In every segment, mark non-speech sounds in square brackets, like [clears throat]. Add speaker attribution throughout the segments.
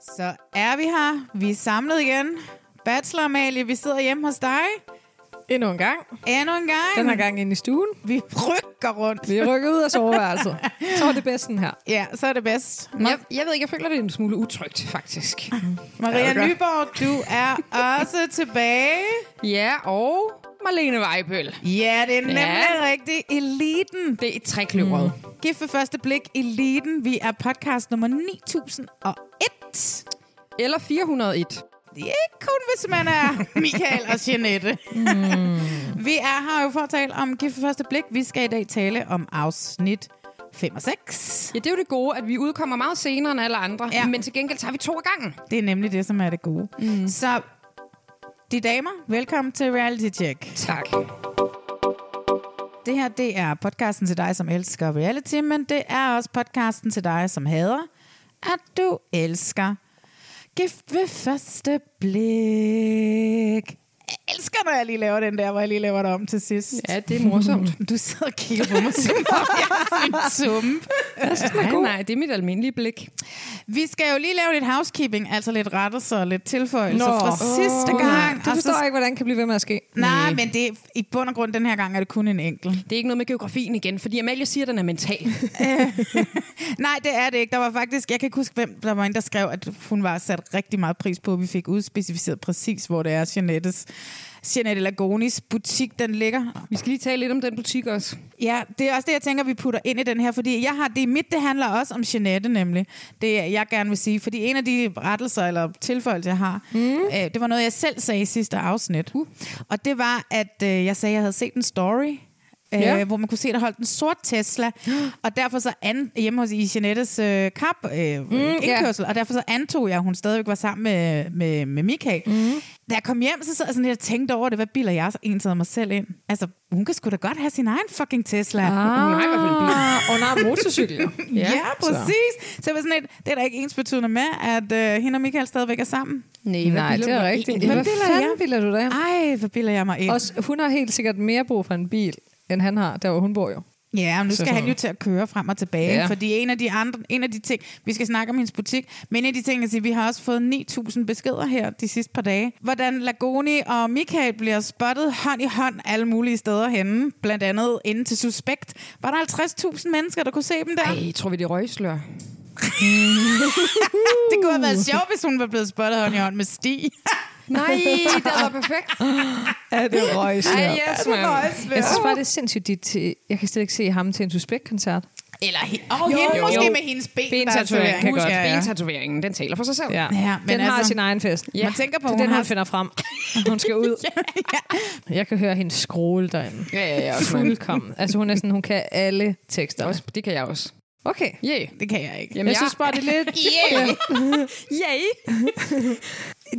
Speaker 1: Så er vi her. Vi er samlet igen. Bachelor Amalie, vi sidder hjemme hos dig.
Speaker 2: Endnu en gang.
Speaker 1: Endnu en gang.
Speaker 2: Den her gang ind i stuen.
Speaker 1: Vi rykker rundt.
Speaker 2: Vi er rykket ud af soveværelset. Så var det bedst sådan her.
Speaker 1: Ja, så er det bedst.
Speaker 2: Jeg, jeg ved ikke, jeg føler det en smule utrygt, faktisk.
Speaker 1: Maria
Speaker 2: Ja, det er godt.
Speaker 1: Nyborg, du er også tilbage.
Speaker 2: Ja, og Marlene Vejbøl.
Speaker 1: Ja, det er nemlig ja.
Speaker 2: Ja.
Speaker 1: rigtigt. Eliten.
Speaker 2: Det er et trækløveret. Mm.
Speaker 1: Gift for første blik. Eliten. Vi er podcast nummer 9001.
Speaker 2: Eller 401.
Speaker 1: Det er ikke kun, hvis man
Speaker 2: [laughs]
Speaker 1: er Michael og Jeanette.
Speaker 2: Hmm.
Speaker 1: vi er her jo for at tale om Gift ved første blik. Vi skal i dag tale om afsnit 5 og 6.
Speaker 2: Ja, det er jo det gode, at vi udkommer meget senere end alle andre.
Speaker 1: Ja.
Speaker 2: Ja. Men til gengæld tager vi to af gangen.
Speaker 1: Det er nemlig det, som er det gode. Mm. Så de damer, velkommen til Reality Check.
Speaker 2: Tak.
Speaker 1: Det her, det er podcasten til dig, som elsker reality, men det er også podcasten til dig, som hader, at du elsker gift ved første blik. Jeg elsker, når jeg lige laver den der, hvor jeg lige laver det om til sidst.
Speaker 2: Ja, det er morsomt.
Speaker 1: [laughs] Du sidder og kigger på mig, som om jeg er sådan en sump.
Speaker 2: nej, nej, det er mit almindelige blik.
Speaker 1: Vi skal jo lige lave lidt housekeeping, altså lidt rettelser og lidt
Speaker 2: Altså,
Speaker 1: tilføjelser Nå. fra sidste
Speaker 2: Åh,
Speaker 1: gang.
Speaker 3: Du
Speaker 1: og
Speaker 3: forstår
Speaker 1: så-
Speaker 3: ikke, hvordan det kan blive ved med at ske.
Speaker 1: Nej, men det, i bund og grund den her gang er det kun en enkelt.
Speaker 2: Mm. Det er ikke noget med geografien igen, fordi Amalie siger, at den er mental.
Speaker 1: Nej, det er det ikke. Der var faktisk, jeg kan ikke huske, hvem der var en, der skrev, at hun var sat rigtig meget pris på, at vi fik udspecificeret præcis, hvor det er Jeanettes, Jeanette Lagonis butik, den ligger.
Speaker 2: Vi skal lige tale lidt om den butik også.
Speaker 1: Ja, det er også det, jeg tænker, vi putter ind i den her, fordi jeg har det er mit, det handler også om Jeanette nemlig. Det er, jeg gerne vil sige, fordi en af de rettelser eller tilføjelser, jeg har, mm. øh, det var noget, jeg selv sagde i sidste afsnit. Uh. Og det var, at øh, jeg sagde, at jeg havde set en story, øh,
Speaker 2: Ja.
Speaker 1: hvor man kunne se, at der holdt en sort [gasps] Tesla, og derfor så an, hjemme hos i Jeanettes øh, kap øh, mm, indkørsel, og derfor så antog jeg, at hun stadigvæk var sammen med, med, med Michael. Mm. Da jeg kom hjem, så sad jeg sådan lidt og tænkte over det, hvad biler jeg så egentlig mig selv ind? Altså, hun kan sgu da godt have sin egen fucking Tesla. Ah.
Speaker 2: Hun har i hvert fald en bil.
Speaker 3: Ah, og nej, motorcykel. jo.
Speaker 1: Ja, ja præcis. Så. så jeg var sådan lidt, det er da ikke ens betydende med, at øh, hende og Michael stadigvæk er sammen.
Speaker 2: Nej,
Speaker 3: Nej, det er rigtigt. Hvad
Speaker 1: biler jeg?
Speaker 3: fanden biler du da?
Speaker 1: Ej, hvor bilder jeg mig ind.
Speaker 3: Også, hun har helt sikkert mere brug for en bil, end han har, der hvor hun bor jo.
Speaker 1: Ja, men nu skal
Speaker 3: sådan
Speaker 1: han jo til at køre frem og tilbage, ja.
Speaker 3: Ja.
Speaker 1: fordi en af de andre, en af de ting, vi skal snakke om hendes butik, men en af de ting, jeg siger, vi har også fået 9.000 beskeder her de sidste par dage, hvordan Lagoni og Michael bliver spottet hånd i hånd alle mulige steder henne, blandt andet inde til Suspekt. Var der 50.000 mennesker, der kunne se dem der? Ej.
Speaker 2: Ej, tror vi, det er røgslør?
Speaker 1: Det kunne have været sjovt, hvis hun var blevet spottet hånd i hånd med [laughs] Stig.
Speaker 2: Nej, det var [laughs] perfekt.
Speaker 3: Er det røjs?
Speaker 2: Ej, yes, man.
Speaker 3: Jeg synes bare, det er sindssygt dit til... Jeg kan slet ikke se ham til en suspektkoncert.
Speaker 2: Eller he-
Speaker 1: Og hende
Speaker 2: jo.
Speaker 1: måske
Speaker 2: Jo.
Speaker 1: med hendes ben.
Speaker 3: Bentatovering kan
Speaker 1: Husk,
Speaker 3: godt.
Speaker 1: ja, ja.
Speaker 2: Bentatoveringen, den taler for sig selv.
Speaker 3: Ja.
Speaker 1: Ja, men
Speaker 3: den har
Speaker 1: altså-
Speaker 3: sin egen fest.
Speaker 1: Man tænker på,
Speaker 3: det
Speaker 1: hun
Speaker 3: er den,
Speaker 1: har-
Speaker 3: hun finder frem. Hun skal ud. [laughs] Jeg kan høre hende skråle derinde.
Speaker 2: ja, ja, ja også, man.
Speaker 3: Fuldkommen. Altså, hun, er sådan, hun kan alle tekster.
Speaker 2: også, det kan jeg også.
Speaker 3: Okay.
Speaker 2: Yeah.
Speaker 1: Det kan jeg ikke.
Speaker 2: Jamen,
Speaker 3: Jeg synes bare, det er lidt...
Speaker 2: Yeah. yeah.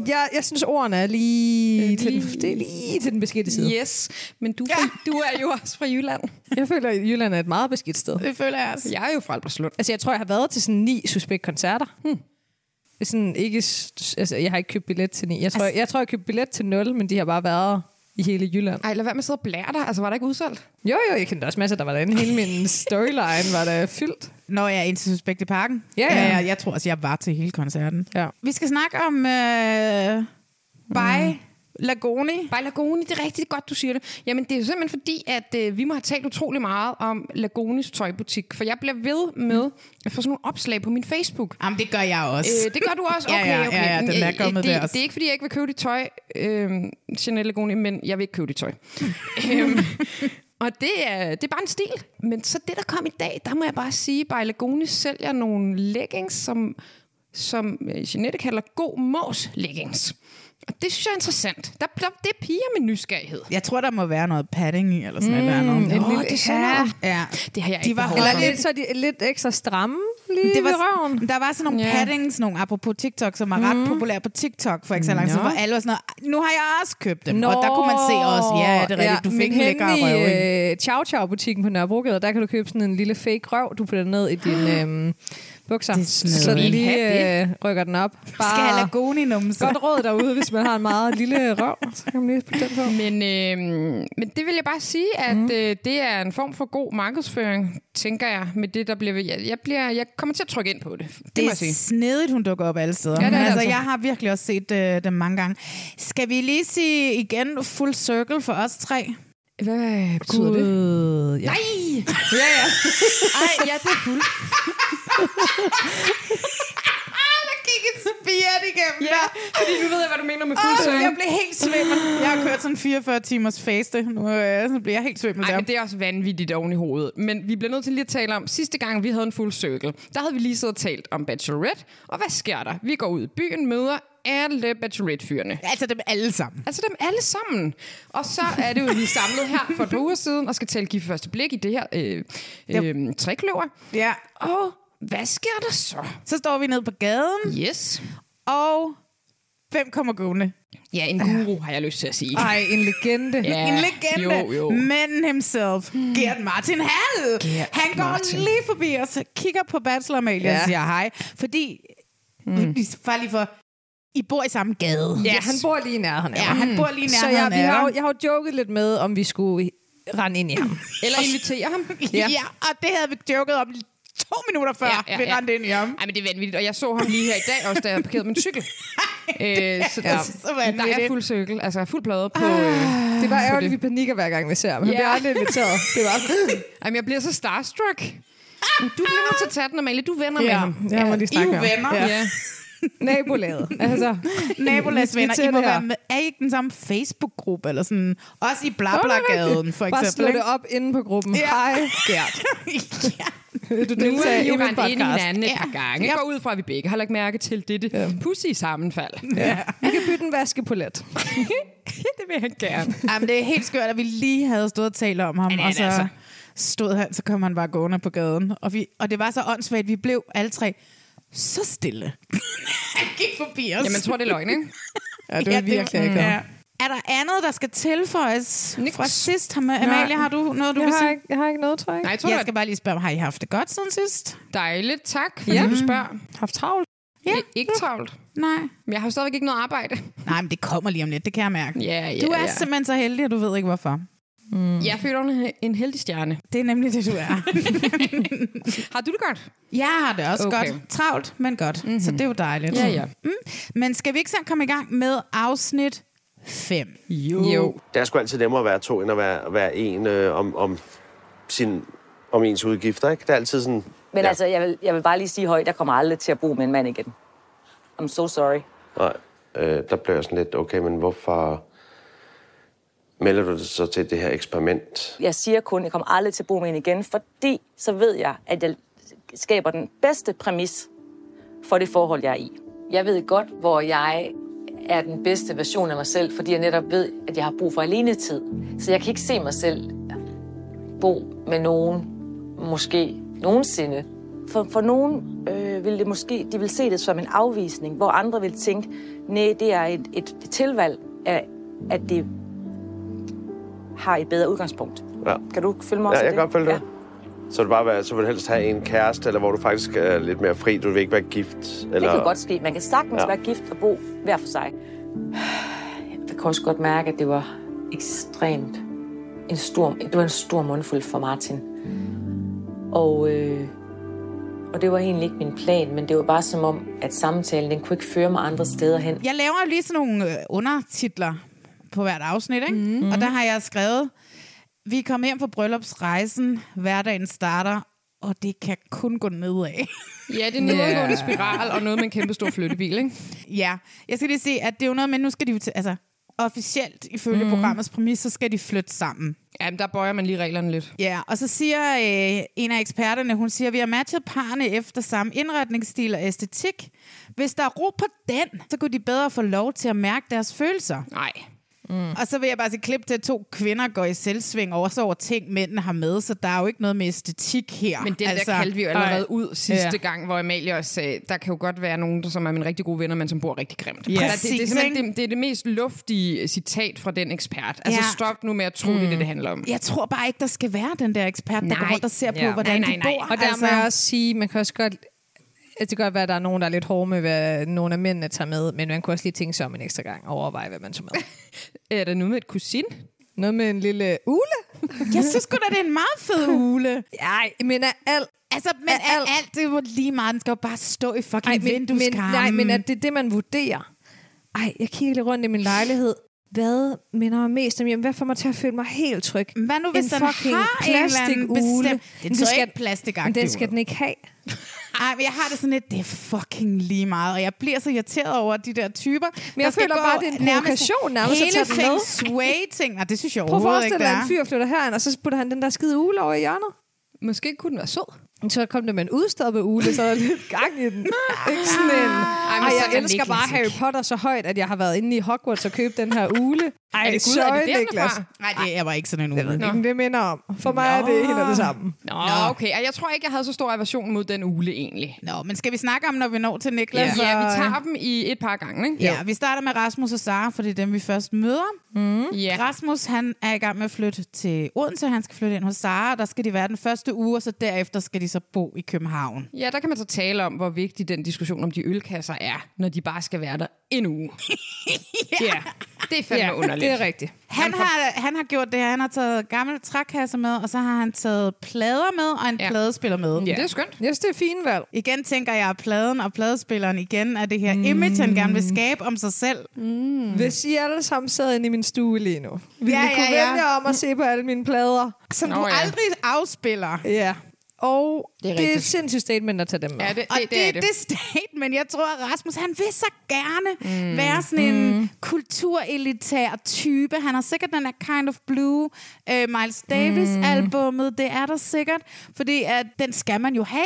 Speaker 3: Jeg, jeg synes, ordene er lige, til, den, det er lige til den beskidte side.
Speaker 2: Yes, men du, du er jo også fra Jylland.
Speaker 3: Jeg føler, at Jylland er et meget beskidt sted.
Speaker 1: Det føler jeg også.
Speaker 2: Jeg er jo fra Albertslund.
Speaker 3: Altså, jeg tror, jeg har været til sådan ni suspektkoncerter. Hmm. Sådan ikke, s- altså, jeg har ikke købt billet til ni. Jeg tror, jeg, jeg tror, jeg købte billet til nul, men de har bare været i hele Jylland.
Speaker 2: Ej, lad være med at sidde og blære dig. Altså, var der ikke udsolgt?
Speaker 3: Jo, jo, jeg kendte også masser, der var derinde. Hele min storyline var der fyldt.
Speaker 1: Når jeg er ind til Suspekt i Parken.
Speaker 3: Ja, ja.
Speaker 1: Jeg, jeg tror også, jeg var til hele koncerten.
Speaker 3: Ja.
Speaker 2: Mm.
Speaker 1: Vi skal snakke om øh, by Lagoni.
Speaker 2: Bare Lagoni, det er rigtig godt, du siger det. Jamen, det er simpelthen fordi, at øh, vi må have talt utrolig meget om Lagonis tøjbutik, for jeg bliver ved med at få sådan nogle opslag på min Facebook.
Speaker 1: Jamen, det gør jeg også.
Speaker 2: Øh, det gør du også?
Speaker 1: [laughs] Ja,
Speaker 2: Okay,
Speaker 1: ja,
Speaker 2: okay.
Speaker 1: ja, ja, den
Speaker 2: Øh,
Speaker 1: er kommet
Speaker 2: det,
Speaker 1: der også.
Speaker 2: Det er ikke, fordi jeg ikke vil købe dit tøj, øh, Chanel Lagoni, men jeg vil ikke købe dit
Speaker 1: [laughs]
Speaker 2: tøj. øhm, og det er, det er bare en stil. Men så det, der kom i dag, der må jeg bare sige, at Lagoni sælger nogle leggings, som, som øh, Jeanette kalder god mås leggings. Og det synes jeg er interessant. Der, der, det piger med nysgerrighed.
Speaker 1: Jeg tror, der må være noget padding i, eller sådan mm, noget.
Speaker 3: en
Speaker 1: Nå,
Speaker 3: lille-
Speaker 1: det er sådan
Speaker 3: ja.
Speaker 1: noget. Ja.
Speaker 2: Det har jeg
Speaker 1: De
Speaker 2: ikke
Speaker 1: var
Speaker 2: behov
Speaker 1: hårde.
Speaker 2: for. Mm,
Speaker 3: Eller lidt, så er de lidt ekstra stramme lige
Speaker 1: Det
Speaker 3: det
Speaker 1: var,
Speaker 3: ved røven.
Speaker 1: der var sådan nogle
Speaker 2: Ja. Mm.
Speaker 1: yeah. paddings, nogle apropos TikTok, som er ret populære på TikTok, for eksempel, no.
Speaker 2: Nå.
Speaker 1: hvor alle var sådan noget, nu har jeg også købt dem. Nå. Og der kunne man se også, ja, det er rigtigt, ja, du fik en lækker røv. ikke?
Speaker 3: i øh, Chow Chow-butikken på Nørrebrogade, der kan du købe sådan en lille fake røv, du putter ned i din øh, bukser.
Speaker 1: Det er sådan
Speaker 3: så
Speaker 1: noget.
Speaker 3: den
Speaker 2: Skal vi ikke
Speaker 3: lige
Speaker 2: have
Speaker 3: øh, rykker den op.
Speaker 1: Skal have
Speaker 3: Bare
Speaker 1: Lagoni-numse.
Speaker 3: godt råd derude, hvis man har en meget lille røv. Så kan man lige putte den på.
Speaker 2: Men, øh, men det vil jeg bare sige, at mm. øh, det er en form for god markedsføring, tænker jeg, med det, der bliver... Jeg, jeg, bliver, jeg kommer til at trykke ind på det. Det, det
Speaker 1: Det
Speaker 2: må
Speaker 1: er
Speaker 2: jeg sige.
Speaker 1: snedigt, hun dukker op alle steder.
Speaker 2: Ja, det er det
Speaker 1: altså,
Speaker 2: altså.
Speaker 1: Jeg har virkelig også set øh, dem mange gange. Skal vi lige sige igen full circle for os tre?
Speaker 2: Hvad betyder det?
Speaker 3: Gud, ja.
Speaker 2: Nej! Ja, ja. Ej, ja, det er fuld.
Speaker 1: Gik et spirit igennem
Speaker 2: Ja, fordi nu ved jeg, hvad du mener med fuld
Speaker 1: Åh, jeg
Speaker 2: søvn.
Speaker 1: blev helt svimmel. Jeg har kørt sådan 44 timers faste. Nu øh, så bliver jeg helt svimmel
Speaker 2: Ej,
Speaker 1: der.
Speaker 2: men det er også vanvittigt oven i hovedet. Men vi bliver nødt til lige at tale om, sidste gang vi havde en fuld cirkel, der havde vi lige siddet og talt om Bachelorette, og hvad sker der? Vi går ud i byen, møder alle Bachelorette-fyrene.
Speaker 1: Altså dem alle sammen.
Speaker 2: Altså dem alle sammen. Og så er det jo, vi er samlet her for et par uger siden og skal tale give første blik i det her øh, øh, trikløver.
Speaker 1: Ja.
Speaker 2: Og hvad sker der så?
Speaker 1: Så står vi ned på gaden,
Speaker 2: Yes.
Speaker 1: og hvem kommer gående?
Speaker 2: Ja, en guru har jeg lyst til at sige.
Speaker 3: Ej, en legende.
Speaker 2: Ja.
Speaker 1: en legende.
Speaker 2: jo, jo.
Speaker 1: Manden himself. Mm. Gert Martin Hall.
Speaker 2: Gert
Speaker 1: han går
Speaker 2: Martin.
Speaker 1: lige forbi os, kigger på Bachelor Amalie ja.
Speaker 3: Ja.
Speaker 1: og siger hej. Fordi, mm. bare lige for, I bor i samme gade.
Speaker 3: Ja, han bor lige i nærheden af
Speaker 1: Ja,
Speaker 3: mig.
Speaker 1: han bor lige i
Speaker 3: Så
Speaker 1: nærheden
Speaker 3: jeg, vi
Speaker 1: af
Speaker 3: har,
Speaker 1: ham.
Speaker 3: jo- jeg har jo joket lidt med, om vi skulle rende ind i
Speaker 1: [laughs]
Speaker 3: ham.
Speaker 2: Eller inviterer ham.
Speaker 1: Ja. ja, og det havde vi joket om to minutter før, ja, ja, ja. vi rendte ind i
Speaker 3: Øh,
Speaker 1: ham.
Speaker 2: Ej, men det er vanvittigt. Og jeg så ham lige her i dag også, da jeg havde parkeret min
Speaker 3: [laughs]
Speaker 2: cykel. Æ,
Speaker 1: [laughs]
Speaker 2: så der,
Speaker 1: altså så vanvittigt.
Speaker 2: der er fuld cykel, altså fuld plade på... Øh.
Speaker 3: Det er
Speaker 1: Ah,
Speaker 3: bare ærgerligt, at vi panikker hver gang, vi ser ham. Han
Speaker 2: Ja.
Speaker 3: bliver aldrig inviteret. Det var
Speaker 1: [laughs]
Speaker 2: Jamen, jeg bliver så starstruck. Men Du bliver nødt til at tage den, Amalie. Du vender med ham.
Speaker 3: Ah. Ja, jeg må lige
Speaker 1: I er
Speaker 3: snakke
Speaker 1: jo
Speaker 3: med ham.
Speaker 1: venner.
Speaker 3: Ja.
Speaker 1: Ja. [laughs]
Speaker 3: Nabolaget. Altså, Vi
Speaker 1: Nabolagsvenner,
Speaker 3: skal
Speaker 1: I må
Speaker 3: til det her.
Speaker 1: være med. Er I ikke den samme Facebook-gruppe? Eller sådan? Også i
Speaker 3: Nå, det er
Speaker 1: Blabla-gaden,
Speaker 3: rigtigt.
Speaker 1: for
Speaker 3: Bare slå
Speaker 1: eksempel.
Speaker 3: det op inde på gruppen.
Speaker 1: Ja. [laughs]
Speaker 3: Ja. Hej, Gert.
Speaker 1: ikke? ja.
Speaker 3: Vil du
Speaker 2: Nu er
Speaker 3: deltage
Speaker 2: vi
Speaker 3: i
Speaker 2: jo
Speaker 3: min
Speaker 2: rendt ind i
Speaker 3: podcast?
Speaker 2: hinanden et
Speaker 1: Ja.
Speaker 2: par gange. Jeg
Speaker 1: Ja.
Speaker 2: går ud fra, at vi begge har lagt mærke til dette pussy sammenfald.
Speaker 3: Vi kan bytte en vaskepolet.
Speaker 2: [laughs]
Speaker 3: [laughs]
Speaker 2: det vil jeg gerne.
Speaker 1: [laughs] Jamen, det er helt skørt, at vi lige havde stået og talt om ham,
Speaker 2: Ja, det er
Speaker 1: og så
Speaker 2: det altså.
Speaker 1: stod han, så kom han bare gående på gaden. Og, vi, og det var så åndssvagt, vi blev alle tre så stille. [laughs] han gik forbi os.
Speaker 2: Jamen, jeg tror, det er løgn, ikke?
Speaker 3: Ja, det var virkelig ikke.
Speaker 1: ja. Er der andet, der skal tilføjes
Speaker 2: Niks.
Speaker 1: fra sidst? Ham- Amalie, har du noget, du
Speaker 3: Jeg
Speaker 1: vil
Speaker 3: har,
Speaker 1: sige?
Speaker 3: ikke, jeg har ikke noget, tror jeg.
Speaker 2: Nej,
Speaker 3: ikke.
Speaker 2: jeg tror,
Speaker 1: Jeg
Speaker 2: det
Speaker 1: skal bare lige spørge, om, har I haft det godt siden sidst?
Speaker 2: er dejligt. Tak, fordi ja. du spørger.
Speaker 3: Haft travlt.
Speaker 1: Ja.
Speaker 2: Ik- ikke travlt.
Speaker 1: Nej.
Speaker 2: Men jeg har jo stadigvæk ikke noget arbejde.
Speaker 1: Nej, men det kommer lige om lidt, det kan jeg mærke.
Speaker 2: Ja, ja,
Speaker 1: Du er
Speaker 2: ja.
Speaker 1: simpelthen så heldig, og du ved ikke hvorfor.
Speaker 2: Jeg er født under en heldig stjerne.
Speaker 1: Det er nemlig det, du er.
Speaker 2: Har du det godt?
Speaker 1: Jeg har det også okay.
Speaker 2: Okay. Mhm.
Speaker 1: godt. Travlt, men godt. Mm-hmm. Så det er jo dejligt.
Speaker 2: Ja, ja.
Speaker 1: Mm. Men skal vi ikke så komme i gang med afsnit 5?
Speaker 2: Jo. jo.
Speaker 4: Det er sgu altid nemmere at være to, end at være, at være en øh, om, om, sin, om ens udgifter. Ikke? Det er altid sådan...
Speaker 5: Men ja. altså, jeg vil, jeg vil bare lige sige højt, jeg kommer aldrig til at bo med en mand igen. I'm so sorry.
Speaker 4: Nej, øh, der blev jeg sådan lidt, okay, men hvorfor melder du dig så til det her eksperiment?
Speaker 5: Jeg siger kun, jeg kommer aldrig til at bo med en igen, fordi så ved jeg, at jeg skaber den bedste præmis for det forhold, jeg er i.
Speaker 6: Jeg ved godt, hvor jeg er den bedste version af mig selv, fordi jeg netop ved, at jeg har brug for alene tid. Så jeg kan ikke se mig selv bo med nogen, måske nogensinde.
Speaker 5: For, for nogen øh, vil det måske, de vil se det som en afvisning, hvor andre vil tænke, nej, det er et, et, et tilvalg af, at det har et bedre udgangspunkt.
Speaker 4: Ja.
Speaker 5: Kan du følge mig
Speaker 4: Ja,
Speaker 5: også i
Speaker 4: jeg kan
Speaker 5: det?
Speaker 4: godt følge dig. Så vil, bare være, så vil du helst have en kæreste, eller hvor du faktisk er lidt mere fri. Du vil ikke være gift. Eller...
Speaker 5: Det kan godt ske. Man kan sagtens
Speaker 4: Ja.
Speaker 5: ja. være gift og bo hver for sig.
Speaker 6: Jeg kan også godt mærke, at det var ekstremt. En stor, det var en stor mundfuld for Martin. Og, øh, og det var egentlig ikke min plan, men det var bare som om, at samtalen den kunne ikke føre mig andre steder hen.
Speaker 1: Jeg laver jo lige sådan nogle øh, undertitler på hvert afsnit, ikke?
Speaker 2: Mhm.
Speaker 1: Mm. Og der har jeg skrevet, vi er kommet hjem fra bryllupsrejsen, hverdagen starter, og det kan kun gå nedad. [laughs]
Speaker 2: Ja, det er en nedadgående spiral og noget med en kæmpe stor flyttebil, ikke?
Speaker 1: ja, jeg skal lige se, at det er jo noget med, nu skal de jo til, altså officielt ifølge
Speaker 2: Mhm.
Speaker 1: mm. programmets præmis, så skal de flytte sammen.
Speaker 2: Jamen, der bøjer man lige reglerne lidt.
Speaker 1: Ja, og så siger øh, en af eksperterne, hun siger, vi har matchet parrene efter samme indretningsstil og æstetik. Hvis der er ro på den, så kunne de bedre få lov til at mærke deres følelser.
Speaker 2: Nej.
Speaker 1: Mm. Og så vil jeg bare se klip til, at to kvinder går i selvsving også over ting, mændene har med, så der er jo ikke noget med æstetik her.
Speaker 2: Men den altså, der kaldte vi jo allerede nej. ud sidste ja. gang, hvor Amalie også sagde, der kan jo godt være nogen, der, som er mine rigtig gode venner, men som bor rigtig grimt. Der- det, det, er
Speaker 1: Præcis,
Speaker 2: simpelthen
Speaker 1: ikke?
Speaker 2: det, det er det mest luftige citat fra den ekspert. Altså
Speaker 1: Ja.
Speaker 2: stop nu med at tro, det er det, det handler om.
Speaker 1: Jeg tror bare ikke, der skal være den der ekspert, der går
Speaker 2: Nej.
Speaker 1: rundt og ser på,
Speaker 2: Ja.
Speaker 1: hvordan
Speaker 2: Nej,
Speaker 1: de
Speaker 2: nej,
Speaker 1: bor.
Speaker 2: nej.
Speaker 3: Og der altså... må jeg også sige, man kan også godt... Altså, det kan godt være, at der er nogen, der er lidt hårde med, hvad nogle af mændene tager med, men man kunne også lige tænke sig om en ekstra gang og overveje, hvad man tager
Speaker 1: [laughs]
Speaker 3: med.
Speaker 2: Er der noget med et kusin?
Speaker 3: Noget med en lille ule?
Speaker 1: Jeg synes sgu da, det er en meget fed
Speaker 2: [laughs]
Speaker 1: ule.
Speaker 3: Nej, men er alt...
Speaker 1: Altså, men
Speaker 3: Af
Speaker 1: alt,
Speaker 3: alt.
Speaker 1: alt det var lige meget. Den skal jo bare stå i fucking Ej,
Speaker 3: men, men,
Speaker 1: vindueskarmen.
Speaker 3: nej, men at det er det, man vurderer. Ej, jeg kigger lidt rundt i min lejlighed. Hvad minder mig mest om hjem? Hvad får mig til at føle mig helt tryg?
Speaker 1: Hvad nu, hvis
Speaker 3: en
Speaker 1: den
Speaker 3: fucking
Speaker 1: har en eller anden
Speaker 3: plastikugle?
Speaker 1: bestemt- Den
Speaker 3: Men
Speaker 1: så ikke plastikagtig
Speaker 3: Den
Speaker 1: ud.
Speaker 3: skal den ikke
Speaker 1: [laughs]
Speaker 3: have.
Speaker 1: Ej, men jeg har det sådan lidt, det er fucking lige meget, og jeg bliver så irriteret over de der typer.
Speaker 3: Men jeg
Speaker 1: der skal
Speaker 3: føler
Speaker 1: gå
Speaker 3: bare, det er en provokation nærmest at
Speaker 1: Hele
Speaker 3: tage dem
Speaker 1: feng
Speaker 3: med.
Speaker 1: shui-ting. Nej, det synes jeg
Speaker 3: Prøv at
Speaker 1: overhovedet ikke, det
Speaker 3: forestille dig,
Speaker 1: er.
Speaker 3: at en fyr flytter herind, og så putter han den der skide ule over i hjørnet.
Speaker 2: Måske kunne den være sød.
Speaker 3: Så kom der med en udstoppet ule, så er der lidt gang i den.
Speaker 1: [laughs] Ah.
Speaker 3: Ikke sådan en... Ej,
Speaker 2: så er
Speaker 3: jeg
Speaker 2: det
Speaker 3: elsker bare Harry Potter så højt, at jeg har været inde i Hogwarts og købt den her ule. Ej,
Speaker 2: Er det Gud, er det der, den er fra?
Speaker 1: Nej, det, jeg var ikke sådan en uge.
Speaker 3: Nå. Det minder om. For mig er det helt af det samme.
Speaker 2: Nå, okay. Ej, Jeg tror ikke, jeg havde så stor aversion mod den ule egentlig.
Speaker 1: Nå, men skal vi snakke om, når vi når til Niklas?
Speaker 2: Ja, Altså, ja vi
Speaker 1: og-
Speaker 2: tager dem i et par gange, ikke?
Speaker 1: Ja, vi starter med Rasmus og Sara, for det er dem, vi først møder.
Speaker 3: Mm.
Speaker 2: ja.
Speaker 1: Rasmus, han er i gang med at flytte til Odense. Han skal flytte ind hos Sara, og der skal de være den første uge, og så derefter skal de så bo i København.
Speaker 2: Ja, der kan man så tale om, hvor vigtig den diskussion om de ølkasser er, når de bare skal være der en uge. ja. ja. Det er fandme ja, underligt.
Speaker 3: det er rigtigt.
Speaker 1: Han har, han har gjort det her. Han har taget gamle trækasser med, og så har han taget plader med, og en ja.
Speaker 2: Ja.
Speaker 1: pladespiller med.
Speaker 2: Ja. Det er skønt.
Speaker 3: Jeg synes, det er fint valg.
Speaker 1: Igen tænker jeg, at pladen og pladespilleren igen er det her image, han gerne vil skabe om sig selv.
Speaker 3: Mm. Hvis I alle sammen sad inde i min stue lige nu, ville
Speaker 1: Ja,
Speaker 3: ja, I kunne
Speaker 1: ja, ja.
Speaker 3: ja, vælge om at se på alle mine plader.
Speaker 1: Som Nå, du
Speaker 2: Nå, ja.
Speaker 1: aldrig afspiller.
Speaker 3: Ja. Og det
Speaker 2: Det
Speaker 3: er,
Speaker 2: er
Speaker 3: det er et
Speaker 2: rigtigt.
Speaker 3: sindssygt statement at tage dem med.
Speaker 2: Ja, det, det,
Speaker 1: Og det, det er det, det statement, jeg tror, at Rasmus, han vil så gerne mm. være sådan en mm. kulturelitær type. Han har sikkert den der Kind of Blue øh, Miles Davis-albummet, det er der sikkert, fordi at den skal man jo have,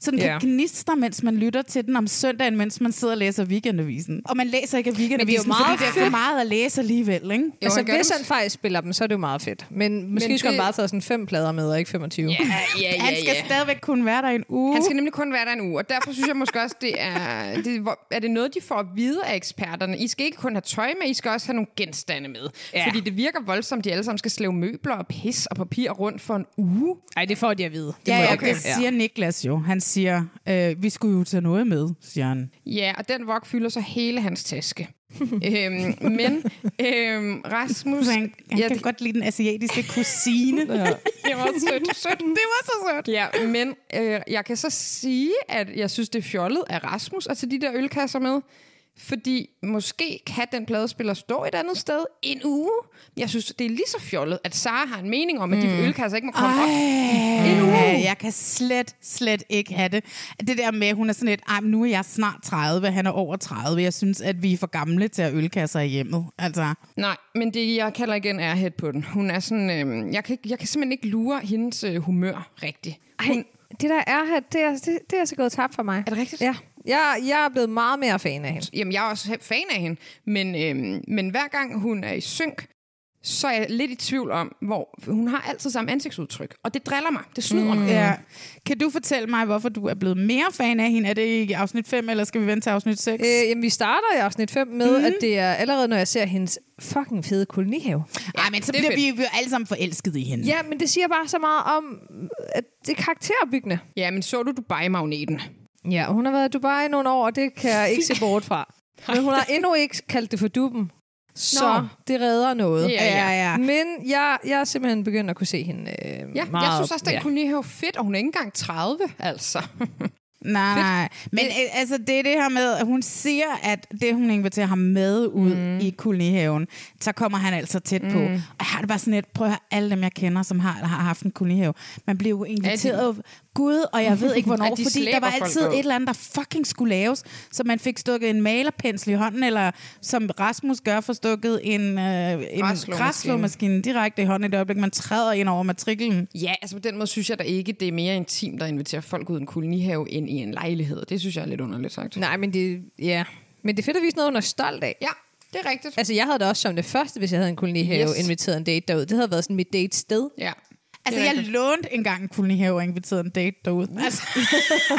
Speaker 1: så den
Speaker 2: Ja.
Speaker 1: kan gnistre, mens man lytter til den om søndagen, mens man sidder og læser weekendavisen. Og man læser ikke af weekendavisen,
Speaker 3: meget
Speaker 1: fordi det er for meget at læse alligevel, ikke?
Speaker 2: Jo,
Speaker 3: altså,
Speaker 2: han gør
Speaker 3: hvis
Speaker 2: det.
Speaker 3: han faktisk spiller dem, så er det jo meget fedt. Men måske
Speaker 2: Men
Speaker 3: skulle
Speaker 2: det-
Speaker 3: han bare tage sådan fem plader med, og ikke 25.
Speaker 2: Ja, ja, ja,
Speaker 1: Han skal
Speaker 2: ja.
Speaker 1: stadigvæk kunne være der i en uge.
Speaker 2: Han skal nemlig kun være der en uge, og derfor synes jeg måske også, det er, det, hvor- er det noget, de får at vide af eksperterne. I skal ikke kun have tøj med, I skal også have nogle genstande med. Ja. Fordi det virker voldsomt, de alle sammen skal slæve møbler og pis og papir rundt for en uge.
Speaker 3: Nej, det får de at vide. Det
Speaker 1: Ja,
Speaker 3: må
Speaker 1: ja,
Speaker 3: jeg-
Speaker 1: det siger Niklas jo. Han siger, øh, vi skulle jo tage noget med, siger han.
Speaker 2: Ja, og den vok fylder så hele hans taske. øhm, men øhm, Rasmus...
Speaker 1: Så han, han
Speaker 2: Ja,
Speaker 1: ja, kan
Speaker 2: det-
Speaker 1: godt lide den asiatiske [laughs] kusine.
Speaker 2: Det var sødt. sødt. Det var så sødt. Ja, men øh, jeg kan så sige, at jeg synes, det er fjollet af Rasmus at tage de der ølkasser med. Fordi måske kan den pladespiller stå et andet sted en uge. Jeg synes, det er lige så fjollet, at Sara har en mening om, at de ølkasser ikke må komme op.
Speaker 1: Ej, jeg kan slet, slet ikke have det. Det der med, hun er sådan lidt, "Ej, men nu er jeg snart 30, han er over 30. Jeg synes, at vi er for gamle til at have ølkasser i hjemmet. Altså,
Speaker 2: Nej, men det, jeg kalder igen, er head på den. Hun er sådan... Øh, jeg, kan, ikke- jeg kan simpelthen ikke lure hendes øh, humør rigtigt. Hun,
Speaker 3: Ej, det der er her, det er, det, det er så gået tabt for mig. Er
Speaker 2: det rigtigt?
Speaker 3: Ja. Jeg, jeg er blevet meget mere fan af hende.
Speaker 2: Jamen, jeg er også fan af hende, men, øhm, men hver gang hun er i synk, så er jeg lidt i tvivl om, hvor for hun har altid samme ansigtsudtryk, og det driller mig, det snyder mm. mig.
Speaker 1: ja. Kan du fortælle mig, hvorfor du er blevet mere fan af hende? Er det i afsnit 5, eller skal vi vente til afsnit 6?
Speaker 3: Øh, jamen, vi starter i afsnit 5 med, mm. at det er allerede, når jeg ser hendes fucking fede kolonihave.
Speaker 1: Ej, men så
Speaker 2: det er
Speaker 1: bliver vi vi er jo alle sammen forelskede i hende.
Speaker 3: Ja, men det siger bare så meget om, at det er karakterbyggende.
Speaker 2: Ja, men så du Dubai-magneten?
Speaker 3: Ja, hun har været i Dubai i nogle år, og det kan jeg ikke se bort
Speaker 2: [laughs]
Speaker 3: fra. Men hun har endnu ikke kaldt det for duppen. Så
Speaker 2: Nå.
Speaker 3: det redder noget.
Speaker 2: Ja, ja.
Speaker 3: Men jeg, jeg er simpelthen begyndt at kunne se hende øh,
Speaker 2: Ja,
Speaker 3: meget.
Speaker 2: jeg synes også, den
Speaker 3: ja.
Speaker 2: kunne lige have fedt, og hun er ikke engang 30, altså.
Speaker 1: Nej, nej. Men øh, altså, det er det her med, at hun siger, at det, hun inviterer ham med ud mm. i kolonihaven, så kommer han altså tæt på.
Speaker 2: Mm.
Speaker 1: Og jeg har det bare sådan lidt, prøv at høre, alle dem, jeg kender, som har, har haft en kolonihave, man bliver jo inviteret, gud, og jeg
Speaker 2: [laughs]
Speaker 1: ved ikke hvornår,
Speaker 2: At de
Speaker 1: fordi der
Speaker 2: slæber
Speaker 1: var
Speaker 2: folk
Speaker 1: altid
Speaker 2: ud.
Speaker 1: et eller andet, der fucking skulle laves, så man fik stukket en malerpensel i hånden, eller som Rasmus gør, for stukket en, øh, en
Speaker 2: Græsslåmaskine.
Speaker 1: græsslåmaskine direkte i hånden i det øjeblik, man træder ind over matriklen.
Speaker 2: [laughs] Ja, altså på den måde synes jeg da ikke, det er mere intimt at invitere folk ud i en kolonihave end i en lejlighed. Det synes jeg er lidt underligt sagt.
Speaker 3: Nej, men det, ja. men det er fedt at vise noget, hun er stolt af.
Speaker 2: Ja, det er rigtigt.
Speaker 3: Altså, jeg havde det også som det første, hvis jeg havde en kolonihave, yes.
Speaker 2: Yes.
Speaker 3: inviteret en date derud. Det havde været sådan mit date-sted.
Speaker 2: Ja.
Speaker 1: Altså, jeg lånte engang en kolonihave og inviterede en date derude. Altså. [laughs]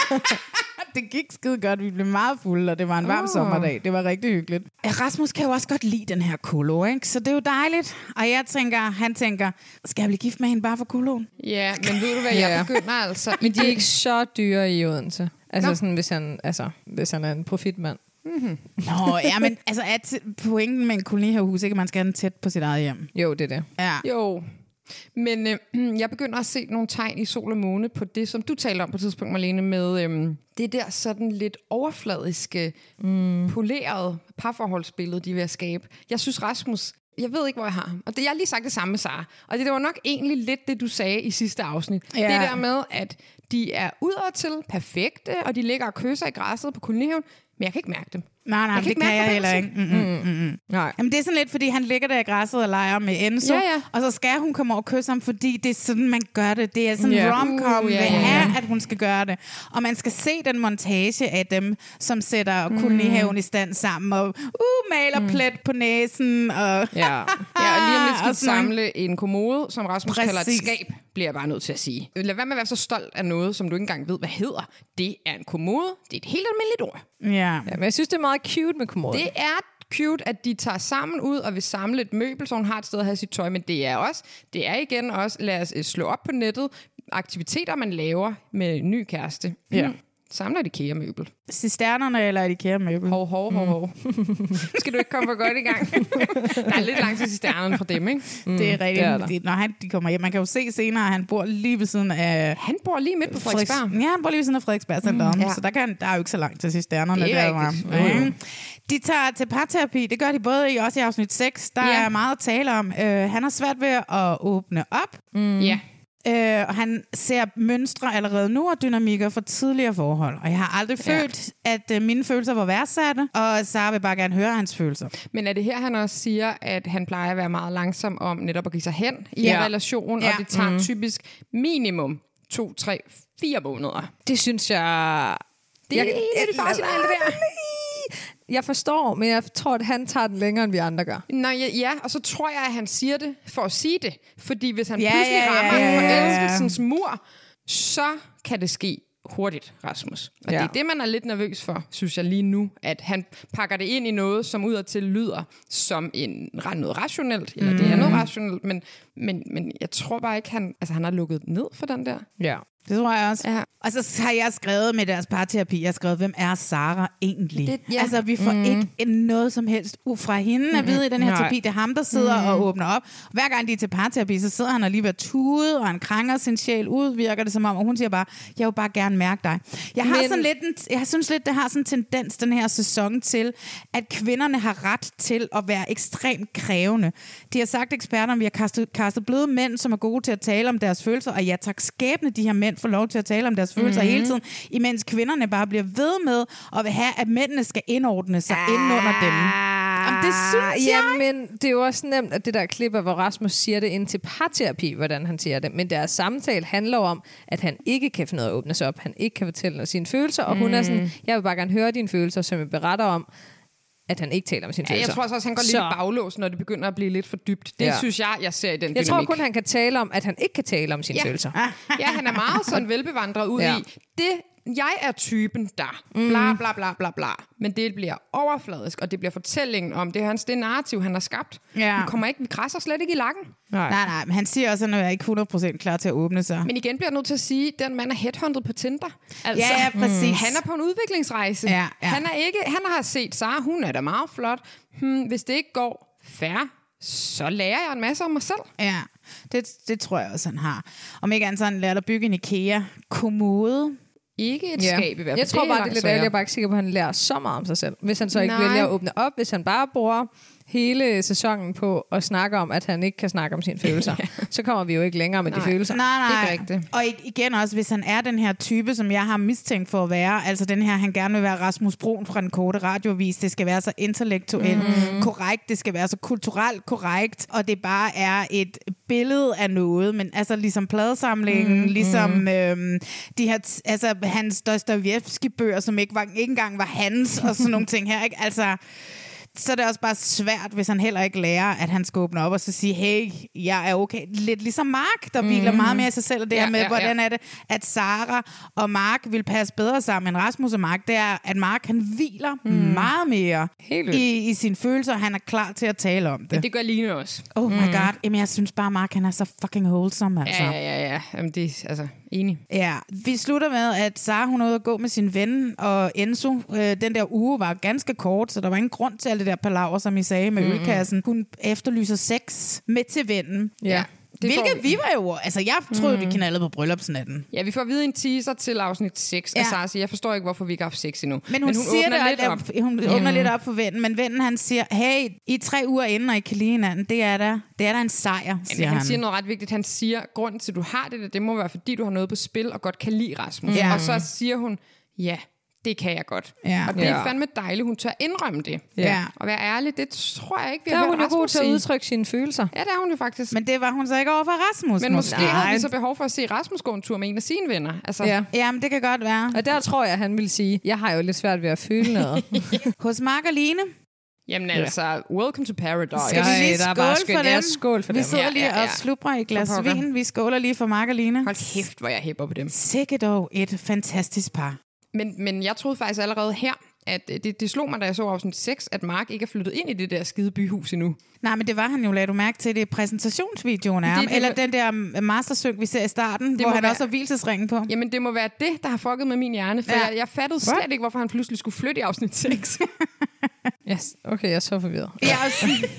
Speaker 1: det gik skide godt. Vi blev meget fulde, og det var en varm oh. sommerdag. Det var rigtig hyggeligt. Rasmus kan jo også godt lide den her kolo, ikke? Så det er jo dejligt. Og jeg tænker, han tænker, skal jeg blive gift med hende bare for kolon?
Speaker 2: ja, men ved du hvad,
Speaker 3: Ja.
Speaker 2: jeg begynder altså...
Speaker 3: Men de er ikke så dyre i Odense. Altså, sådan, hvis, han, altså hvis han er en profitmand.
Speaker 1: Nå, ja, men altså, at pointen med en kolonihavehus, ikke? at Man skal have den tæt på sit eget hjem.
Speaker 3: Jo, det er det.
Speaker 1: Ja.
Speaker 2: Jo, men øh, [clears throat] jeg begynder at se nogle tegn i sol og måne på det, som du talte om på et tidspunkt, Marlene, med øh, det der sådan lidt overfladiske, mm. polerede parforholdsbillede, de er ved at skabe. Jeg synes, Rasmus, jeg ved ikke, hvor jeg har ham. Og det, jeg har lige sagt det samme med Sara. Og det, det var nok egentlig lidt det, du sagde i sidste afsnit.
Speaker 1: Ja.
Speaker 2: Ja. Det der med, at de er udadtil perfekte, og de ligger og kysser i græsset på kolonihaven, men jeg kan ikke mærke dem.
Speaker 1: Nej, nej,
Speaker 2: Jeg kan
Speaker 1: det
Speaker 2: ikke
Speaker 1: kan
Speaker 2: mærke
Speaker 1: jeg heller ikke.
Speaker 2: forbindelsen.
Speaker 1: Mm.
Speaker 3: Nej.
Speaker 1: Jamen, det er sådan lidt, fordi han ligger der i græsset og leger med Enzo,
Speaker 2: Ja, ja.
Speaker 1: og så skal hun komme over og kysse ham, fordi det er sådan, man gør det. Det er sådan
Speaker 2: Ja.
Speaker 1: yeah. romcom, uh,
Speaker 2: Uh, ja,
Speaker 1: yeah,
Speaker 2: ja,
Speaker 1: yeah. er, at hun skal gøre det. Og man skal se den montage af dem, som sætter mm. kolonihaven i stand sammen, og uh, maler mm. plet på næsen, og
Speaker 2: Ja. ja, og lige om lidt skal
Speaker 1: [laughs] Og
Speaker 2: de
Speaker 1: sådan-
Speaker 2: samle en kommode, som Rasmus Præcis. kalder et
Speaker 1: Præcis.
Speaker 2: skab, bliver jeg bare nødt til at sige. Lad være med at være så stolt af noget, som du ikke engang ved, hvad hedder. Det er en kommode. Det er et helt almindeligt ord.
Speaker 1: ja.
Speaker 3: Ja, men jeg synes, det er meget cute med kommoden.
Speaker 2: Det er cute, at de tager sammen ud og vil samle et møbel, så hun har et sted at have sit tøj, men det er også, det er igen også, lad os øh, slå op på nettet, aktiviteter, man laver med en ny kæreste. Ja. Mm. Samler et IKEA-møbel.
Speaker 1: Cisternerne eller et IKEA-møbel.
Speaker 2: Hov, hov,
Speaker 1: Mm.
Speaker 2: hov, hov. [laughs] Skal du ikke komme for godt i gang? [laughs] Der er lidt langt til cisternerne fra dem, ikke? Mm.
Speaker 1: Det er rigtigt.
Speaker 3: det er
Speaker 1: Det
Speaker 3: der.
Speaker 1: når han, de kommer hjem, man kan jo se senere, at han bor lige ved siden af...
Speaker 2: Han bor lige midt på Frederiksberg.
Speaker 1: Frederiks- Ja, han bor lige ved siden af Frederiksberg Centeret, mm,
Speaker 2: ja.
Speaker 1: så der, kan, der er jo ikke så langt til cisternerne.
Speaker 2: Det er
Speaker 1: der,
Speaker 2: rigtigt.
Speaker 1: hvor- Mm. De tager til parterapi, det gør de både i, også i afsnit 6, der
Speaker 2: Ja.
Speaker 1: er meget at tale om. Øh, han har svært ved at åbne op,
Speaker 2: Mm. Ja.
Speaker 1: øh, og han ser mønstre allerede nu og dynamikker fra tidligere forhold. Og jeg har aldrig
Speaker 2: Ja.
Speaker 1: følt, at øh, mine følelser var værdsatte, og Sara vil bare gerne høre hans følelser.
Speaker 2: Men er det her, han også siger, at han plejer at være meget langsom om netop at give sig hen i
Speaker 1: Ja.
Speaker 2: en relation,
Speaker 1: Ja.
Speaker 2: og det tager mm. typisk minimum to, tre, fire måneder.
Speaker 3: det synes jeg...
Speaker 2: Det er lidt farsignal, det der.
Speaker 3: Jeg forstår, men jeg tror, at han tager den længere, end vi andre gør.
Speaker 2: Nå, ja, ja, og så tror jeg, at han siger det for at sige det. Fordi hvis han
Speaker 1: Ja,
Speaker 2: ja, pludselig
Speaker 1: ja, ja,
Speaker 2: rammer ja,
Speaker 1: ja,
Speaker 2: ja,
Speaker 1: ja.
Speaker 2: forelskelsens mur, så kan det ske hurtigt, Rasmus. Og ja.
Speaker 3: Ja.
Speaker 2: det er det, man er lidt nervøs for, synes jeg lige nu. At han pakker det ind i noget, som udadtil lyder som en, noget rationelt. Eller mm. det er noget rationelt, men, men, men jeg tror bare ikke, han, altså, han har lukket ned for den der.
Speaker 3: Ja.
Speaker 1: Det tror jeg også. Ja.
Speaker 2: Ja.
Speaker 1: Og så har jeg skrevet med deres parterapi, jeg har skrevet, hvem er Sara egentlig?
Speaker 2: Det- ja.
Speaker 1: Altså, vi får mm. ikke en- noget som helst ud fra hende at vide i den her
Speaker 3: Nej.
Speaker 1: terapi. Det er ham, der sidder mm. og åbner op. Hver gang de er til parterapi, så sidder han og lige ved at tude, og han kranger sin sjæl ud, virker det som om, og hun siger bare, jeg vil bare gerne mærke dig. Jeg, har
Speaker 3: Men-
Speaker 1: sådan lidt en, jeg synes lidt, det har sådan en tendens den her sæson til, at kvinderne har ret til at være ekstremt krævende. De har sagt eksperterne, vi har kastet, kastet bløde mænd, som er gode til at tale om deres følelser, og ja tak skæbne, de her mænd får lov til at tale om deres følelser
Speaker 2: Mhm.
Speaker 1: mm-hmm. hele tiden, imens kvinderne bare bliver ved med at vil have, at mændene skal indordne sig ah, ind under dem. Jamen, det synes jeg.
Speaker 3: Ja, men Ah, det er jo også nemt, at det der klip af, hvor Rasmus siger det ind til parterapi, hvordan han siger det. Men deres samtale handler jo om, at han ikke kan finde ud af at åbne sig op. Han ikke kan fortælle noget sine følelser. Og hun er
Speaker 2: Mm.
Speaker 3: sådan, jeg vil bare gerne høre dine følelser, som jeg beretter om, at han ikke taler om sine
Speaker 2: Ja,
Speaker 3: følelser.
Speaker 2: jeg tror også, at han går lidt i
Speaker 3: Så-
Speaker 2: baglås, når det begynder at blive lidt for dybt. Det
Speaker 3: Ja.
Speaker 2: ja. synes jeg, jeg ser i den
Speaker 3: Jeg tror
Speaker 2: dynamik.
Speaker 3: kun, han kan tale om, at han ikke kan tale om sine ja. følelser.
Speaker 2: Ja, Ah, han er meget sådan velbevandret ud
Speaker 3: Ja.
Speaker 2: ja. i. Det, jeg er typen der. Bla, bla, bla, bla, bla. Men det bliver overfladisk, og det bliver fortællingen om det er hans det narrativ, han har skabt.
Speaker 1: Ja.
Speaker 2: Vi, kommer ikke, vi krasser slet ikke i lakken.
Speaker 1: Nej, nej, men han siger også, at han er ikke 100% klar til at åbne sig.
Speaker 2: Men igen bliver jeg nødt til at sige, at den mand er headhunted på Tinder. Altså,
Speaker 1: Ja, ja, præcis.
Speaker 2: Han er på en udviklingsrejse.
Speaker 1: Ja, ja.
Speaker 2: Han, er ikke, han har set Sara, hun er da meget flot. Hmm, hvis det ikke går fair, så lærer jeg en masse om mig selv.
Speaker 1: Ja, det, det tror jeg også, han har. Om ikke andet, så har han lært at bygge en IKEA-kommode.
Speaker 2: ikke et
Speaker 3: Ja.
Speaker 2: skab i hvert fald.
Speaker 3: Jeg tror bare, det er
Speaker 2: langt
Speaker 3: lidt ærgerligt. Jeg er
Speaker 2: sværere.
Speaker 3: bare ikke sikker på, at han lærer så meget om sig selv. Hvis han så ikke
Speaker 2: Nej.
Speaker 3: Nej. vælger at åbne op, hvis han bare bruger hele sæsonen på at snakke om, at han ikke kan snakke
Speaker 2: [laughs]
Speaker 3: om sine følelser, så kommer vi jo ikke længere med Nej. de følelser.
Speaker 1: Nej, nej.
Speaker 2: Ikke rigtigt.
Speaker 1: Og i- igen også, hvis han er den her type, som jeg har mistænkt for at være, altså den her, han gerne vil være Rasmus Brun fra den korte radiovis, det skal være så intellektuelt mm. korrekt, det skal være så kulturelt korrekt, og det bare er et billede af noget, men altså ligesom pladesamlingen, mm. ligesom øhm, de her, t- altså hans Dostoyevsky-bøger, som ikke, var, ikke engang var hans, og sådan [laughs] nogle ting her, ikke? Altså, så er det også bare svært, hvis han heller ikke lærer, at han skal åbne op og så sige, hey, jeg er okay. Lidt ligesom Mark, der hviler meget mere i sig selv, og det
Speaker 2: Ja,
Speaker 1: ja, her med,
Speaker 2: Mhm. ja,
Speaker 1: ja,
Speaker 2: ja.
Speaker 1: hvordan er det, at Sara og Mark vil passe bedre sammen end Rasmus og Mark, det er, at Mark han hviler mm. meget mere
Speaker 2: Mhm. Helt vildt.
Speaker 1: i, i sine følelser, og han er klar til at tale om det.
Speaker 2: Det gør Line også.
Speaker 1: Oh my god, Jamen, jeg synes bare, Mark han er så fucking wholesome, altså.
Speaker 2: Ja, ja, ja. ja. Jamen, det er altså enig.
Speaker 1: Ja, vi slutter med, at Sara hun er ude at gå med sin ven og Enzo. Øh, den der uge var ganske kort, så der var ingen grund til alt det der palaver, som I sagde med mm-hmm. ølkassen. Hun efterlyser sex med til vennen.
Speaker 2: Ja. Det får
Speaker 1: Hvilket
Speaker 2: vi.
Speaker 1: vi var jo... Altså, jeg troede, mm. det knaldede på bryllupsnatten.
Speaker 2: Ja, vi får at vide en teaser til afsnit 6 ja. af
Speaker 1: Ja.
Speaker 2: Sara siger, jeg forstår ikke, hvorfor vi ikke har haft sex endnu.
Speaker 1: Men hun, hun siger
Speaker 2: åbner
Speaker 1: det,
Speaker 2: lidt
Speaker 1: og-
Speaker 2: op. Mm.
Speaker 1: hun åbner lidt op for vennen, men vennen han siger, hey, I er tre uger inden, og I kan lide hinanden. Det er da, det er da en sejr, siger
Speaker 2: Siger han,
Speaker 1: han.
Speaker 2: han siger noget ret vigtigt. Han siger, grunden til, at du har det der, det må være, fordi du har noget på spil og godt kan lide Rasmus.
Speaker 1: Ja.
Speaker 2: Og så siger hun, ja, det kan jeg godt.
Speaker 1: Ja.
Speaker 2: Og det
Speaker 3: Ja.
Speaker 2: er fandme dejligt, hun tør indrømme det.
Speaker 1: Ja.
Speaker 2: Og være ærlig, det tror jeg ikke, vi
Speaker 3: Der
Speaker 2: har
Speaker 3: er hun jo
Speaker 2: hørt
Speaker 3: god
Speaker 2: Rasmus
Speaker 3: til at
Speaker 2: sige.
Speaker 3: udtrykke sine følelser.
Speaker 2: Ja, det er hun jo faktisk. Men,
Speaker 1: Men det var hun så ikke over for Rasmus.
Speaker 2: Men måske
Speaker 1: Nej.
Speaker 2: har vi så behov for at se Rasmus gå en tur med en af sine venner. Altså,
Speaker 3: Ja.
Speaker 1: Jamen, det kan godt være.
Speaker 3: Og der tror jeg, at han ville sige, jeg har jo lidt svært ved at føle noget.
Speaker 2: [laughs]
Speaker 1: Hos Mark og Line,
Speaker 2: Jamen altså, welcome to paradise.
Speaker 1: Skal vi lige
Speaker 3: der er
Speaker 1: skåle
Speaker 3: bare
Speaker 1: for
Speaker 3: skønt.
Speaker 1: dem?
Speaker 3: Ja, skål for
Speaker 1: vi
Speaker 3: dem.
Speaker 1: sidder
Speaker 2: Ja,
Speaker 1: lige
Speaker 2: ja,
Speaker 1: og
Speaker 2: ja.
Speaker 1: slubrer i et glas
Speaker 2: For pokker.
Speaker 1: vin. Vi skåler lige for Mark og Line.
Speaker 2: Hold kæft, hvor jeg hæpper på dem.
Speaker 1: Sikke dog et fantastisk par.
Speaker 2: Men, men jeg troede faktisk allerede her, at øh, det, det slog mig, da jeg så afsnit 6, at Mark ikke er flyttet ind i det der skide byhus endnu.
Speaker 1: Nej, men det var han jo, lagde du mærke til det i præsentationsvideoen af
Speaker 2: Det er
Speaker 1: ham.
Speaker 2: det-
Speaker 1: Eller den der mm, mastersynk, vi ser i starten, hvor
Speaker 2: må
Speaker 1: han
Speaker 2: være-
Speaker 1: også har hvilesesringen på.
Speaker 2: Jamen, det må være det, der har fucket med min hjerne, for ja.
Speaker 1: Ja.
Speaker 2: jeg, jeg fattede slet ikke, hvorfor han pludselig skulle flytte i
Speaker 1: [laughs]
Speaker 2: afsnit 6.
Speaker 3: Yes. Okay, jeg er så forvirret.
Speaker 1: I afsnit,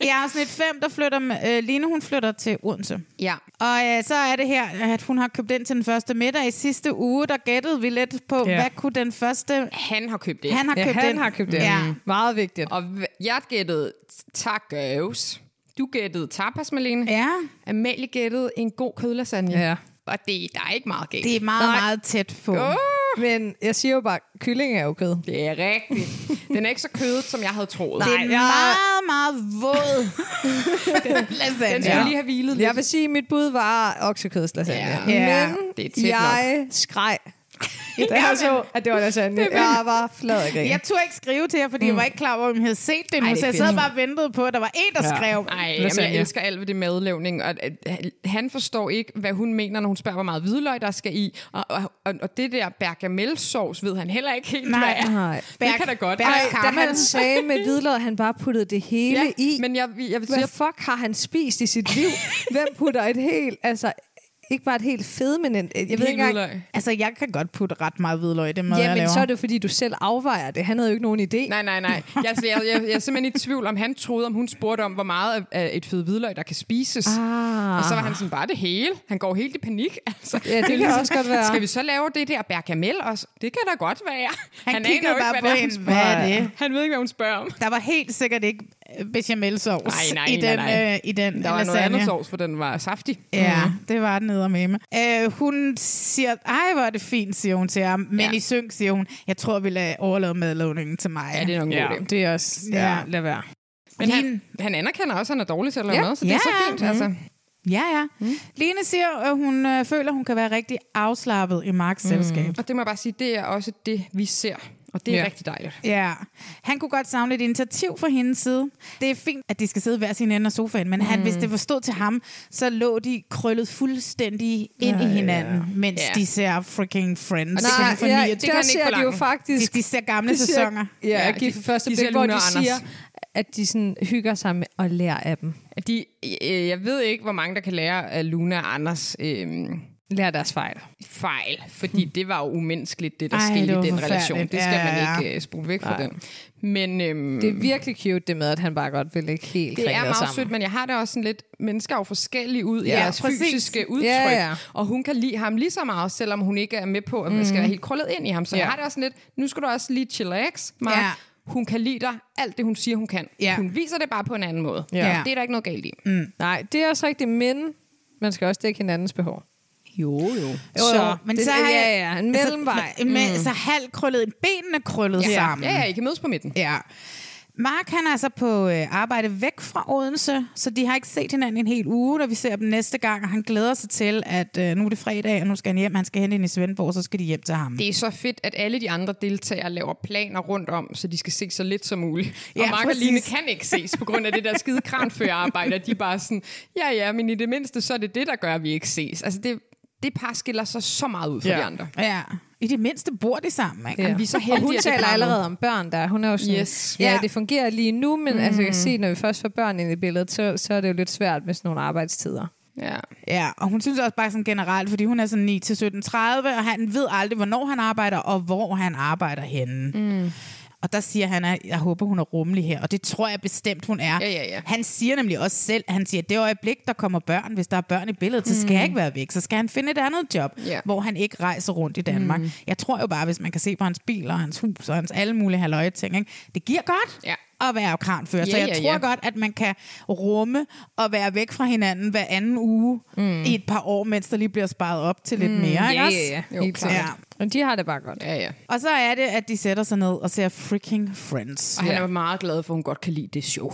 Speaker 1: I afsnit 5, der flytter øh, Line, hun flytter til Odense.
Speaker 2: ja.
Speaker 1: Og øh, så er det her, at hun har købt ind til den første middag i sidste uge. Der gættede vi lidt på,
Speaker 3: Ja.
Speaker 1: hvad kunne den første...
Speaker 2: Han har købt det.
Speaker 1: Han har
Speaker 3: Ja,
Speaker 1: købt
Speaker 3: han
Speaker 1: ind.
Speaker 3: har købt det.
Speaker 1: Ja.
Speaker 3: Ja. Meget vigtigt.
Speaker 2: Og hv- jeg gættede tacos. Du gættede tapas, Malene.
Speaker 1: ja.
Speaker 2: Amalie gættede en god kødlasagne.
Speaker 3: Ja.
Speaker 2: Og det, der er ikke meget galt.
Speaker 1: Det er meget, meget tæt på.
Speaker 2: Uh.
Speaker 3: Men jeg siger jo bare, kylling er jo kød.
Speaker 2: det er rigtigt. Den er ikke så kødet, som jeg havde troet.
Speaker 1: Det er en meget, meget
Speaker 2: [laughs]
Speaker 1: våd lasagne.
Speaker 2: Den skulle lige have hvilet lidt.
Speaker 3: Jeg vil sige, at mit bud var oksekødslasagne.
Speaker 2: Ja.
Speaker 1: Ja,
Speaker 3: Men
Speaker 2: det er tæt altså,
Speaker 3: jeg
Speaker 2: [laughs]
Speaker 3: skreg, da jeg så, at det var lasagne. Jeg var flad af grin.
Speaker 1: Jeg turde ikke skrive til jer, fordi mm. jeg var ikke klar over, om jeg havde set det nu,
Speaker 2: Ej,
Speaker 1: Ej,
Speaker 2: det
Speaker 1: det
Speaker 2: er
Speaker 1: så jeg
Speaker 2: fedt.
Speaker 1: sad bare og ventede på, at der var en, der ja. skrev.
Speaker 2: Ej,
Speaker 1: Ej.
Speaker 2: jamen, jeg
Speaker 3: Lasagne.
Speaker 2: elsker alt ved det madlavning. Og, at, at, han forstår ikke, hvad hun mener, når hun spørger, hvor meget hvidløg der skal i. Og, og, og, og det der bergamelsovs ved han heller ikke helt, hvad
Speaker 1: Nej.
Speaker 2: er.
Speaker 3: Nej.
Speaker 2: Det kan da godt.
Speaker 1: Berg-
Speaker 2: Ej,
Speaker 3: Ej, da han sagde med hvidløg, at han bare puttede det hele
Speaker 2: ja,
Speaker 3: i.
Speaker 2: Men jeg, jeg vil sige,
Speaker 3: Hvad fuck har han spist i sit liv? Hvem putter et helt, altså ikke bare et helt fed, men en, jeg ved
Speaker 2: helt
Speaker 3: ikke engang...
Speaker 2: hvidløg.
Speaker 1: Altså, jeg kan godt putte ret meget hvidløg i det mad, jeg
Speaker 3: Jamen,
Speaker 1: laver.
Speaker 3: så er det jo, fordi, du selv afvejer det. Han havde jo ikke nogen idé.
Speaker 2: Nej, nej, nej. Jeg, altså, jeg, jeg, jeg er simpelthen i tvivl, om han troede, om hun spurgte om, hvor meget af- af et fedt hvidløg, der kan spises. Ah. Og så var han sådan, bare det hele. Han går helt i panik. [laughs] Altså,
Speaker 3: Ja, det kan også godt være.
Speaker 2: Skal vi så lave det der bergamel også? Det kan da godt være.
Speaker 1: Han
Speaker 2: aner
Speaker 1: kigger
Speaker 2: jo ikke,
Speaker 1: bare
Speaker 2: hvad
Speaker 1: på
Speaker 2: det er,
Speaker 1: hende. Hvad
Speaker 2: han
Speaker 1: er
Speaker 2: spørger om.
Speaker 1: det?
Speaker 2: Han ved ikke, hvad hun spørger om.
Speaker 1: Der var helt sikkert ikke øh, bechamelsovs
Speaker 2: Nej, nej,
Speaker 1: i
Speaker 2: nej,
Speaker 1: den,
Speaker 2: nej.
Speaker 1: Øh, i den
Speaker 2: Der var
Speaker 1: lasagne.
Speaker 2: noget andet Mm. sovs, for den var saftig.
Speaker 1: Ja, det var den eddermame. Øh, hun siger, ej hvor er det fint, siger hun til ham. Men
Speaker 2: Ja.
Speaker 1: ja. i synk, siger hun, jeg tror, vi lader overlade madlavningen til mig.
Speaker 2: Ja, det er nok en god idé.
Speaker 3: det er også...
Speaker 1: Ja,
Speaker 3: lad være.
Speaker 2: Men han,
Speaker 1: Line-
Speaker 2: han anerkender også, at han er dårlig til at lave
Speaker 3: Ja.
Speaker 2: mad, så det er
Speaker 1: Ja.
Speaker 2: så fint. Altså.
Speaker 1: Ja, ja. Mm. Line siger, at hun øh, føler, hun kan være rigtig afslappet i Marks mm. selskab.
Speaker 2: Og det må jeg bare sige, det er også det, vi ser. Og det er
Speaker 3: Ja.
Speaker 2: rigtig dejligt.
Speaker 1: Ja, han kunne godt savne et initiativ fra hendes side. Det er fint, at de skal sidde hver sin ende af sofaen, men han, hvis det var stod til ham, så lå de krøllet fuldstændig ind i hinanden, mens
Speaker 2: Ja.
Speaker 1: de ser freaking Friends.
Speaker 2: kan
Speaker 3: Nej,
Speaker 2: han
Speaker 1: fra
Speaker 3: ja,
Speaker 1: niogtyve-
Speaker 3: det
Speaker 2: kan
Speaker 3: der
Speaker 2: han ikke
Speaker 3: ser de jo
Speaker 2: forlange.
Speaker 3: faktisk...
Speaker 1: de, de ser gamle
Speaker 3: de siger-
Speaker 1: sæsoner.
Speaker 3: Ja,
Speaker 2: Ja,
Speaker 3: ja gift
Speaker 2: de-
Speaker 3: for første
Speaker 2: de
Speaker 3: blik,
Speaker 2: siger
Speaker 3: hvor
Speaker 2: Luna
Speaker 3: de
Speaker 2: og
Speaker 3: siger, at de sådan hygger sig med at lære af dem.
Speaker 2: De, øh, jeg ved ikke, hvor mange, der kan lære af Luna og Anders. Øh,
Speaker 3: Lær deres fejl.
Speaker 2: fejl, fordi det var jo umenneskeligt, det der
Speaker 1: Hmm. Ej,
Speaker 2: Ej,
Speaker 1: det
Speaker 2: skete
Speaker 1: var
Speaker 2: i den relation.
Speaker 1: forfærdeligt.
Speaker 2: Det skal
Speaker 1: Ja, ja,
Speaker 2: man
Speaker 1: ja.
Speaker 2: ikke uh, spole væk fra den. Men øhm,
Speaker 3: Det er virkelig cute, det med, at han bare godt vil ligge helt
Speaker 2: det er
Speaker 3: kringlet
Speaker 2: meget
Speaker 3: sammen.
Speaker 2: sødt, men jeg har det også sådan lidt, mennesker er jo forskellige ud i
Speaker 3: Ja,
Speaker 2: ja, deres
Speaker 1: præcis.
Speaker 2: præcis. fysiske udtryk,
Speaker 3: Ja, ja.
Speaker 2: og hun kan lide ham lige så meget, selvom hun ikke er med på, at man
Speaker 1: Mm.
Speaker 2: skal være helt krøllet ind i ham. Så
Speaker 3: Ja.
Speaker 2: jeg har det også sådan lidt, nu skal du også lige chillax, Mark.
Speaker 1: Ja.
Speaker 2: Ja. Hun kan lide dig alt det, hun siger, hun kan.
Speaker 1: Ja.
Speaker 2: Hun viser det bare på en anden måde.
Speaker 1: Ja.
Speaker 2: Det er der ikke noget galt i. Mm.
Speaker 3: Nej, det er også rigtigt, men man skal også dække hinandens behov.
Speaker 2: Jo, jo.
Speaker 1: Så, men
Speaker 3: det,
Speaker 1: så har jeg-
Speaker 3: ja, ja, en mellemvej.
Speaker 1: Altså, med, så halvt krøllet, benene krøllet
Speaker 2: Ja.
Speaker 1: sammen.
Speaker 2: ja, ja, I kan mødes på midten.
Speaker 1: Ja. Mark han er altså på øh, arbejde væk fra Odense, så de har ikke set hinanden en hel uge, når vi ser dem næste gang, og han glæder sig til, at øh, nu er det fredag, og nu skal han hjem, han skal hente hende i Svendborg, så skal de hjem til ham.
Speaker 2: Det er så fedt, at alle de andre deltagere laver planer rundt om, så de skal se så lidt som muligt.
Speaker 1: Ja,
Speaker 2: og Mark og
Speaker 1: præcis.
Speaker 2: Line kan ikke ses på grund af det der skide kranførerarbejde. og De er bare sådan, ja ja, men i det mindste, så er det det, der gør, at vi ikke ses. Altså det, det par skiller sig så meget ud fra ja. de andre.
Speaker 1: Ja. I det mindste bor de sammen, ikke?
Speaker 3: Ja.
Speaker 2: vi er så
Speaker 3: og
Speaker 2: heldige,
Speaker 3: hun
Speaker 2: at det
Speaker 3: taler
Speaker 2: par med.
Speaker 3: allerede om børn der. Hun er jo sådan,
Speaker 2: Yes.
Speaker 3: ja,
Speaker 1: Ja.
Speaker 3: det fungerer lige nu, men mm. altså, jeg kan se, når vi først får børn ind i billedet, så, så er det jo lidt svært med sådan nogle arbejdstider.
Speaker 2: Ja.
Speaker 1: Ja, og hun synes også bare sådan generelt, fordi hun er sådan 9 til 17.30, og han ved aldrig, hvornår han arbejder, og hvor han arbejder henne. Mm. Og der siger han, at jeg håber, hun er rummelig her, og det tror jeg bestemt, hun er.
Speaker 2: Ja, ja, ja.
Speaker 1: Han siger nemlig også selv, at han siger, at det øjeblik, der kommer børn, hvis der er børn i billedet, så skal jeg ikke være væk, så skal han finde et andet job,
Speaker 2: Hmm. Ja. Hmm.
Speaker 1: hvor han ikke rejser rundt i Danmark. Mm. Jeg tror jo bare, hvis man kan se på hans bil og hans hus og hans alle mulige halvøje ting, ikke? det giver godt
Speaker 2: Ja.
Speaker 1: at være kranfører. så
Speaker 2: Ja,
Speaker 1: jeg
Speaker 2: ja,
Speaker 1: tror
Speaker 2: ja.
Speaker 1: godt, at man kan rumme og være væk fra hinanden hver anden uge
Speaker 2: Hmm.
Speaker 1: mm. i et par år, mens der lige bliver sparet op til lidt mere. ikke også?
Speaker 3: Jo, helt klart.
Speaker 1: Ja.
Speaker 3: Ja. Men de har det bare godt.
Speaker 2: Ja, ja.
Speaker 1: Og så er det, at de sætter sig ned og ser freaking Friends.
Speaker 2: Og han er meget glad for, at hun godt kan lide det show.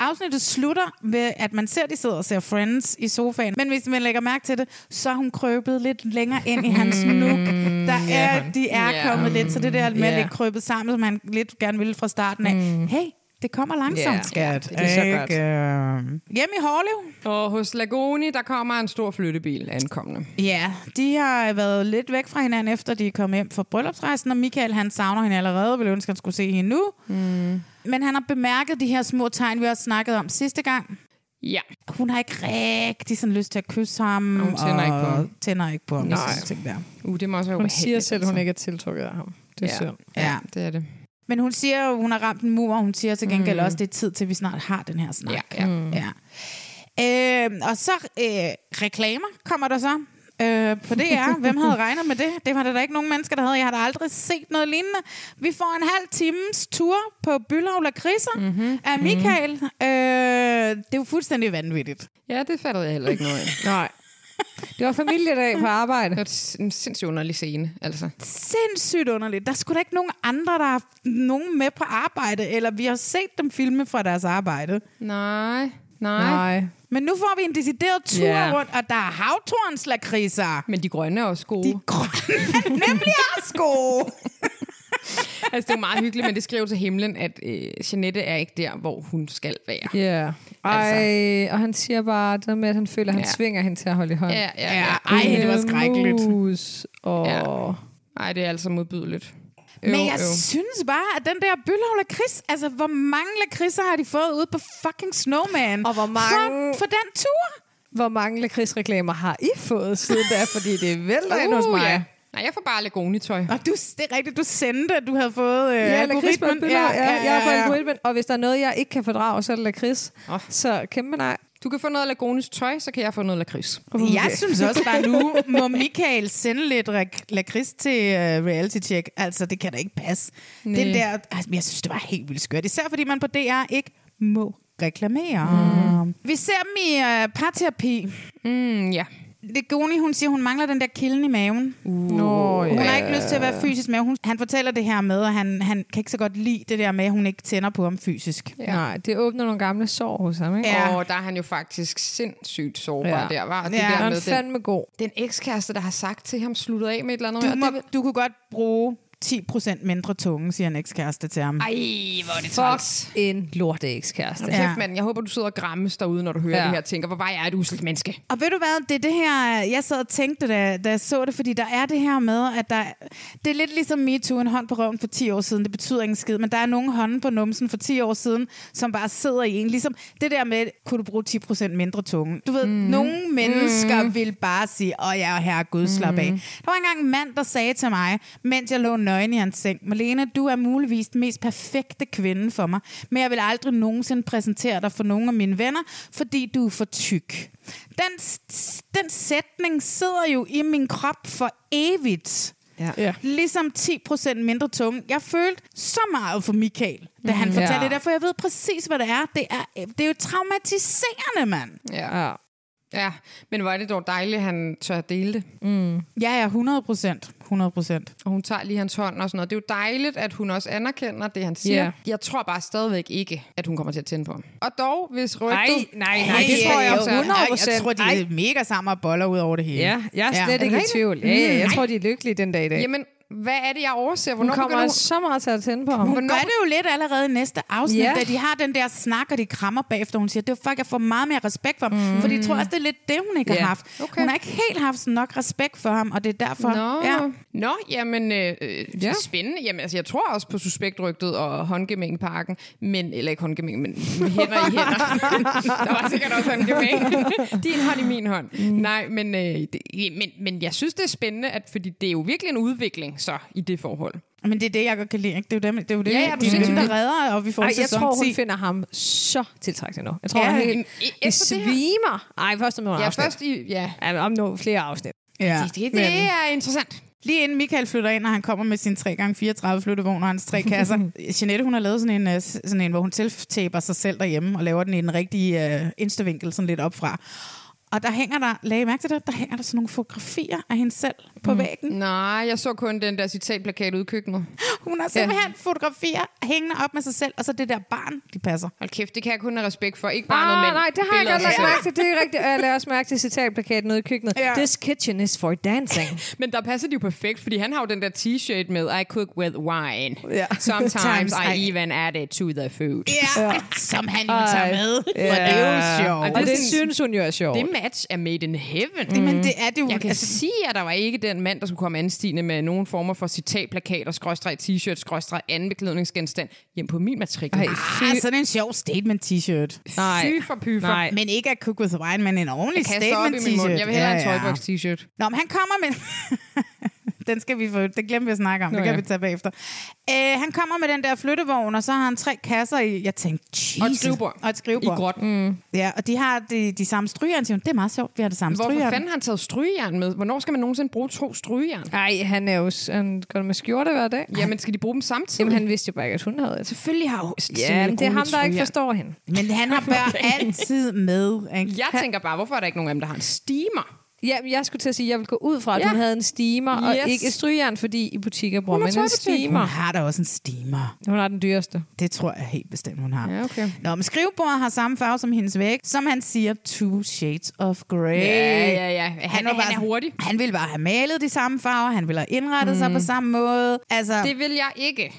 Speaker 1: Afsnittet slutter ved, at man ser, at de sidder og ser Friends i sofaen. Men hvis man lægger mærke til det, så er hun krøbet lidt længere ind i hans nuk. Der er, de er
Speaker 2: Ja.
Speaker 1: kommet lidt, så det der med at
Speaker 3: Mm. Ja. Mm.
Speaker 1: ligge krøbet sammen, som han lidt gerne ville fra starten af. Hey, det kommer langsomt,
Speaker 3: Ja,
Speaker 1: skat.
Speaker 3: ja, det er så godt.
Speaker 1: Ikke? øhm. Hjemme i Hårlev,
Speaker 2: Og hos Lagoni, der kommer en stor flyttebil ankommende.
Speaker 1: Ja, de har været lidt væk fra hinanden, efter de er kommet hjem fra bryllupsrejsen, og Michael han savner hende allerede, og ville ønske, at han skulle se hende nu. Mm. Men han har bemærket de her små tegn, vi også snakkede om sidste gang.
Speaker 2: Ja.
Speaker 1: Hun har ikke rigtig sådan lyst til at kysse ham.
Speaker 2: Hun
Speaker 1: og
Speaker 2: tænder ikke på ham.
Speaker 1: Tænder ikke på ham.
Speaker 2: Nej.
Speaker 1: sådan ting der.
Speaker 2: Uh, det må også være
Speaker 3: Hun siger
Speaker 2: ubehageligt, altså.
Speaker 3: selv, hun ikke er tiltrukket af ham. Det er
Speaker 2: Ja.
Speaker 3: ja. synd.
Speaker 1: Ja.
Speaker 2: Det er det.
Speaker 1: Men hun siger, at hun har ramt en mur, og hun siger til gengæld mm. også, at det er tid til, at vi snart har den her snak.
Speaker 2: Ja, ja.
Speaker 1: Mm. ja. Øh, og så øh, reklamer kommer der så øh, på DR. Hvem havde regnet med det? Det var der da ikke nogen mennesker, der havde. Jeg har da aldrig set noget lignende. Vi får en halv times tur på Bylov Lakridser mm-hmm. af Michael. Mm. Øh, det er jo fuldstændig vanvittigt.
Speaker 2: Ja, det fattede jeg heller ikke noget af.
Speaker 3: Nej. [laughs] Det var familiedag på
Speaker 2: Det
Speaker 3: arbejde.
Speaker 2: var en sindssygt underlig scene, altså.
Speaker 1: Sindssygt underligt. Der skulle da ikke nogen andre, der har haft nogen med på arbejde, eller vi har set dem filme fra deres arbejde.
Speaker 2: Nej, nej.
Speaker 3: Nej.
Speaker 1: Men nu får vi en decideret tur yeah.
Speaker 3: Ja.
Speaker 1: rundt, og der er havtorns lakridser.
Speaker 2: Men de grønne er også gode.
Speaker 1: De grønne [laughs] er nemlig også gode.
Speaker 2: [laughs] Altså, det er jo meget hyggeligt, men det skriver til himlen, at øh, Jeanette er ikke der, hvor hun skal være.
Speaker 3: Ja. Yeah. Ej, og han siger bare det der med, at han føler, at han
Speaker 2: Altså. Ja.
Speaker 3: ja. svinger hende til at holde i hånden.
Speaker 2: Ja, ja,
Speaker 1: Ja,
Speaker 2: ja.
Speaker 1: ej, det var skrækkeligt.
Speaker 3: Mus, og...
Speaker 2: Ja.
Speaker 3: Ja.
Speaker 2: Ej, det er altså modbydeligt. Øv,
Speaker 1: Men jeg
Speaker 2: øv.
Speaker 1: synes bare, at den der bølhav lakrids, altså hvor mange lakridser har de fået ude på fucking Snowman?
Speaker 3: Og hvor mange-
Speaker 1: For, for den tur?
Speaker 3: Hvor mange lakridsreklamer har I fået siden da? Fordi det vælter ind hos
Speaker 2: Uh,
Speaker 3: mig.
Speaker 2: ja. Nej, jeg får bare Lagoni-tøj.
Speaker 1: Og du, det er rigtigt, du sendte, at du havde fået øh,
Speaker 3: Ja, lakrids på
Speaker 1: algoritmen.
Speaker 3: et billede. Ja, ja, jeg er på algoritmen, og hvis der er noget, jeg ikke kan fordrage, så er det lakrids.
Speaker 2: Åh.
Speaker 3: Så kæmpe nej. Uh,
Speaker 2: Du kan få noget af Lagonis tøj, så kan jeg få noget lakrids.
Speaker 1: Jeg synes også bare nu, må Michael sende lidt rak- lakrids til uh, reality check. Altså, det kan da ikke passe. Den der, altså, jeg synes, det var helt vildt skørt. Især fordi man på DR ikke må reklamere. Mm. Vi ser dem i uh, parterapi.
Speaker 2: Mm, ja.
Speaker 1: Legoni, hun siger, hun mangler den der kilden i maven.
Speaker 2: Uh,
Speaker 3: Nå,
Speaker 1: Hun har ikke lyst til at være fysisk med. Hun, han fortæller det her med, at han, han kan ikke så godt lide det der med, at hun ikke tænder på ham fysisk.
Speaker 3: Ja. Nej, det åbner nogle gamle sår hos ham, ikke?
Speaker 1: Ja.
Speaker 2: ja. Og der er han jo faktisk sindssygt sårbar
Speaker 3: Ja.
Speaker 2: ja. der, var. Og Det
Speaker 1: Ja.
Speaker 2: ja.
Speaker 3: Og
Speaker 2: der
Speaker 3: han
Speaker 2: med
Speaker 3: er
Speaker 2: den,
Speaker 3: fandme god.
Speaker 2: den ekskæreste, der har sagt til ham, slutter af med et eller andet.
Speaker 1: Du,
Speaker 2: og
Speaker 1: må,
Speaker 2: det,
Speaker 1: du kunne godt bruge 10% mindre tunge, siger en ekskæreste til ham.
Speaker 2: Ej, hvor er det træls.
Speaker 3: En lorte ekskæreste.
Speaker 1: Ja.
Speaker 3: Ja.
Speaker 2: Kæft, mand. Jeg håber, du sidder og grammes derude, når du hører
Speaker 3: Ja.
Speaker 2: ja. det her, og tænker, hvor var jeg et uselt menneske.
Speaker 1: Og ved du hvad, det er det her, jeg sad og tænkte, da, da jeg så det, fordi der er det her med, at der, det er lidt ligesom MeToo, en hånd på røven for 10 år siden, det betyder ingen skid, men der er nogle hånden på numsen for 10 år siden, som bare sidder i en. Ligesom det der med, kunne du bruge 10% mindre tunge? Du ved, mm. nogle mennesker mm. vil bare sige, åh ja, herre Gud, slap af.
Speaker 2: Mhm.
Speaker 1: Der var engang en mand, der sagde til mig, mens jeg lå nøgen i hans seng, Malene, du er muligvis den mest perfekte kvinde for mig, men jeg vil aldrig nogensinde præsentere dig for nogen af mine venner, fordi du er for tyk. Den, s- den sætning sidder jo i min krop for evigt.
Speaker 2: Ja.
Speaker 3: Ja.
Speaker 1: Ligesom 10% mindre tunge. Jeg følte så meget for Michael, da
Speaker 2: Mhm.
Speaker 1: han fortalte
Speaker 3: Ja.
Speaker 1: det der, for jeg ved præcis, hvad det er. Det er, det er jo traumatiserende, mand.
Speaker 2: Ja. ja. Ja, men hvor er det dog dejligt, at han tør at dele det.
Speaker 1: Ja, ja, 100%. 100%.
Speaker 2: Og hun tager lige hans hånd og sådan noget. Det er jo dejligt, at hun også anerkender det, han siger.
Speaker 3: Ja.
Speaker 2: Yeah. Jeg tror bare stadigvæk ikke, at hun kommer til at tænde på ham. Og dog, hvis rygtet...
Speaker 3: Nej, nej, nej.
Speaker 2: Ej, det tror jeg også.
Speaker 3: er-
Speaker 1: 100
Speaker 3: Ej,
Speaker 1: Jeg tror, de
Speaker 3: Ej,
Speaker 1: er mega sammen og boller ud over det hele.
Speaker 3: Ja, jeg er slet ja. ikke i
Speaker 2: rigtigt? Mm.
Speaker 3: tvivl. Ja, ja, jeg tror, de er lykkelige den dag i dag. Jamen,
Speaker 2: Jamen, hvad er det, jeg overser?
Speaker 3: hun
Speaker 2: Hvornår
Speaker 3: kommer
Speaker 2: begynder hun...
Speaker 3: så meget til at tænde på ham.
Speaker 1: Hun gør det jo lidt allerede i næste afsnit,
Speaker 3: Ja.
Speaker 1: yeah. da de har den der snak, og de krammer bagefter, hun siger, det var fuck, jeg får meget mere respekt for ham. Mm. Fordi jeg tror også, det er lidt det, hun ikke
Speaker 3: Ja.
Speaker 1: har haft.
Speaker 2: Okay.
Speaker 1: Hun har ikke helt haft sådan nok respekt for ham, og det er derfor...
Speaker 2: Nå,
Speaker 1: Ja.
Speaker 2: ja. Nå jamen, øh, øh,
Speaker 3: Ja.
Speaker 2: ja. spændende. Jamen, altså, jeg tror også på suspektrygtet og håndgemængparken, men, eller ikke håndgemæng, men med hænder i [laughs] hænder. Der var sikkert også håndgemæng. [laughs] Din hånd i min hånd. Mm. Nej, men, øh, det, men, men jeg synes, det er spændende, at, fordi det er jo virkelig en udvikling så i det forhold.
Speaker 1: Men det er det, jeg godt kan lide. Ikke? Det er jo dem, det, er jo det,
Speaker 2: Ja, ja,
Speaker 1: det er
Speaker 2: du
Speaker 1: jo
Speaker 2: siger
Speaker 1: dem,
Speaker 2: det.
Speaker 1: der redder, og vi får
Speaker 3: Ej, jeg
Speaker 1: sæson
Speaker 3: tror, hun
Speaker 1: 10.
Speaker 3: finder ham så tiltrækkende nu. Jeg tror,
Speaker 2: Ja,
Speaker 3: ja, han
Speaker 2: men
Speaker 3: helt...
Speaker 2: e-
Speaker 3: Det
Speaker 2: efter det her-
Speaker 3: svimer. Ej, først om nogle
Speaker 2: Ja,
Speaker 3: afsnit.
Speaker 2: først i... Ja.
Speaker 3: Ja, men om nogle flere afsnit.
Speaker 1: ja.
Speaker 2: Det, det, det er interessant.
Speaker 1: Lige inden Michael flytter ind, og han kommer med sin 3x34 flyttevogn og hans tre kasser. [laughs] Jeanette, hun har lavet sådan en, øh, s- sådan en hvor hun self-taper sig selv derhjemme og laver den i den rigtige øh, instavinkel, sådan lidt opfra. Og der hænger der, lagde I mærke til det, der hænger der sådan nogle fotografier af hende selv på mm. væggen.
Speaker 2: Nej, jeg så kun den der citatplakat ude i køkkenet.
Speaker 1: Hun har simpelthen ja. fotografier hængende op med sig selv, og så det der barn, de passer.
Speaker 2: Hold kæft, det kan jeg kun have respekt for. Ikke bare noget
Speaker 3: Ah,
Speaker 2: mænd.
Speaker 3: nej, det har jeg
Speaker 2: Billeder
Speaker 3: godt
Speaker 2: af
Speaker 3: lagt
Speaker 2: sig selv.
Speaker 3: mærke til. Det er rigtigt. Og jeg lader også mærke til citatplakaten ude i køkkenet.
Speaker 1: Ja.
Speaker 3: This kitchen is for
Speaker 2: [laughs]
Speaker 3: dancing.
Speaker 2: Men der passer de jo perfekt, fordi han har jo den der t-shirt med I cook with wine.
Speaker 3: Ja.
Speaker 2: [laughs] Sometimes
Speaker 1: I-
Speaker 2: I even add it to the food.
Speaker 1: Ja, ja. som han jo tager med, for det er jo sjovt.
Speaker 3: Og det synes hun jo er sjovt.
Speaker 2: Det match er made in heaven.
Speaker 1: Mm. Men det er det jo.
Speaker 2: Jeg kan altså sige, at der var ikke den mand, der skulle komme anstigende med nogen former for citatplakater, skråstreg t-shirt, skråstreg anden beklædningsgenstand hjem på min matrikel.
Speaker 3: Ej,
Speaker 1: ah, sådan en sjov statement-t-shirt.
Speaker 3: nej.
Speaker 2: Fy for pyfer.
Speaker 3: Nej.
Speaker 1: Men ikke at cook with wine, men en ordentlig
Speaker 2: Kaster op i min
Speaker 1: statement-t-shirt.
Speaker 2: mund. Jeg vil hellere ja, en tøjboks t-shirt.
Speaker 1: Nå, men han kommer med... [laughs] den skal vi få... Det glemte vi at snakke om. Nå, det kan
Speaker 2: ja.
Speaker 1: vi tage bagefter. Øh, han kommer med den der flyttevogn, og så har han tre kasser i... Jeg tænkte, Jesus.
Speaker 2: Og et skrivebord.
Speaker 1: Og et skrivebord.
Speaker 2: I gråt. Mm.
Speaker 1: Ja, og de har de, de samme strygeren, siger hun. Det er meget sjovt, vi har det samme
Speaker 2: Hvorfor
Speaker 1: strygeren.
Speaker 2: fanden har han taget strygejern med? Hvornår skal man nogensinde bruge to strygejern?
Speaker 3: Ej, han er jo s- han går med skjorte hver dag.
Speaker 2: Jamen, skal de bruge dem samtidig?
Speaker 3: Jamen, han vidste jo bare ikke, at hun havde det.
Speaker 2: selvfølgelig har
Speaker 3: Ja, men det er ham, der ikke forstår hende.
Speaker 1: Men han
Speaker 2: [laughs]
Speaker 1: har børn altid med. Ikke?
Speaker 2: Jeg tænker bare, hvorfor er der ikke nogen af dem, der har en steamer?
Speaker 3: Ja, men jeg skulle til at sige, at jeg ville gå ud fra, at
Speaker 2: Ja.
Speaker 3: hun havde en steamer, yes.
Speaker 2: Yes.
Speaker 3: og ikke et strygjern, fordi i butikker bruger
Speaker 2: Hun har
Speaker 3: man en
Speaker 2: tøjbutik.
Speaker 1: Hun
Speaker 3: steamer.
Speaker 1: har da også en steamer.
Speaker 3: Hun har den dyreste.
Speaker 1: Det tror jeg helt bestemt, hun har.
Speaker 2: Ja, okay.
Speaker 1: Nå, men skrivebordet har samme farve som hendes væg. Som han siger, two shades of grey.
Speaker 2: Ja, ja, ja. Han, han,
Speaker 1: var
Speaker 2: han er
Speaker 1: sådan-
Speaker 2: hurtig.
Speaker 1: Han ville bare have malet de samme farver, han ville have indrettet mm. sig på samme måde. Altså, det...
Speaker 2: Det vil jeg ikke.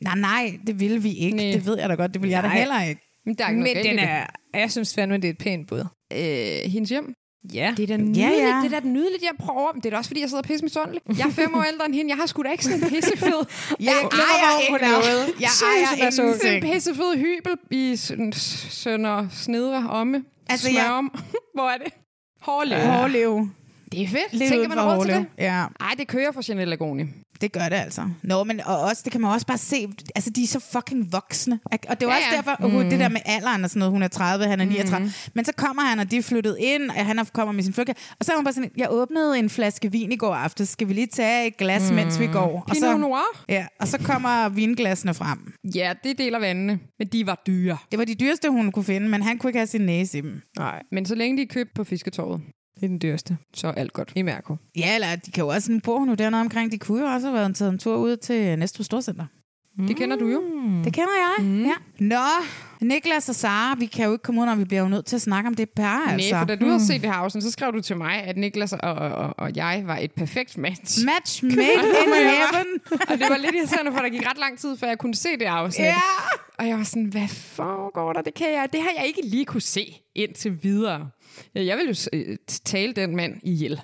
Speaker 1: nej, nej, det ville vi ikke.
Speaker 2: Næ.
Speaker 1: Det ved jeg da godt, det ville jeg da
Speaker 3: Nej.
Speaker 1: heller ikke.
Speaker 2: Men der er ikke
Speaker 3: Men
Speaker 2: noget
Speaker 3: den
Speaker 2: galt i
Speaker 3: er, jeg synes fandme, det er et pænt bud.
Speaker 2: det. Øh, hendes hjem.
Speaker 3: Ja.
Speaker 2: Det er da nydeligt.
Speaker 1: ja.
Speaker 2: Det er da nydeligt, jeg prøver. Men det er da også, fordi jeg sidder og pisse misundelig. Jeg er fem år ældre end hende. Jeg har sgu da ikke sådan en pissefed...
Speaker 1: Jeg ejer ikke noget. Jeg ejer
Speaker 2: Jeg er sådan en
Speaker 1: ingenting.
Speaker 2: pissefed hybel i Søn- Sønder Snedre Omme.
Speaker 1: Altså,
Speaker 2: [laughs] Altså,
Speaker 1: jeg-
Speaker 2: jeg... [laughs] Hvor er det? Hårlev.
Speaker 1: Hårlev.
Speaker 2: Det er fedt.
Speaker 1: Lidt
Speaker 2: Tænker
Speaker 1: uden
Speaker 2: man
Speaker 1: for
Speaker 2: over til
Speaker 1: hårlev.
Speaker 2: det?
Speaker 1: Ja,
Speaker 2: Ej, det kører for Chanel Lagoni.
Speaker 1: det gør det altså. Nå, men og også, det kan man også bare se, altså de er så fucking voksne. ikke? Og det var
Speaker 2: Ja,
Speaker 1: også
Speaker 2: ja.
Speaker 1: derfor, uh, det der
Speaker 2: Mm.
Speaker 1: med alderen og sådan noget, hun er 30, han er 39. Men så kommer han, og de er flyttet ind, og han er- kommer med sin flykke. Og så er hun bare sådan, jeg åbnede en flaske vin i går aftes, skal vi lige tage et glas, mens vi går? Og
Speaker 2: Mm. Pinot
Speaker 1: så,
Speaker 2: Noir?
Speaker 1: Ja, og så kommer vinglassene frem.
Speaker 2: Ja, det deler vandene. Men de var dyre.
Speaker 1: Det var de dyreste, hun kunne finde, men han kunne ikke have sin næse i dem.
Speaker 2: Nej, men så længe de er købt på fisketorvet,
Speaker 3: Det er den dyreste.
Speaker 2: så er alt godt.
Speaker 3: I Mærko.
Speaker 1: Ja, eller de kan jo også, nu bor hun jo dernede omkring, de kunne jo også have været taget en tur ud til Næstved Storcenter.
Speaker 2: Det kender du jo.
Speaker 1: Det kender jeg. Mm. Ja. Nå, Niklas og Sara, vi kan jo ikke komme ud, når vi bliver jo nødt til at snakke om det par,
Speaker 2: Nej,
Speaker 1: altså.
Speaker 2: for da du havde set det her afsnit, så skrev du til mig, at Niklas og, og, og- og jeg var et
Speaker 1: [laughs]
Speaker 2: perfekt match.
Speaker 1: Match made in heaven.
Speaker 2: og det var lidt irriterende, for der gik ret lang tid, før jeg kunne se det afsnit.
Speaker 1: Ja.
Speaker 2: Og jeg var sådan, hvad foregår der? Det, kan jeg, det har jeg ikke lige kunne se indtil videre. Ja, Jeg ville jo s- øh, tale den mand ihjel.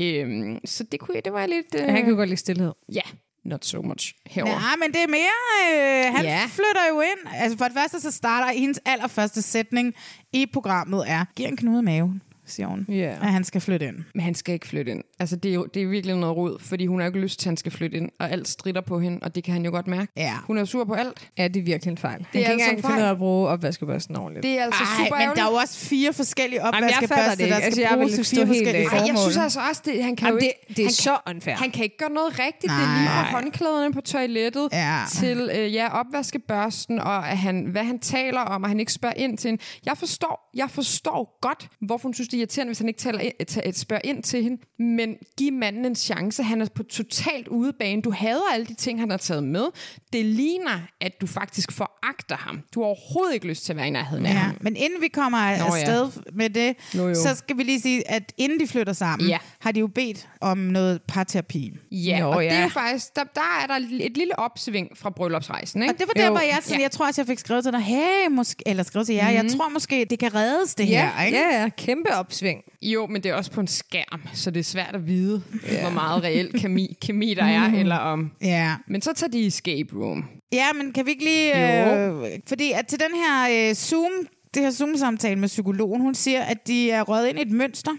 Speaker 2: Øhm, så det, kunne jeg, det var jeg lidt... Øh,
Speaker 3: Han kan jo godt lide stillhed.
Speaker 2: Ja, not so much herover.
Speaker 1: Nej, men det er mere, øh, han
Speaker 2: Ja.
Speaker 1: yeah. flytter jo ind. Altså for det første, så starter hendes allerførste sætning i programmet er, giv en knude i maven, siger hun,
Speaker 3: Ja.
Speaker 1: at han skal flytte ind.
Speaker 2: Men han skal ikke flytte ind. Altså, det er, jo, det er virkelig noget rod, fordi hun har jo ikke lyst til, at han skal flytte ind, og alt strider på hende, og det kan han jo godt mærke.
Speaker 1: Ja.
Speaker 2: Hun er jo sur på alt.
Speaker 3: Ja, det er virkelig en fejl. Det
Speaker 2: er
Speaker 3: han kan ikke
Speaker 2: altså en
Speaker 3: engang
Speaker 2: fejl.
Speaker 3: finde ud af at bruge opvaskebørsten ordentligt.
Speaker 2: Det er altså Ej, super
Speaker 1: Ej, men der er jo også fire forskellige
Speaker 3: fatter
Speaker 1: opvaskebørster,
Speaker 3: det ikke.
Speaker 1: der skal
Speaker 3: Altså, jeg
Speaker 1: bruges
Speaker 3: ville
Speaker 1: til
Speaker 3: stå
Speaker 1: fire
Speaker 3: helt
Speaker 1: forskellige
Speaker 3: af.
Speaker 2: Ej, jeg
Speaker 1: formål.
Speaker 2: synes altså også, det, han kan
Speaker 3: Jamen,
Speaker 2: jo
Speaker 3: det,
Speaker 2: ikke...
Speaker 3: det er
Speaker 2: han,
Speaker 3: så unfair.
Speaker 2: Han kan ikke gøre noget rigtigt. Det er
Speaker 1: Nej.
Speaker 2: lige fra håndklæderne på toilettet
Speaker 1: Ja.
Speaker 2: til øh, ja, opvaskebørsten, og at han, hvad han taler om, og han ikke spørger ind til hende. Jeg forstår, jeg forstår godt, hvorfor hun synes, det er irriterende, hvis han ikke taler ind, ta- spørger ind til hende. Men giv manden en chance. Han er på totalt udebane. Du hader alle de ting, han har taget med. Det ligner, at du faktisk foragter ham. Du har overhovedet ikke lyst til at være i nærheden af
Speaker 1: Ja,
Speaker 2: ham.
Speaker 1: Øhm, men inden vi kommer
Speaker 2: Nå, ja.
Speaker 1: afsted med det,
Speaker 2: Jo, jo.
Speaker 1: så skal vi lige sige, at inden de flytter sammen,
Speaker 2: Ja.
Speaker 1: har de jo bedt om noget parterapi.
Speaker 2: Ja,
Speaker 3: Nå,
Speaker 2: og det er
Speaker 3: ja.
Speaker 2: jo faktisk, der, der er der et lille opsving fra bryllupsrejsen, ikke?
Speaker 1: Og det var der,
Speaker 3: Jo.
Speaker 1: hvor jeg, sådan,
Speaker 2: Ja. Mhm.
Speaker 1: jeg tror også, jeg fik skrevet til dig, hey, måske, eller skrevet til jer, mm. jeg tror måske, det kan reddes det
Speaker 3: ja,
Speaker 1: her, ikke?
Speaker 3: ja, ja, kæmpe opsving.
Speaker 2: Jo, men det er også på en skærm, så det er svært at vide, yeah. hvor meget reelt kemi, kemi der
Speaker 3: Mm.
Speaker 2: er, eller om...
Speaker 1: Ja.
Speaker 2: Men så tager de i escape room.
Speaker 1: ja, men kan vi ikke lige... Øh, fordi at til den her øh, Zoom, det her Zoom-samtale med psykologen, hun siger, at de er røget ind i et mønster,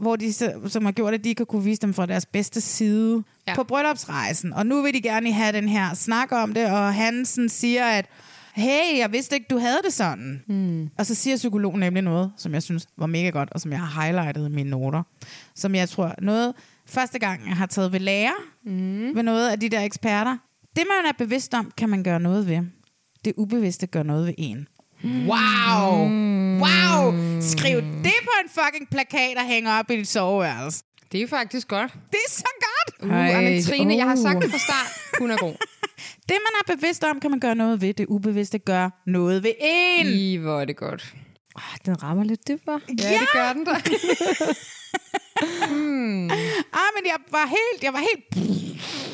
Speaker 1: hvor de, så- som har gjort, at de ikke har kunne vise dem fra deres bedste side
Speaker 2: Ja.
Speaker 1: ja. på bryllupsrejsen. Og nu vil de gerne have den her snak om det, og Hansen siger, at hey, jeg vidste ikke, du havde det sådan. Mm. Og så siger psykologen nemlig noget, som jeg synes var mega godt, og som jeg har highlightet i mine noter. Som jeg tror noget, første gang jeg har taget ved lære mm. ved noget af de der eksperter. Det, man er bevidst om, kan man gøre noget ved. Det ubevidste gør noget ved en. Wow! Wow! Skriv det på en fucking plakat og hæng op i dit soveværelse.
Speaker 2: Det er faktisk godt.
Speaker 1: Det er så godt!
Speaker 2: Uh, Ej, men Trine, uh. jeg har
Speaker 3: uh.
Speaker 2: sagt det fra start. Hun er
Speaker 3: [laughs]
Speaker 2: god.
Speaker 1: [laughs] Det, man er bevidst om, kan man gøre noget ved. Det ubevidste gør noget ved en.
Speaker 3: Mm.
Speaker 2: I, hvor er det godt.
Speaker 3: Ah, den rammer lidt dybere.
Speaker 2: Ja, ja. det gør
Speaker 3: [laughs]
Speaker 2: den da.
Speaker 1: Ah, men jeg var helt... Jeg var helt...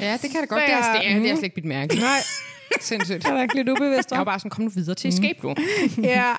Speaker 2: Ja, det kan det godt. Det har, det, er, det har jeg slet ikke bidt mærke. Nej. Sindssygt.
Speaker 3: Det er ikke lidt ubevidst, Mm.
Speaker 2: Jeg var
Speaker 3: hva'?
Speaker 2: bare sådan, kom nu videre til escape room. [laughs]
Speaker 1: ja.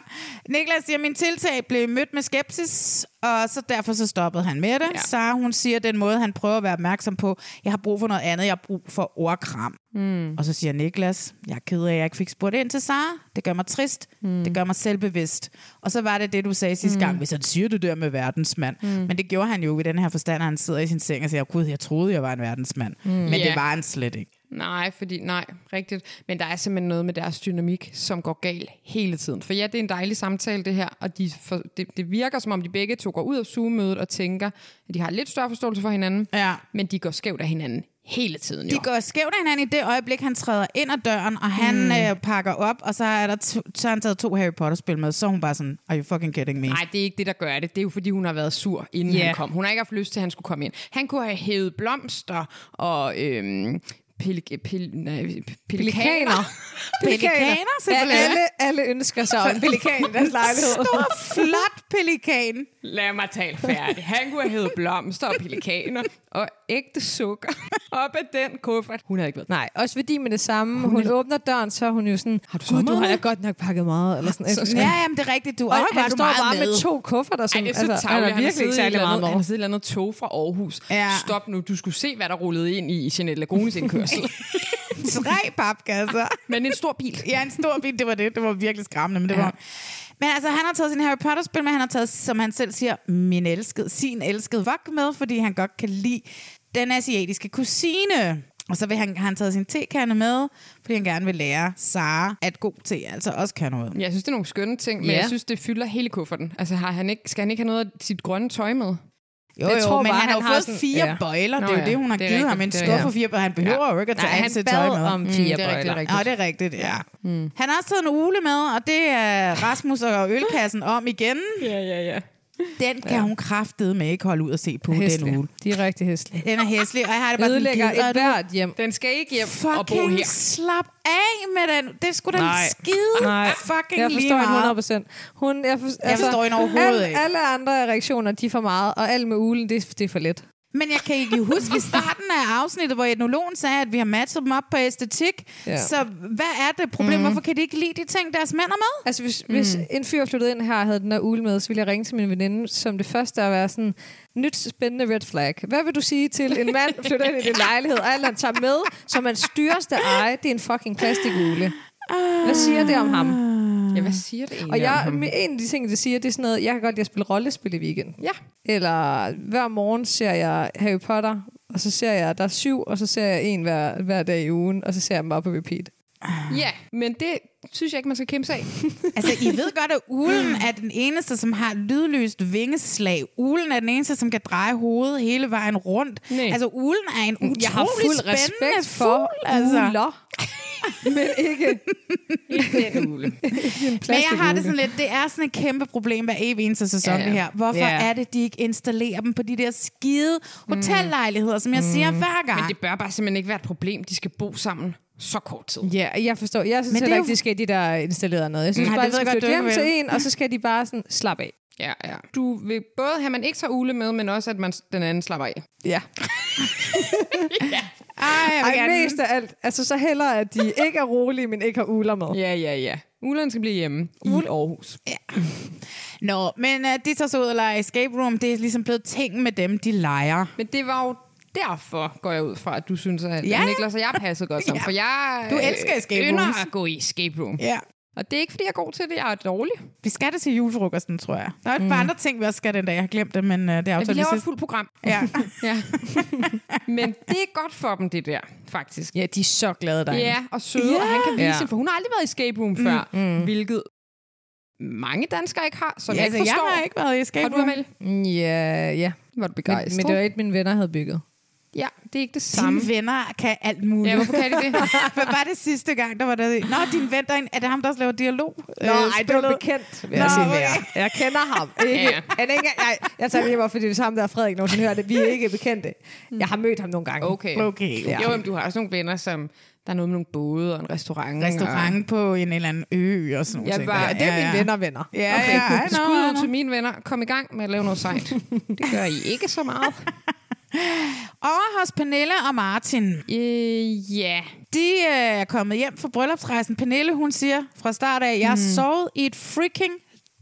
Speaker 1: Niklas siger, at min tiltag blev mødt med skepsis, og så derfor så stoppede han med det.
Speaker 2: Ja.
Speaker 1: Ja. Sara, hun siger, den måde, han prøver at være opmærksom på, jeg har brug for noget andet, jeg har brug for ordkram.
Speaker 2: Hmm.
Speaker 1: Mm. Og så siger Niklas, jeg er ked af, at jeg ikke fik spurgt ind til Sara. Det gør mig trist.
Speaker 2: Hmm.
Speaker 1: Mm. Det gør mig selvbevidst. Og så var det det, du sagde sidste gang, hvis han siger det der med verdensmand.
Speaker 2: Hmm.
Speaker 1: Mm. Men det gjorde han jo i den her forstand, at han sidder i sin seng og siger, gud, jeg troede, jeg var en verdensmand. Mm. Men
Speaker 2: Hmm. Ja.
Speaker 1: det var han slet ikke.
Speaker 2: Nej, fordi nej, rigtigt. Men der er simpelthen noget med deres dynamik, som går galt hele tiden. For ja, det er en dejlig samtale det her, og de for, det, det virker som om de begge to går ud af Zoom-mødet og tænker, at de har lidt større forståelse for hinanden,
Speaker 1: Ja.
Speaker 2: men de går skævt af hinanden hele tiden.
Speaker 1: De
Speaker 2: Jo.
Speaker 1: går skævt af hinanden i det øjeblik, han træder ind ad døren, og han mm. øh, pakker op, og så er der to, så har han taget to Harry Potter-spil med, så er hun bare sådan, are you fucking kidding me?
Speaker 2: Nej, det er ikke det, der gør det. Det er jo, fordi hun har været sur, inden yeah. han kom. Hun har ikke haft lyst til, at han skulle komme ind. Han kunne have hævet blomster og... Øhm, Pelik, pel, nej, pelikaner.
Speaker 1: [laughs] Pelikaner,
Speaker 3: Alle,
Speaker 1: simpelthen.
Speaker 3: alle, [laughs] alle ønsker sig om en pelikan
Speaker 1: [laughs]
Speaker 3: i deres lejlighed.
Speaker 1: Stor, flot pelikan.
Speaker 2: Lad mig tale færdig. Han kunne have heddet blomster og pelikaner og ægte sukker op af den kuffert. Hun havde ikke været.
Speaker 3: Nej, også fordi med det samme, hun, åbner døren, så er hun jo sådan, har du, så du
Speaker 2: meget
Speaker 3: har
Speaker 2: med?"
Speaker 3: jeg godt nok pakket meget, eller
Speaker 2: [laughs]
Speaker 3: sådan så,
Speaker 1: Ja, jamen, det er rigtigt. Du,
Speaker 3: Og
Speaker 1: Øj, var
Speaker 3: han
Speaker 1: du
Speaker 3: står
Speaker 1: meget
Speaker 3: bare med.
Speaker 1: med.
Speaker 3: to kufferter, som
Speaker 2: Ej, det er så
Speaker 3: altså, han
Speaker 2: tavligt.
Speaker 3: er virkelig ikke
Speaker 2: siddet i et
Speaker 3: særlig
Speaker 2: eller
Speaker 3: meget
Speaker 2: andet- Han har
Speaker 3: med.
Speaker 2: siddet i et eller andet tog fra Aarhus.
Speaker 1: Ja.
Speaker 2: Stop nu, du skulle se, hvad der rullede ind i Jeanette [laughs] Lagunes indkørsel.
Speaker 1: Tre papkasser.
Speaker 2: Men en stor bil.
Speaker 1: [laughs] Ja, en stor bil, det var det. Det var virkelig skræmmende, men det var... Men altså, han har taget sin Harry Potter-spil med, han har taget, som han selv siger, min elskede, sin elskede vok med, fordi han godt kan lide den asiatiske kusine. Og så vil han, har han taget sin tekande med, fordi han gerne vil lære Sara, at god te altså også kan noget.
Speaker 2: Jeg synes, det er nogle skønne ting, men
Speaker 3: Ja.
Speaker 2: jeg synes, det fylder hele kufferten. Altså, har han ikke, skal han ikke have noget af sit grønne tøj med?
Speaker 1: Jo,
Speaker 3: Jeg
Speaker 1: jo,
Speaker 3: tror
Speaker 1: men
Speaker 3: bare,
Speaker 1: han,
Speaker 3: han
Speaker 1: har jo
Speaker 3: har
Speaker 1: fået
Speaker 3: sådan-
Speaker 1: fire
Speaker 3: ja.
Speaker 1: bøjler.
Speaker 2: Nå
Speaker 1: det er jo
Speaker 2: ja,
Speaker 1: det, hun har
Speaker 2: det er
Speaker 1: givet
Speaker 2: rigtigt,
Speaker 1: ham. En
Speaker 2: det er
Speaker 1: skuffe for
Speaker 2: rigtigt.
Speaker 1: fire bøjler. Han behøver jo ikke at tage
Speaker 3: Nej,
Speaker 1: alt
Speaker 3: han
Speaker 1: sit tøj med.
Speaker 3: bad om fire
Speaker 2: det er rigtigt,
Speaker 3: bøjler.
Speaker 2: rigtigt.
Speaker 1: Ja, det er rigtigt, ja. Mm. Han har også taget en ule med, og det er Rasmus og Ølkassen om igen.
Speaker 2: Ja, ja, ja.
Speaker 1: Den kan hun kraftede med ikke holde ud og se på den uge.
Speaker 3: De er rigtig hæslige.
Speaker 1: Den er hæslig, og jeg har det bare sådan,
Speaker 3: Ødelægger
Speaker 1: gider
Speaker 3: et
Speaker 1: du
Speaker 3: hvert hjem.
Speaker 2: Den skal ikke hjem og bo
Speaker 1: fucking
Speaker 2: her.
Speaker 1: slap af med den. Det skulle da
Speaker 3: Nej.
Speaker 1: skide
Speaker 3: Nej,
Speaker 1: fucking
Speaker 3: jeg
Speaker 1: lige
Speaker 3: forstår hende
Speaker 1: meget.
Speaker 3: 100%. Hun, jeg, for, altså,
Speaker 1: forstår hende overhovedet
Speaker 3: alle,
Speaker 1: ikke.
Speaker 3: Alle andre reaktioner, de er for meget, og alt med ulen, det, er- det er for lidt.
Speaker 1: Men jeg kan ikke
Speaker 3: [laughs]
Speaker 1: huske i starten af afsnittet, hvor etnologen sagde, at vi har matchet dem op på æstetik.
Speaker 3: Ja. Mhm.
Speaker 1: Så hvad er det problem? Hvorfor kan de ikke lide de ting, deres mænd er med?
Speaker 3: Altså, hvis, mm. hvis en fyr flyttede ind her og havde den her ule med, så ville jeg ringe til min veninde som det første at være sådan, nyt spændende red flag. Hvad vil du sige til en mand flytter ind i din lejlighed, og alle han tager med, som hans dyreste eje, det er en fucking plastikule. Hvad siger det om ham?
Speaker 2: Ja, hvad siger det egentlig
Speaker 3: Og
Speaker 2: om
Speaker 3: jeg,
Speaker 2: ham?
Speaker 3: en af de ting, det siger, det er sådan noget, jeg kan godt lide at spille rollespil i weekenden.
Speaker 2: Ja.
Speaker 3: Eller hver morgen ser jeg Harry Potter, og så ser jeg, der er syv, og så ser jeg en hver, hver dag i ugen, og så ser jeg dem bare på repeat.
Speaker 2: ja, men det synes jeg ikke, man skal kæmpe sig af.
Speaker 1: Altså, I ved godt, at ulen er den eneste, som har lydløst vingeslag. Ulen er den eneste, som kan dreje hovedet hele vejen rundt.
Speaker 2: Nej.
Speaker 1: Altså, ulen er en utrolig
Speaker 3: Jeg har fuld
Speaker 1: spændende
Speaker 3: respekt
Speaker 1: fugl,
Speaker 3: for
Speaker 1: altså.
Speaker 2: [laughs]
Speaker 3: uler, men ikke
Speaker 1: Men jeg har det sådan lidt, det er sådan et kæmpe problem hver evig eneste sæson,
Speaker 2: Ja.
Speaker 1: det her. Hvorfor
Speaker 3: Ja. Mm.
Speaker 1: er det, de ikke installerer dem på de der skide hotellejligheder, som jeg siger hver gang?
Speaker 2: Men det bør bare simpelthen ikke være et problem. De skal bo sammen så kort tid.
Speaker 3: Ja, jeg forstår. Jeg
Speaker 1: Men
Speaker 3: synes
Speaker 1: det
Speaker 3: heller
Speaker 1: er
Speaker 3: ikke,
Speaker 1: jo-
Speaker 3: de skal i de der installerede noget. Jeg synes
Speaker 1: Nej,
Speaker 3: bare,
Speaker 1: det
Speaker 3: de
Speaker 1: ved
Speaker 3: skal
Speaker 1: jeg godt,
Speaker 3: flytte
Speaker 1: du
Speaker 3: hjem
Speaker 1: ikke
Speaker 3: til en, og så skal de bare sådan slappe af.
Speaker 2: Ja, ja. Du vil både have, at man ikke tager ule med, men også, at man den anden slapper af.
Speaker 3: Ja.
Speaker 1: Ej, jeg vil
Speaker 3: Ej,
Speaker 1: gerne-
Speaker 3: mest af alt. Altså, så hellere, at de ikke er rolige, men ikke har uler med.
Speaker 2: Ja, ja, ja. Uleren skal blive hjemme i Aarhus.
Speaker 1: Nå, men uh, de tager så ud og leger escape room. Det er ligesom blevet ting med dem, de leger.
Speaker 2: Men det var jo derfor, går jeg ud fra, at du synes, at
Speaker 1: Ja.
Speaker 2: ja. Niklas og jeg passede godt sammen.
Speaker 1: Ja.
Speaker 2: For jeg
Speaker 1: Du elsker
Speaker 2: øh,
Speaker 1: escape
Speaker 2: ynder
Speaker 1: rooms.
Speaker 2: at gå i escape room.
Speaker 1: Ja.
Speaker 2: Og det er ikke, fordi jeg er god til det. Jeg er dårlig.
Speaker 1: Vi skal det til julefrokosten, tror jeg. Der er et par andre ting, vi også skal den dag. Jeg har glemt det, men uh, det er
Speaker 2: Men vi
Speaker 1: aftalt lige
Speaker 2: Mm. laver et
Speaker 1: sidst.
Speaker 2: fuldt program.
Speaker 1: Ja.
Speaker 2: [laughs] Ja. Men det er godt for dem, det der, faktisk.
Speaker 3: Ja, de er så glade dig.
Speaker 2: Ja, og søde, og han kan vise
Speaker 3: Ja.
Speaker 2: hende, for hun har aldrig været i escape room før, mm. hvilket mange danskere ikke har, som
Speaker 1: ja
Speaker 2: jeg
Speaker 1: altså,
Speaker 2: ikke
Speaker 1: jeg
Speaker 2: forstår.
Speaker 1: har ikke været i escape
Speaker 2: har
Speaker 1: room.
Speaker 2: du, Amalie?
Speaker 3: Ja, ja.
Speaker 2: Var du
Speaker 3: Men,
Speaker 2: begejstret?
Speaker 3: men det var et, mine venner havde bygget.
Speaker 2: Ja, det er ikke det samme.
Speaker 1: Dine venner kan alt muligt.
Speaker 2: Ja, hvorfor kan de det?
Speaker 1: [laughs] Hvad var det sidste gang, der var der... Nå, din ven, der er, en, er det ham, der også laver dialog? Øh, Nå,
Speaker 3: bekendt, vil
Speaker 1: Nå,
Speaker 3: jeg sige
Speaker 1: okay.
Speaker 3: mere. Jeg kender ham. Ikke?
Speaker 2: Ja.
Speaker 3: ja. jeg, jeg, jeg tager det hjem, fordi det er samme, der er Frederik, når hun hører det. Vi er ikke bekendte. Jeg har mødt ham nogle gange.
Speaker 2: Okay.
Speaker 1: Okay.
Speaker 2: Ja. Jo, men du har også nogle venner, som... Der er noget med nogle både og en restaurant.
Speaker 1: Restaurant på en eller anden ø og sådan
Speaker 2: Jeg
Speaker 1: noget.
Speaker 2: var-
Speaker 3: Ja, det er mine venner venner.
Speaker 1: Ja,
Speaker 2: Og,
Speaker 1: okay. ja,
Speaker 2: okay,
Speaker 1: I know, I
Speaker 2: skud ud
Speaker 1: know.
Speaker 2: til mine venner. Kom i gang med at lave noget sejt. [laughs] Det gør I ikke så meget.
Speaker 1: Over hos Pernille og Martin,
Speaker 2: Øh, ja.
Speaker 1: De øh, er kommet hjem fra bryllupsrejsen. Pernille, hun siger fra start af, jeg har sovet i et freaking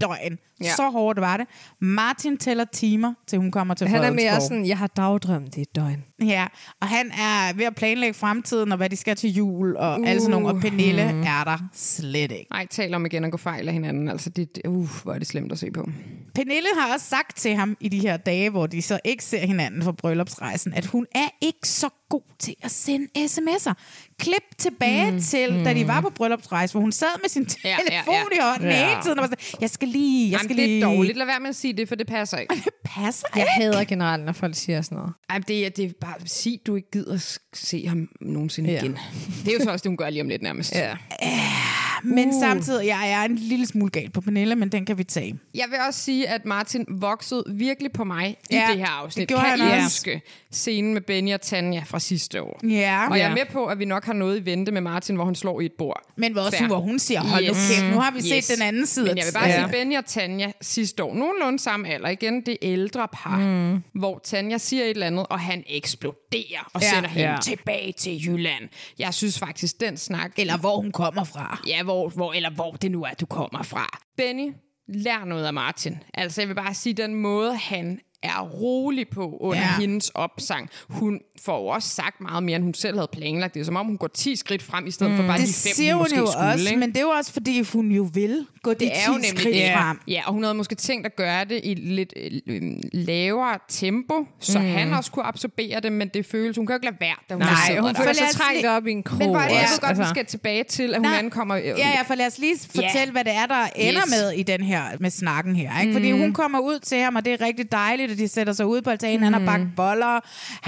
Speaker 1: døgn. Ja.
Speaker 2: Ja.
Speaker 1: Så hårdt var det. Martin tæller timer, til hun kommer til
Speaker 3: Han er
Speaker 1: Fredensborg.
Speaker 3: mere sådan, jeg har dagdrømt i et døgn.
Speaker 1: Ja, og han er ved at planlægge fremtiden, og hvad de skal til jul, og uh. alt sådan nogle. Og Pernille mm. er der slet ikke.
Speaker 2: Nej, tal om igen at gå fejl af hinanden. Altså, det, det- uh, hvor er det slemt at se på.
Speaker 1: Pernille har også sagt til ham i de her dage, hvor de så ikke ser hinanden fra bryllupsrejsen, at hun er ikke så god til at sende sms'er. Klip tilbage mm. til, da de var på bryllupsrejse, hvor hun sad med sin
Speaker 2: Ja, ja,
Speaker 1: telefon ja, ja, ja. i
Speaker 2: ja.
Speaker 1: hånden ja.
Speaker 3: Ja.
Speaker 1: hele tiden og var sådan, jeg skal lige, jeg
Speaker 2: Jamen,
Speaker 1: skal
Speaker 2: det
Speaker 1: lige.
Speaker 2: er dårligt. Lad være med at sige det, for det passer ikke.
Speaker 1: Det passer
Speaker 3: Jeg
Speaker 1: ikke.
Speaker 3: hader generelt, når folk siger sådan noget.
Speaker 2: Jamen, det, er, det er bare, sig, du ikke gider s- se ham nogensinde
Speaker 3: Ja.
Speaker 2: igen. Det er jo så også det, hun gør lige om lidt nærmest.
Speaker 3: Ja.
Speaker 1: Men
Speaker 2: Uh.
Speaker 1: samtidig, jeg er en lille smule gal på Pernille, men den kan vi tage.
Speaker 2: Jeg vil også sige, at Martin voksede virkelig på mig
Speaker 1: Ja,
Speaker 2: ja, i det her
Speaker 1: det
Speaker 2: afsnit.
Speaker 1: gjorde
Speaker 2: kan
Speaker 1: han
Speaker 2: I
Speaker 1: også.
Speaker 2: huske scenen med Benny og Tanja fra sidste år?
Speaker 1: Ja,
Speaker 2: Og jeg er med på, at vi nok har noget i vente med Martin, hvor hun slår i et bord.
Speaker 1: men hvor også
Speaker 2: Fair.
Speaker 1: hvor hun siger, hold nu
Speaker 2: Yes.
Speaker 1: kæft, nu har vi
Speaker 2: Yes.
Speaker 1: set den anden side.
Speaker 2: Men jeg vil bare
Speaker 1: Ja.
Speaker 2: sige, Benny og Tanja sidste år, nogenlunde samme alder, igen det ældre par, mm. hvor Tanja siger et eller andet, og han eksploderer og
Speaker 1: Ja.
Speaker 2: ja. sender hende
Speaker 3: Ja.
Speaker 2: ja. tilbage til Jylland. Jeg synes faktisk, den snak...
Speaker 1: Eller hvor hun kommer fra.
Speaker 2: Ja, hvor, hvor, eller hvor det nu er, du kommer fra. Benny, lær noget af Martin. Altså, jeg vil bare sige, den måde, han er rolig på under
Speaker 1: Ja.
Speaker 2: ja. hendes opsang. Hun får jo også sagt meget mere, end hun selv havde planlagt. Det er som om, hun går 10 skridt frem, i stedet mm. for bare
Speaker 1: Det
Speaker 2: de fem,
Speaker 1: siger
Speaker 2: hun
Speaker 1: hun
Speaker 2: måske
Speaker 1: jo
Speaker 2: skulle.
Speaker 1: også,
Speaker 2: ikke?
Speaker 1: men det er jo også, fordi hun jo vil gå de 10
Speaker 2: det er jo nemlig
Speaker 1: skridt
Speaker 2: det.
Speaker 1: frem.
Speaker 2: Ja, og hun havde måske tænkt at gøre det i lidt øh, lavere tempo, så mm. han også kunne absorbere det, men det føles, hun kan jo ikke lade være, da hun
Speaker 3: Nej,
Speaker 2: sidder
Speaker 3: hun
Speaker 2: der.
Speaker 3: føler
Speaker 1: lad
Speaker 3: sig
Speaker 1: os
Speaker 3: trængt
Speaker 1: lige-
Speaker 3: op i en krog.
Speaker 2: Men bare, jeg
Speaker 3: også,
Speaker 2: ved godt, altså. vi skal tilbage til, at hun
Speaker 1: Nej.
Speaker 2: ankommer. Øh,
Speaker 1: Ja, ja, for lad os lige fortælle, yeah. hvad det er, der ender
Speaker 2: Yes. Mm.
Speaker 1: med i den her, med snakken her. Ikke? Fordi hun kommer ud til ham, og det er rigtig dejligt, mødt, og de sætter sig ude på altanen. Mm. Han har bagt boller.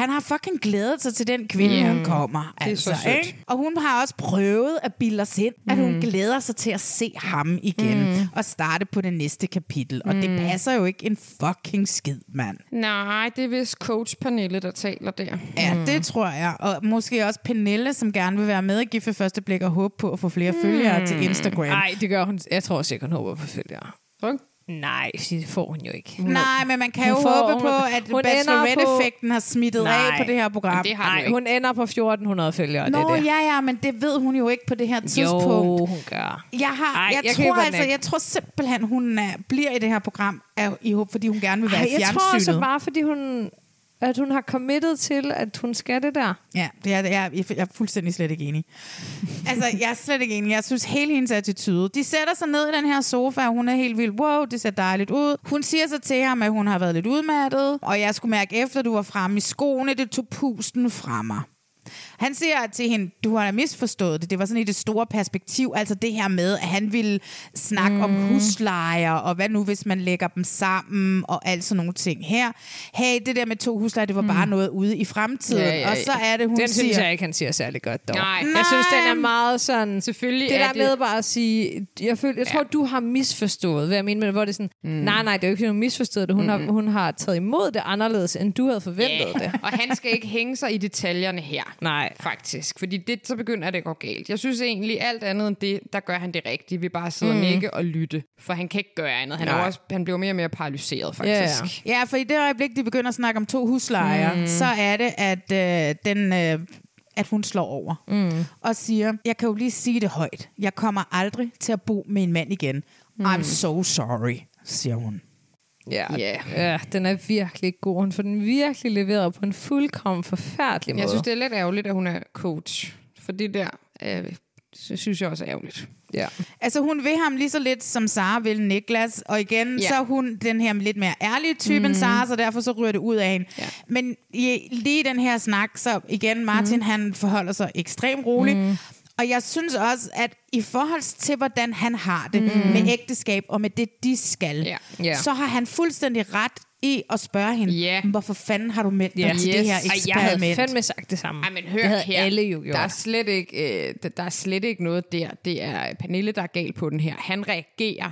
Speaker 1: Han har fucking glædet sig til den kvinde, mm. han kommer. Altså,
Speaker 2: så sødt. Mm.
Speaker 1: Ikke? Og hun har også prøvet at bilde os ind, at hun glæder sig til at se ham igen mm. og starte på det næste kapitel. Og mm. det passer jo ikke en fucking skid, mand.
Speaker 2: Nej, det er vist coach Pernille, der taler der.
Speaker 1: Ja, mm. det tror jeg. Og måske også Pernille, som gerne vil være med og give for første blik og håbe på at få flere mm. følgere til Instagram.
Speaker 3: Nej, det gør hun. Jeg tror også, jeg kan håbe på følgere. Nej, det får hun jo ikke.
Speaker 1: Nej, men man kan jo
Speaker 3: Hun får-
Speaker 1: håbe
Speaker 3: hun-
Speaker 1: på, at
Speaker 3: hun ender på-
Speaker 1: Bachelorette-effekten har smittet
Speaker 3: Nej.
Speaker 1: af på det her program.
Speaker 2: Det har
Speaker 3: Nej, hun ender på 1400 følgere, det
Speaker 1: Nå,
Speaker 3: er det.
Speaker 1: ja, ja, men det ved hun jo ikke på det her tidspunkt.
Speaker 3: Jo, hun gør.
Speaker 1: Jeg, har,
Speaker 3: Ej,
Speaker 1: Ej, jeg,
Speaker 3: jeg
Speaker 1: jeg,
Speaker 3: køber
Speaker 1: tror
Speaker 3: den
Speaker 1: altså,
Speaker 3: ikke.
Speaker 1: jeg tror simpelthen, hun er, bliver i det her program af, i håb, fordi hun gerne vil være
Speaker 3: Ej,
Speaker 1: Ej,
Speaker 3: jeg tror
Speaker 1: fjernsynet.
Speaker 3: også bare, fordi hun, at hun har committed til, at hun skal det der.
Speaker 1: Ja, det er, det er, jeg er fuldstændig slet ikke enig. [laughs] Altså, jeg er slet ikke enig. Jeg synes, hele hendes attitude... De sætter sig ned i den her sofa, og hun er helt vild. Wow, det ser dejligt ud. Hun siger så til ham, at hun har været lidt udmattet, og jeg skulle mærke efter, du var fremme i skoene, det tog pusten fra mig. Han siger til hende, du har da misforstået det. Det var sådan i det store perspektiv, altså det her med, at han ville snakke mm. om huslejer, og hvad nu, hvis man lægger dem sammen, og alt sådan nogle ting her. Hey, det der med to huslejer, det var mm. bare noget ude i fremtiden.
Speaker 2: Ja, ja, ja.
Speaker 1: Og så er det, hun
Speaker 3: Den
Speaker 1: siger.
Speaker 3: synes jeg ikke, han siger særlig godt dog.
Speaker 2: Nej.
Speaker 3: Jeg synes, den er meget sådan...
Speaker 2: Selvfølgelig
Speaker 3: det
Speaker 2: er
Speaker 3: der
Speaker 2: det-
Speaker 3: med bare at sige... Jeg, føler, jeg tror, du har misforstået, hvad jeg mener med det. Hvor det er sådan... Mm. Nej, nej, det er jo ikke, hun misforstået det. Hun, mm. har, hun har taget imod det anderledes, end du havde forventet
Speaker 2: [laughs]
Speaker 3: yeah. det.
Speaker 2: Og han skal ikke hænge sig i detaljerne her.
Speaker 3: Nej.
Speaker 2: Faktisk. Fordi det, så begynder det at gå galt. Jeg synes egentlig, alt andet end det, der gør han det rigtige. Vi bare sidder mm. og nikke og lytte. For han kan ikke gøre andet. Han, er jo også, han bliver mere og mere paralyseret, faktisk. Yeah.
Speaker 1: Ja, for i det øjeblik, de begynder at snakke om to huslejer, mm. så er det, at, øh, den, øh, at hun slår over mm. og siger, jeg kan jo lige sige det højt, jeg kommer aldrig til at bo med en mand igen. Mm. I'm so sorry, siger hun.
Speaker 3: Ja,
Speaker 2: Ja.
Speaker 3: ja, den er virkelig ikke god. Hun får den virkelig leveret på en fuldkommen forfærdelig måde.
Speaker 2: Jeg synes, det er lidt ærgerligt, at hun er coach. For det der, øh, sy- synes jeg også er ærgerligt.
Speaker 3: ja.
Speaker 1: Altså hun vil ham lige så lidt, som Sara vil Niklas, og igen,
Speaker 2: Ja. Mhm.
Speaker 1: ja. så er hun den her lidt mere ærlige type mm. end Sara, så derfor så ryger det ud af hende.
Speaker 2: Ja.
Speaker 1: Men i, lige i den her snak, så igen, Martin
Speaker 2: Mhm.
Speaker 1: mm. han forholder sig ekstremt roligt, mm. og jeg synes også, at i forhold til, hvordan han har det mm. med ægteskab og med det, de skal,
Speaker 2: Mhm. Ja.
Speaker 3: Ja.
Speaker 1: så har han fuldstændig ret i at spørge hende,
Speaker 2: Ja.
Speaker 1: hvorfor fanden har du meldt dig
Speaker 3: Ja.
Speaker 1: til
Speaker 2: Yes.
Speaker 1: det her
Speaker 2: Ej,
Speaker 1: eksperiment?
Speaker 2: jeg havde
Speaker 3: Jeg havde fandme sagt det samme.
Speaker 2: Ej, men hør
Speaker 3: det havde
Speaker 2: her.
Speaker 3: alle jo gjort.
Speaker 2: Der er, slet ikke, øh, der- der er slet ikke noget der. Det er Pernille, der er galt på den her. Han reagerer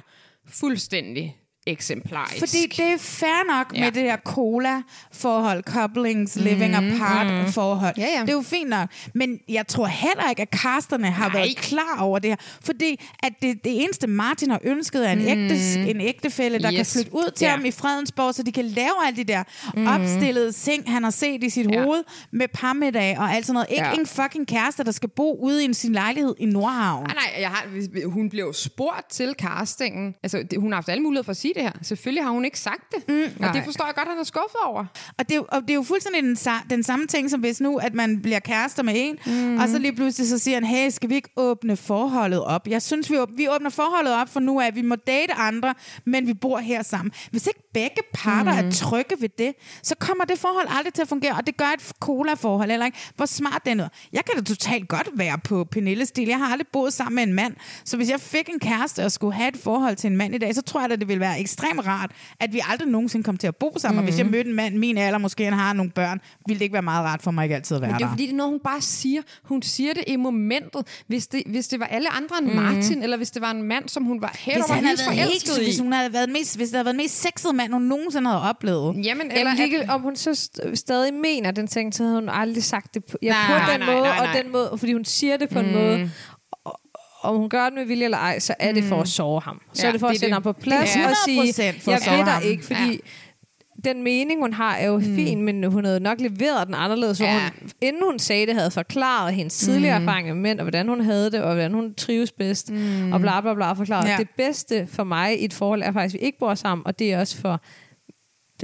Speaker 2: fuldstændig eksemplarisk.
Speaker 1: Fordi det er fair nok ja.
Speaker 2: Ja.
Speaker 1: med det her cola-forhold, couplings, living apart-forhold.
Speaker 2: Mhm. Ja, ja.
Speaker 1: Det er jo fint nok. Men jeg tror heller ikke, at casterne har Nej. været klar over det her. Fordi at det, det eneste, Martin har ønsket, er en, mm. ægte, en ægtefælle, der yes. kan
Speaker 2: Mhm. Yes.
Speaker 1: flytte ud til
Speaker 2: Ja.
Speaker 1: ja. ham
Speaker 2: Mhm.
Speaker 1: i Fredensborg, så de kan lave alle de der mm. opstillede ting, han har set i sit
Speaker 2: Ja.
Speaker 1: ja. hoved med parmiddag og alt sådan noget. Ikke
Speaker 2: Ja.
Speaker 1: ja. en fucking kæreste, der skal bo ude i en- sin lejlighed i Nordhavn.
Speaker 2: Nej, Ah, nej, jeg har, hun blev jo spurgt til castingen. Altså, det, hun har haft alle muligheder for at sige det her. Selvfølgelig har hun ikke sagt det. Mm, og det forstår jeg godt, at han er skuffet over.
Speaker 1: Og det, er jo- og det er jo fuldstændig den, sa- den samme ting, som hvis nu, at man bliver kærester med en, mm. og så lige pludselig så siger han, hey, skal vi ikke åbne forholdet op? Jeg synes, vi, åb- vi åbner forholdet op, for nu er vi må date andre, men vi bor her sammen. Hvis ikke begge parter mm. er trygge ved det, så kommer det forhold aldrig til at fungere, og det gør et cola-forhold heller ikke. Hvor smart det er noget. Jeg kan da totalt godt være på Pernilles stil. Jeg har aldrig boet sammen med en mand, så hvis jeg fik en kæreste og skulle have et forhold til en mand i dag, så tror jeg da, det ville være ekstremt rart, at vi aldrig nogensinde kom til at bo sammen. Mm. Og hvis jeg
Speaker 2: Mhm.
Speaker 1: mødte en mand min alder, måske han har nogle børn, ville det ikke være meget rart for mig ikke altid at være
Speaker 2: Det er
Speaker 1: der.
Speaker 2: jo fordi, det er noget, hun bare siger. Hun siger det i momentet. Hvis det, hvis det var alle andre end Martin, mm. eller hvis det var en mand, som hun var helt
Speaker 1: hvis
Speaker 2: over
Speaker 1: han havde
Speaker 2: hendes
Speaker 1: været helt,
Speaker 2: forelsket i.
Speaker 1: hvis, hun havde været mest, hvis det havde været den mest sexede mand, hun nogensinde havde oplevet.
Speaker 2: Jamen, eller
Speaker 3: Jamen,
Speaker 2: at-
Speaker 3: ligegyldigt, om hun så st- stadig mener den ting, så havde hun aldrig sagt det på, ja,
Speaker 2: Nej,
Speaker 3: på den
Speaker 2: nej, nej,
Speaker 3: måde,
Speaker 2: nej, nej.
Speaker 3: og den måde, fordi hun siger det på mm. en måde. Og- Om hun gør det med vilje eller ej, så er det for at sove ham. Så
Speaker 2: Ja,
Speaker 3: ja, er det for at
Speaker 2: det er
Speaker 3: sætte
Speaker 2: det.
Speaker 3: ham på plads
Speaker 1: Det er
Speaker 3: og
Speaker 1: 100%
Speaker 3: sige,
Speaker 1: for at
Speaker 3: jeg
Speaker 1: sove
Speaker 3: ved
Speaker 1: ham."
Speaker 3: dig ikke, fordi den mening, hun har, er jo mm. fin, men hun havde nok leveret den anderledes, hvor
Speaker 2: Ja.
Speaker 3: ja. hun, inden hun sagde det, havde forklaret hendes tidligere mm. erfaringer med mænd, og hvordan hun havde det, og hvordan hun trives bedst, mm. og bla bla bla, forklaret. Ja.
Speaker 1: Ja.
Speaker 3: Det bedste for mig i et forhold er faktisk, at vi ikke bor sammen, og det er også for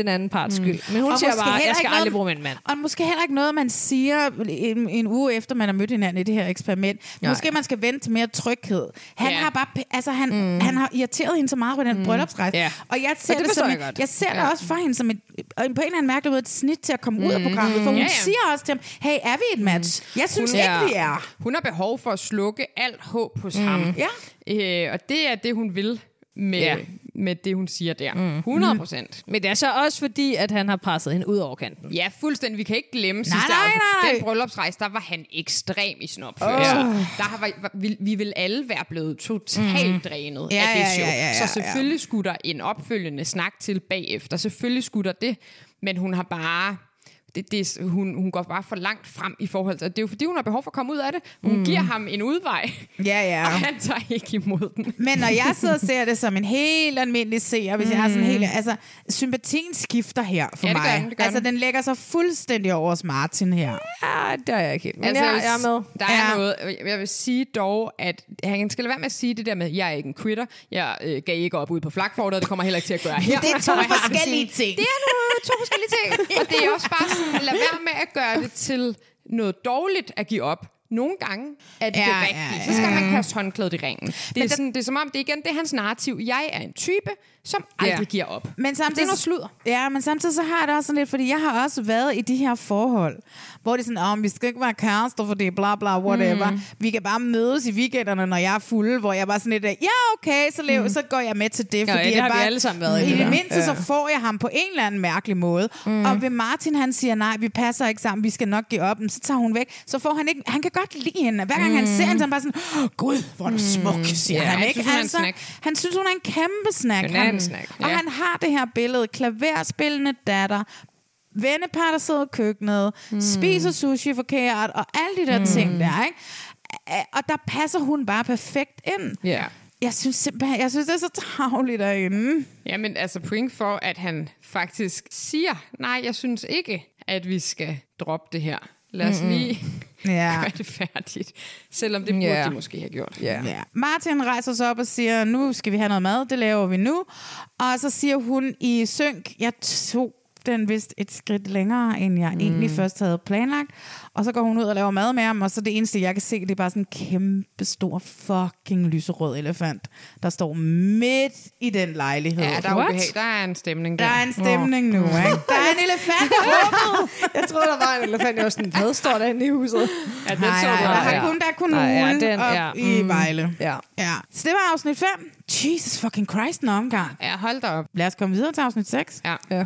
Speaker 3: den anden parts
Speaker 2: Mm.
Speaker 3: skyld. Men hun
Speaker 1: Og
Speaker 3: siger
Speaker 1: måske
Speaker 3: bare,
Speaker 1: heller
Speaker 3: jeg skal
Speaker 1: ikke noget-
Speaker 3: aldrig bruge med en mand.
Speaker 1: Og måske heller ikke noget, man siger en, en uge efter, man har mødt hinanden i det her eksperiment. Nej. Måske man skal vente til mere tryghed. Han
Speaker 2: Ja.
Speaker 1: har bare, p- altså han, mm. han har irriteret hende så meget på den mm. bryllupsrejse.
Speaker 2: Ja.
Speaker 1: Og jeg ser
Speaker 2: Og det
Speaker 1: det,
Speaker 2: forstår
Speaker 1: som,
Speaker 2: jeg
Speaker 1: jeg,
Speaker 2: godt.
Speaker 1: jeg ser
Speaker 2: Ja.
Speaker 1: det også for hende som et, og på en eller anden mærkelig måde et snit til at komme mm. ud af programmet. For hun
Speaker 2: Ja,
Speaker 1: ja,
Speaker 2: ja.
Speaker 1: ja. siger også til ham, hey, er vi et match? Jeg synes
Speaker 2: Hun
Speaker 1: ikke, vi er.
Speaker 2: Hun har behov for at slukke alt håb hos mm. ham.
Speaker 1: Ja.
Speaker 2: Øh, og det er det, hun vil med, ja. med det, hun siger der. Mm. 100 procent.
Speaker 3: Men det er så også fordi, at han har presset hende ud over kanten.
Speaker 2: Ja, fuldstændig. Vi kan ikke glemme sidste
Speaker 1: nej,
Speaker 2: aften.
Speaker 1: nej.
Speaker 2: Den bryllupsrejse, der var han ekstrem i snopførelse. Oh. Der har, var, vi, vi ville alle være blevet totalt mm. drænet
Speaker 1: Ja,
Speaker 2: af det
Speaker 1: ja,
Speaker 2: show.
Speaker 1: ja, ja, ja,
Speaker 2: så selvfølgelig skulle der en opfølgende snak til bagefter. Selvfølgelig skulle der det. Men hun har bare... Det, det, er- hun, hun går bare for langt frem i forhold til... og Det er jo fordi, hun har behov for at komme ud af det. Hun mm. giver ham en udvej,
Speaker 1: Ja,
Speaker 2: og
Speaker 1: ja.
Speaker 2: han tager ikke imod den.
Speaker 1: Men når jeg
Speaker 2: [laughs]
Speaker 1: sidder og ser det som en helt almindelig seer, hvis mm. jeg har sådan en helt... Altså, sympatien skifter her for
Speaker 2: Ja, det gør
Speaker 1: mig.
Speaker 2: den, det gør
Speaker 1: altså,
Speaker 2: den.
Speaker 1: den lægger sig fuldstændig over hos Martin her.
Speaker 2: [laughs]
Speaker 3: Ja, det er jeg ikke helt. Men altså,
Speaker 2: jeg
Speaker 3: jeg,
Speaker 2: vil
Speaker 3: jeg er med.
Speaker 2: s- Der er
Speaker 1: Ja.
Speaker 2: noget. Jeg vil sige dog, at han skal lade være med at sige det der med, jeg er ikke en quitter, jeg øh, gav ikke op ude på flakfortet, og det kommer jeg heller ikke til at gøre her.
Speaker 1: Det er to
Speaker 2: Og jeg har det
Speaker 1: forskellige
Speaker 2: sådan,
Speaker 1: ting.
Speaker 2: Det er nogle to forskellige ting. [laughs] Og det er også bare sådan, lad være med at gøre det til noget dårligt at give op. Nogle gange er det, ja,
Speaker 1: Ja,
Speaker 2: det
Speaker 1: ja,
Speaker 2: rigtige. Ja, ja. Så skal man kaste håndklædet i ringen. Det er, sådan, det er som om, det er igen det er hans narrativ. Jeg er en type, som aldrig
Speaker 3: Ja.
Speaker 2: giver op.
Speaker 1: Men samtidig,
Speaker 2: Det er noget sludder.
Speaker 1: Ja, men samtidig så har jeg det også sådan lidt, fordi jeg har også været i de her forhold, hvor det er sådan, om vi skal ikke være kærester, for det er bla bla, whatever. Mm. Vi kan bare mødes i weekenderne, når jeg er fuld, hvor jeg bare sådan lidt, ja okay, så, lev, mm. så går jeg med til det.
Speaker 3: ja,
Speaker 1: at
Speaker 3: det har vi
Speaker 1: bare,
Speaker 3: alle sammen været i
Speaker 1: I
Speaker 3: det
Speaker 1: det
Speaker 3: der.
Speaker 1: mindste, så får jeg ham på en eller anden mærkelig måde. Mm. Og ved Martin, han siger, nej, vi passer ikke sammen, vi skal nok give op, men så tager hun væk. Så får han ikke, han kan godt lide hende. Hver gang mm. han ser hende, så er han bare sådan, "Åh, gud, hvor er du smuk, siger
Speaker 2: Mm. Ja,
Speaker 1: han,
Speaker 2: han
Speaker 1: ikke? Altså,
Speaker 2: synes, hun er en snack.
Speaker 1: han synes, hun er en kæmpe snack.
Speaker 2: Hun er en
Speaker 1: Han-
Speaker 2: snack,
Speaker 1: Og
Speaker 2: ja.
Speaker 1: han har det her billede, klaverspillende datter, vennepar, der sidder i køkkenet, mm. spiser sushi forkert, og alle de der mm. ting der, ikke? A- Og der passer hun bare perfekt ind.
Speaker 2: Ja.
Speaker 1: Jeg synes simpelthen, jeg synes, det er så travligt derinde.
Speaker 2: Jamen altså point for, at han faktisk siger, nej, jeg synes ikke, at vi skal droppe det her. Lad os
Speaker 7: [laughs]
Speaker 2: lige
Speaker 1: Ja.
Speaker 2: [laughs] gøre det færdigt. Selvom det burde
Speaker 3: Ja.
Speaker 2: de måske have gjort.
Speaker 1: Ja. Martin rejser sig op og siger, nu skal vi have noget mad, det laver vi nu. Og så siger hun i synk, jeg tog den vist et skridt længere, end jeg mm. egentlig først havde planlagt. Og så går hun ud og laver mad med ham, og så det eneste, jeg kan se, det er bare sådan en kæmpe stor fucking lyserød elefant, der står midt i den lejlighed.
Speaker 2: Ja, der er, ubehag. der er en stemning der.
Speaker 1: der er en stemning nu, ikke? Der er en elefant i rummet!
Speaker 3: [laughs] Jeg troede, der var en elefant. Jeg var sådan, hvad står der inde i [laughs] huset?
Speaker 2: ja, den
Speaker 1: Nej,
Speaker 2: så
Speaker 1: nej,
Speaker 2: du
Speaker 1: der
Speaker 2: også.
Speaker 1: er
Speaker 3: ja.
Speaker 1: kun, der er kun
Speaker 3: Nej, ja,
Speaker 1: ugen
Speaker 3: den,
Speaker 1: op
Speaker 3: ja. Mm.
Speaker 1: i Vejle.
Speaker 3: Ja.
Speaker 1: ja. Så det var afsnit 5. Jesus fucking Christ, en omgang.
Speaker 2: Ja, hold da op.
Speaker 1: Lad os komme videre til afsnit 6.
Speaker 2: Ja.
Speaker 3: Ja.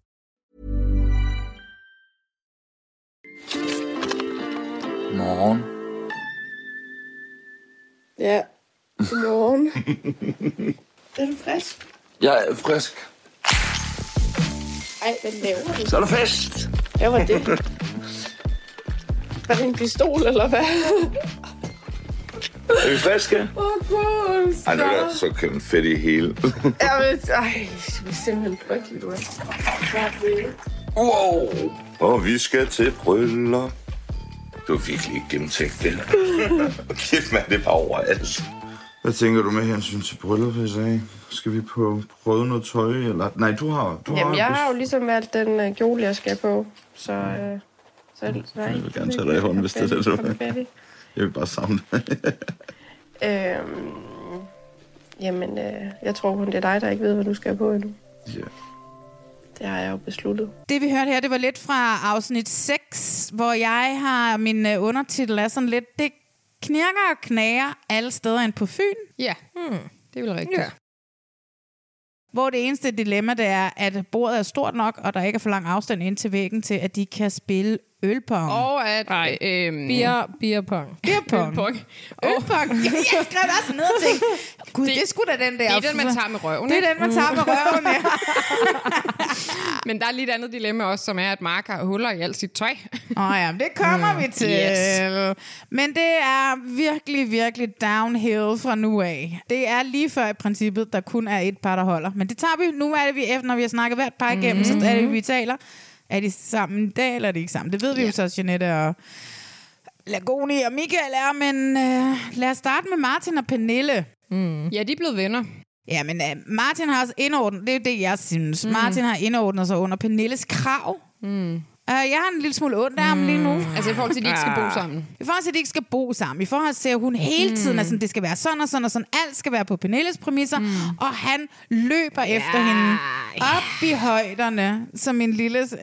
Speaker 8: Morgen.
Speaker 7: Ja, godmorgen. er du frisk?
Speaker 8: Jeg er frisk.
Speaker 7: Ej, hvad laver du?
Speaker 8: Så er der fest.
Speaker 7: Hvad var det? Var det en pistol, eller hvad?
Speaker 8: Er vi friske?
Speaker 7: Åh, oh,
Speaker 8: Ej, nu er der så køn fedt i hele.
Speaker 7: Jamen, ej, det er simpelthen frygteligt, du er.
Speaker 8: wow. Og vi skal til bryllup. Du har virkelig ikke gennemtænkt det. Og kæft, mand, det er bare overalt. Hvad tænker du er med hensyn til bryllup i dag? Skal vi på prøve noget tøj? Eller? Nej, du har... Du
Speaker 7: Jamen,
Speaker 8: har
Speaker 7: jeg har jo ligesom valgt den øh, kjole, jeg skal på, så... Øh, så nej,
Speaker 8: Jeg vil gerne tage dig i hånden, hvis det er det, du-
Speaker 7: Kom fat i.
Speaker 8: Jeg vil bare savne dig.
Speaker 7: [laughs] Øhm, jamen, øh, jeg tror kun, det er dig, der ikke ved, hvad du skal have på endnu.
Speaker 8: ja.
Speaker 7: Det har jeg jo besluttet.
Speaker 1: Det vi hørte her, det var lidt fra afsnit 6, hvor jeg har min øh, undertitel er sådan lidt, det knirker og knager alle steder end på Fyn.
Speaker 2: Ja, hmm. det er vel rigtigt. Ja.
Speaker 1: Hvor det eneste dilemma det er, at bordet er stort nok, og der ikke er for lang afstand ind til væggen til, at de kan spille Ølpong. Oh.
Speaker 2: Og at... Nej, øhm,
Speaker 3: Bier, bierpong.
Speaker 1: Ølpong.
Speaker 2: Pong.
Speaker 1: Ølpong. [laughs] Jeg, jeg skrev det også ned og tænkte, gud, det, det er sgu da den der.
Speaker 2: Det er den, man tager med røven.
Speaker 1: Det
Speaker 2: ikke?
Speaker 1: er den, man tager med røven, ja.
Speaker 2: [laughs] Men der er lige et andet dilemma også, som er, at Mark har huller i alt sit tøj.
Speaker 3: Mhm.
Speaker 1: Åh oh, ja, men det kommer vi til. Yes. Men det er virkelig, virkelig downhill fra nu af. Det er lige før i princippet, der kun er et par, der holder. Men det tager vi. Nu er det, vi efter, når vi har snakket hvert par igennem, mm-hmm. så er det, vi taler. Er de sammen i dag, eller er de ikke sammen? Det ved vi jo så, Jeanette og Lagoni og Michael er. Men øh, lad os starte med Martin og Pernille.
Speaker 2: ja, de er blevet venner.
Speaker 1: Ja, men øh, Martin har også indordnet, det er jo det, jeg synes. Mm. Martin har indordnet sig under Pernilles krav. Mm. Øh, jeg har en lille smule ondt af ham lige nu.
Speaker 2: Altså i forhold til, at de ikke skal bo
Speaker 3: Ah.
Speaker 2: sammen.
Speaker 1: I forhold til, at de ikke skal bo sammen. I forhold til, at hun hele tiden er sådan, det skal være sådan og sådan og sådan. Alt skal være på Pernilles præmisser. Mm. Og han løber ja, efter hende op i højderne, som en lille... øh,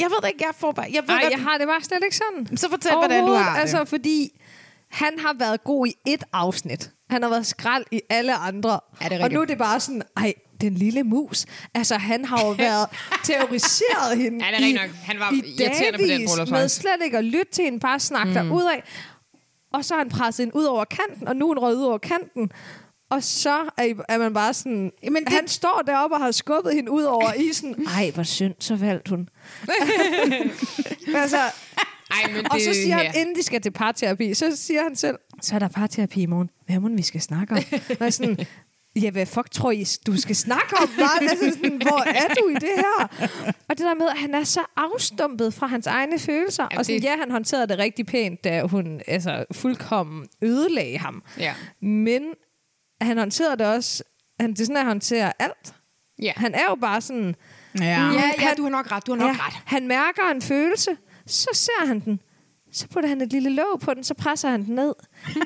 Speaker 1: Jeg ved det ikke, jeg får bare... Jeg ved
Speaker 3: Nej,
Speaker 1: godt,
Speaker 3: jeg har det bare slet ikke sådan.
Speaker 1: Så fortæl, hvordan du har
Speaker 3: Overhovedet,
Speaker 1: det.
Speaker 3: Altså, fordi han har været god i et afsnit. Han har været skrald i alle andre.
Speaker 2: Ja, det er
Speaker 3: og nu er
Speaker 2: rigtigt.
Speaker 3: det bare sådan, ej, den lille mus. Altså,
Speaker 1: [laughs]
Speaker 3: han har jo været terroriseret hende
Speaker 2: Ja, det er rigtigt
Speaker 3: i-
Speaker 2: nok. Han var
Speaker 3: i
Speaker 2: irriterende på den
Speaker 3: dagevis
Speaker 2: bryllupsrejse.
Speaker 3: med slet ikke at lytte til hende, bare snakke mm. derud af. Og så har han presset hende ud over kanten, og nu er hun røget ud over kanten. Og så er, I- er man bare sådan...
Speaker 1: Jamen,
Speaker 3: Jamen,
Speaker 1: det-
Speaker 3: det... Han står deroppe og har skubbet hende ud over isen. Ej, hvor synd, så valgte [laughs] hun. altså,
Speaker 2: Ej, men det,
Speaker 3: og så siger han,
Speaker 2: ja.
Speaker 3: inden de skal til parterapi, så siger han selv, så er der parterapi i morgen. Hvad må vi skal snakke om? Og jeg er sådan, ja, hvad fuck tror I, du skal snakke om? Hvad? Altså sådan, hvor er du i det her? Og det der med, at han er så afstumpet fra hans egne følelser.
Speaker 2: Ja,
Speaker 3: og sådan,
Speaker 2: det-
Speaker 3: ja, han håndterede det rigtig pænt, da hun altså, fuldkommen ødelagde ham.
Speaker 2: Ja.
Speaker 3: Men han håndterede det også, han, det er sådan, at han håndterer alt.
Speaker 2: Ja.
Speaker 3: Han er jo bare sådan,
Speaker 1: Ja.
Speaker 2: Ja, ja,
Speaker 3: han-
Speaker 2: du har nok ret, du har nok ret.
Speaker 3: Han mærker en følelse, så ser han den. Så putter han et lille låg på den, så presser han den ned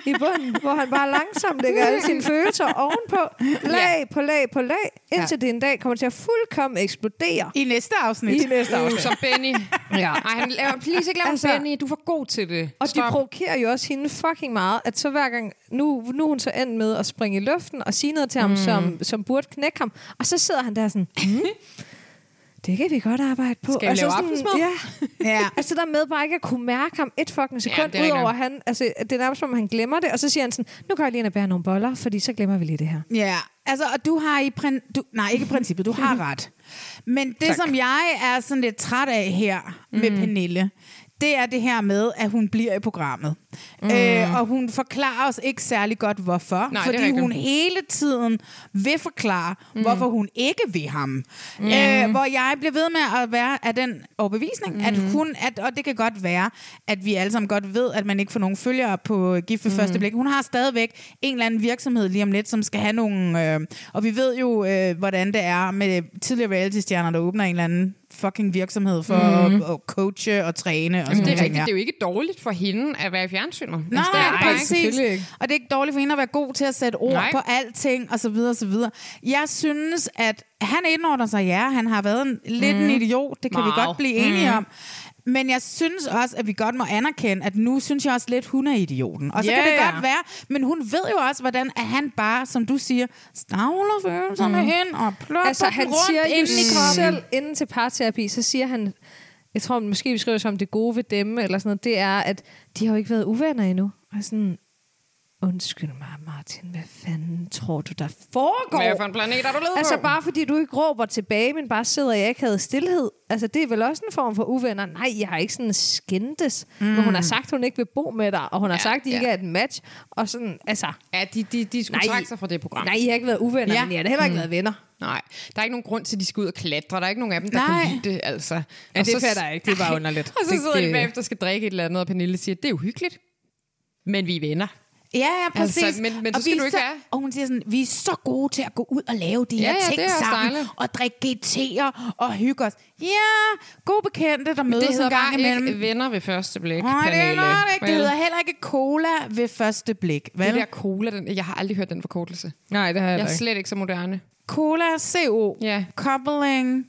Speaker 3: i bunden, hvor han bare langsomt lægger alle
Speaker 2: [laughs]
Speaker 3: sine følelser ovenpå. Lag ja. på lag på lag, indtil ja. det en dag kommer til at fuldkommen eksplodere.
Speaker 1: I næste afsnit.
Speaker 3: I næste afsnit.
Speaker 2: Som
Speaker 3: [laughs]
Speaker 2: Benny. ja. Ej, han laver, please ikke lave altså,
Speaker 3: Altså-
Speaker 2: Benny. Du er for god til det.
Speaker 3: Og de provokerer jo også hende fucking meget, at så hver gang, nu, nu er hun så endt med at springe i luften og sige noget til ham, mm. som, som burde knække ham. Og så sidder han der sådan, mm, det kan vi godt arbejde på.
Speaker 2: Skal vi
Speaker 3: og så
Speaker 2: lave
Speaker 3: sådan,
Speaker 2: aftensmad?
Speaker 3: Ja.
Speaker 1: [laughs] Ja.
Speaker 3: Altså der med bare ikke at kunne mærke ham et fucking
Speaker 2: Ja,
Speaker 3: sekund,
Speaker 2: det er
Speaker 3: ja,
Speaker 2: rigtig
Speaker 3: udover
Speaker 2: nok.
Speaker 3: han, altså det er nærmest som om han glemmer det, og så siger han sådan, nu går jeg lige ind og bærer nogle boller, fordi så glemmer vi lige det her.
Speaker 1: Ja, altså, og du har i prin- du, nej, ikke i princippet, du har ret. Men det, tak. som jeg er sådan lidt træt af her med Pernille, det er det her med, at hun bliver i programmet. Mm. Øh, og hun forklarer os ikke særlig godt, hvorfor.
Speaker 2: det er
Speaker 1: fordi
Speaker 2: rigtigt.
Speaker 1: hun hele tiden vil forklare, mm. hvorfor hun ikke vil ham. Mm. Øh, hvor jeg bliver ved med at være af den overbevisning, mm. at hun, at, og det kan godt være, at vi alle sammen godt ved, at man ikke får nogen følgere på Gift ved mm. første blik. Hun har stadigvæk en eller anden virksomhed lige om lidt, som skal have nogle... Øh, og vi ved jo, øh, hvordan det er med tidligere reality-stjerner, der åbner en eller anden fucking virksomhed for mm. at, at coache og træne og sådan
Speaker 2: Det er
Speaker 1: noget.
Speaker 2: rigtigt. Det er jo ikke dårligt for hende at være i fjernsynet. Altså,
Speaker 1: Nej,
Speaker 2: det er det bare ikke.
Speaker 1: præcis. Og det er ikke dårligt for hende at være god til at sætte ord Nej.
Speaker 2: Nej.
Speaker 1: på alting, og så videre, og så videre. Jeg synes, at han indordner sig, ja, han har været en, lidt
Speaker 3: Mm.
Speaker 1: en idiot, det kan vi
Speaker 2: Meget.
Speaker 1: godt blive enige om. Men jeg synes også, at vi godt må anerkende, at nu synes jeg også lidt, hun er idioten. Og så
Speaker 2: Ja,
Speaker 1: kan det
Speaker 2: ja.
Speaker 1: godt være, men hun ved jo også, hvordan at han bare, som du siger, stavler følelserne mm. ind og plopper
Speaker 3: Altså
Speaker 1: dem
Speaker 3: han
Speaker 1: rundt
Speaker 3: siger jo
Speaker 1: ind i kroppen.
Speaker 3: selv inden til parterapi, så siger han, jeg tror måske vi skriver som det gode ved dem, eller sådan noget, det er, at de har jo ikke været uvenner endnu. Og sådan, undskyld mig Martin, hvad fanden tror du der foregår?
Speaker 2: Hvad for en planet er du ledet
Speaker 3: Altså
Speaker 2: på?
Speaker 3: bare fordi du ikke råber tilbage, men bare sidder i akavet stillhed. Altså det er vel også en form for uvenner. Nej, jeg har ikke sådan skændtes. Mm. Men hun har sagt, hun ikke vil bo med dig, og hun har
Speaker 2: Ja,
Speaker 3: ja, sagt, at I
Speaker 2: ja.
Speaker 3: ja. ikke er et match. Og sådan, altså...
Speaker 2: Ja, de, de, de skulle
Speaker 3: Nej.
Speaker 2: trække sig fra det program.
Speaker 3: Nej, I har ikke været uvenner,
Speaker 1: Ja.
Speaker 3: ja. men I har da heller ikke mm. været venner.
Speaker 2: Nej, der er ikke nogen grund til, at de skal ud og klatre. Der er ikke nogen af dem, der
Speaker 1: Nej.
Speaker 2: Nej. kan lide det, altså. Ja,
Speaker 3: det fatter jeg ikke. Det er bare underligt.
Speaker 2: Og så
Speaker 3: Det-
Speaker 2: sidder de
Speaker 3: det-
Speaker 2: bagefter og skal drikke et eller andet, og Pernille siger, det er uhyggeligt, men vi er venner.
Speaker 1: Ja, ja, præcis.
Speaker 2: Altså, men- men
Speaker 1: og
Speaker 2: så skal
Speaker 1: vi er
Speaker 2: du ikke
Speaker 1: så,
Speaker 2: have-
Speaker 1: Og hun siger sådan, vi er så gode til at gå ud og lave de her
Speaker 2: ja,
Speaker 1: ting
Speaker 2: det er også
Speaker 1: sammen,
Speaker 2: dejligt.
Speaker 1: og drikke GT'er og hygge os. Ja, gode bekendte, der mødes
Speaker 2: Det hedder
Speaker 1: en gang
Speaker 2: bare
Speaker 1: imellem.
Speaker 2: ikke venner ved første blik,
Speaker 1: Nej, det er
Speaker 2: Pernille.
Speaker 1: noget, det ikke. Det
Speaker 2: Vel?
Speaker 1: hedder heller ikke cola ved første blik. Vel?
Speaker 2: det der cola, den, jeg har aldrig hørt den forkortelse.
Speaker 3: Nej, det har
Speaker 2: Jeg er slet ikke så moderne.
Speaker 1: Cola, CO,
Speaker 2: Ja.
Speaker 1: coupling,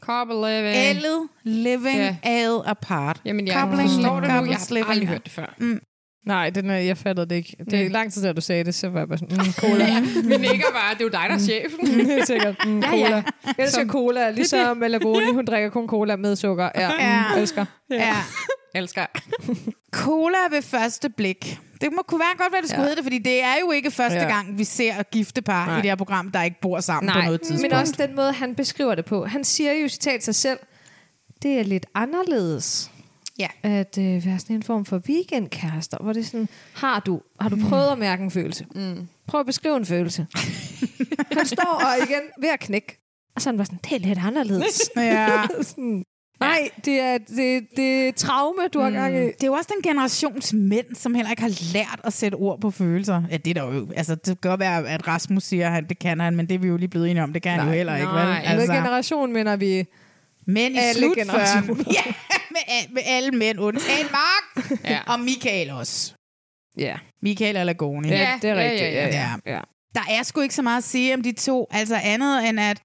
Speaker 2: Couple living.
Speaker 1: ellet, living,
Speaker 2: Ja.
Speaker 1: ad apart.
Speaker 2: Jamen, jeg
Speaker 1: Coupling,
Speaker 2: forstår det nu.
Speaker 1: couples
Speaker 2: Jeg har
Speaker 1: living.
Speaker 2: aldrig hørt det før. [laughs] Mm.
Speaker 3: Nej, den er, jeg fattede det ikke. Det er
Speaker 2: Mm.
Speaker 3: lang tid, da du sagde det, så var jeg bare sådan, [laughs] mm, cola.
Speaker 2: Vi nikker bare, det er jo dig, der er chefen.
Speaker 3: Det er sikkert, mm, cola. Ja, ja. Jeg elsker cola, ligesom Melagoni, hun drikker kun cola med sukker. Ja,
Speaker 1: Ja.
Speaker 3: mm, elsker.
Speaker 1: Ja.
Speaker 2: Elsker.
Speaker 1: Cola ved første blik. Det må kunne være godt, hvad det skulle ja.
Speaker 3: Ja.
Speaker 1: hedde det, fordi det er jo ikke første
Speaker 3: Ja.
Speaker 1: gang, vi ser gifte par Nej.
Speaker 3: Nej.
Speaker 1: i det her program, der ikke bor sammen Nej. på
Speaker 3: Nej,
Speaker 1: noget tidspunkt.
Speaker 3: men også den måde, han beskriver det på. Han siger jo citat sig selv, det er lidt anderledes
Speaker 1: Ja.
Speaker 3: at øh, være sådan en form for weekendkærester, hvor det er sådan, har du, har du prøvet at mærke en følelse? Mm. Prøv at beskrive en
Speaker 1: [laughs]
Speaker 3: følelse. han står og igen ved at knække. Og så er han bare sådan, det er lidt
Speaker 1: [laughs]
Speaker 3: [laughs] anderledes.
Speaker 1: Ja.
Speaker 3: sådan, Nej, det er, det, det er traume, du
Speaker 1: Mm.
Speaker 3: har gang i.
Speaker 1: Det er jo også den generations mænd, som heller ikke har lært at sætte ord på følelser. Ja, det er der jo. Altså, det kan godt være, at Rasmus siger, at det kan han, men det er vi jo lige blevet enige om. Det kan han jo heller ikke, vel?
Speaker 2: nej.
Speaker 3: Med
Speaker 1: Altså,
Speaker 3: generation mener vi
Speaker 1: mænd i
Speaker 3: alle
Speaker 1: slut
Speaker 3: generationer.
Speaker 1: [laughs] Ja, med, al- med, alle mænd, undtagen Mark
Speaker 2: Ja.
Speaker 1: og Michael også.
Speaker 3: Ja,
Speaker 1: Michael og Lagoni.
Speaker 3: ja, det er
Speaker 2: ja,
Speaker 3: rigtigt.
Speaker 2: ja,
Speaker 3: Ja,
Speaker 1: ja.
Speaker 3: ja, ja.
Speaker 1: Der er sgu ikke så meget at sige om de to, altså andet end at...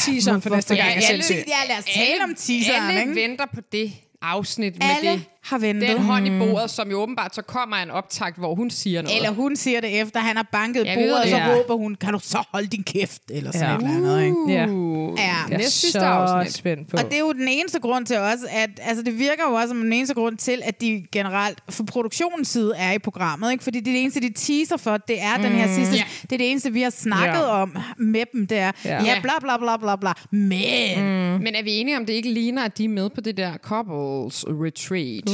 Speaker 3: Teaseren for næste gang
Speaker 1: Ja,
Speaker 3: er
Speaker 1: ja,
Speaker 3: sindssyg.
Speaker 1: ja, lad os tale om teaseren,
Speaker 2: alle
Speaker 1: ikke?
Speaker 2: venter på det afsnit
Speaker 1: Alle
Speaker 2: med det.
Speaker 1: har ventet.
Speaker 2: Den hånd i bordet, som jo åbenbart så kommer af en optakt, hvor hun siger noget.
Speaker 1: Eller hun siger det efter, han har banket
Speaker 2: Ja, vi ved
Speaker 1: bordet, og så
Speaker 2: det. Ja.
Speaker 1: råber hun, kan du så holde din kæft? Eller sådan ja.
Speaker 3: Ja.
Speaker 1: et eller andet, ikke?
Speaker 3: Ja.
Speaker 2: uh,
Speaker 1: Ja.
Speaker 3: Jeg er
Speaker 2: næst sidste
Speaker 3: så
Speaker 2: afsnit.
Speaker 3: spændt på.
Speaker 1: Og det er jo den eneste grund til også, at altså det virker jo også som den eneste grund til, at de generelt fra produktionens side er i programmet. Ikke? Fordi det, er det eneste, de teaser for, det er mm. den her sidste.
Speaker 2: Ja.
Speaker 1: Det er det eneste, vi har snakket
Speaker 3: Ja.
Speaker 1: om med dem, det er, ja,
Speaker 3: Ja.
Speaker 1: ja bla bla bla bla bla, men... Mm.
Speaker 2: Men er vi enige om, det ikke ligner, at de er med på det der couples retreat?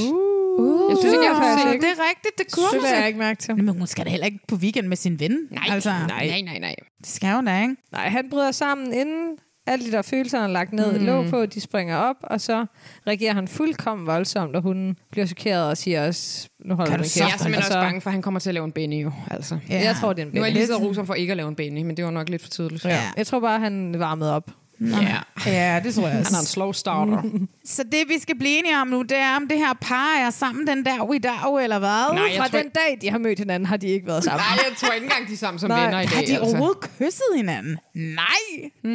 Speaker 2: Uh, jeg synes ikke, jeg har
Speaker 3: faktisk
Speaker 2: set
Speaker 1: det er rigtigt, det kunne
Speaker 3: Det lader
Speaker 1: man.
Speaker 3: jeg ikke mærke til.
Speaker 1: Men hun skal da heller ikke på weekend med sin ven.
Speaker 2: Nej, altså, nej, nej, nej, nej.
Speaker 1: Det skal hun da, ikke?
Speaker 3: Nej, han bryder sammen inden alle de der følelser, han har lagt ned mm. låg på, de springer op, og så reagerer han fuldkommen voldsomt, og hun bliver chokeret og siger også, nu holder
Speaker 1: Kan
Speaker 3: du
Speaker 1: du
Speaker 3: kæft.
Speaker 1: så-
Speaker 2: Jeg er simpelthen
Speaker 3: Og
Speaker 1: altså-
Speaker 2: også bange for, at han kommer til at lave en Benny jo, altså.
Speaker 3: Ja. Jeg tror, det er en
Speaker 2: Nu er jeg lige
Speaker 3: bænk.
Speaker 2: så roser for ikke at lave en Benny, men det var nok lidt for tidligt.
Speaker 1: Ja.
Speaker 3: Jeg tror bare, han varmede op.
Speaker 2: ja.
Speaker 1: Ja, det tror jeg
Speaker 2: Han er en
Speaker 1: også.
Speaker 2: slow
Speaker 1: [laughs]
Speaker 2: starter.
Speaker 1: Så det, vi skal blive enige om nu, det er, om det her par er sammen den der i dag, eller hvad?
Speaker 2: Nej, jeg
Speaker 3: Fra
Speaker 2: tror
Speaker 3: den dag, de har mødt hinanden, har de ikke været sammen.
Speaker 2: Nej, jeg tror ikke engang, de er sammen som
Speaker 3: Nej.
Speaker 2: venner i dag.
Speaker 1: Har de
Speaker 2: altså.
Speaker 1: overhovedet kysset hinden? Nej!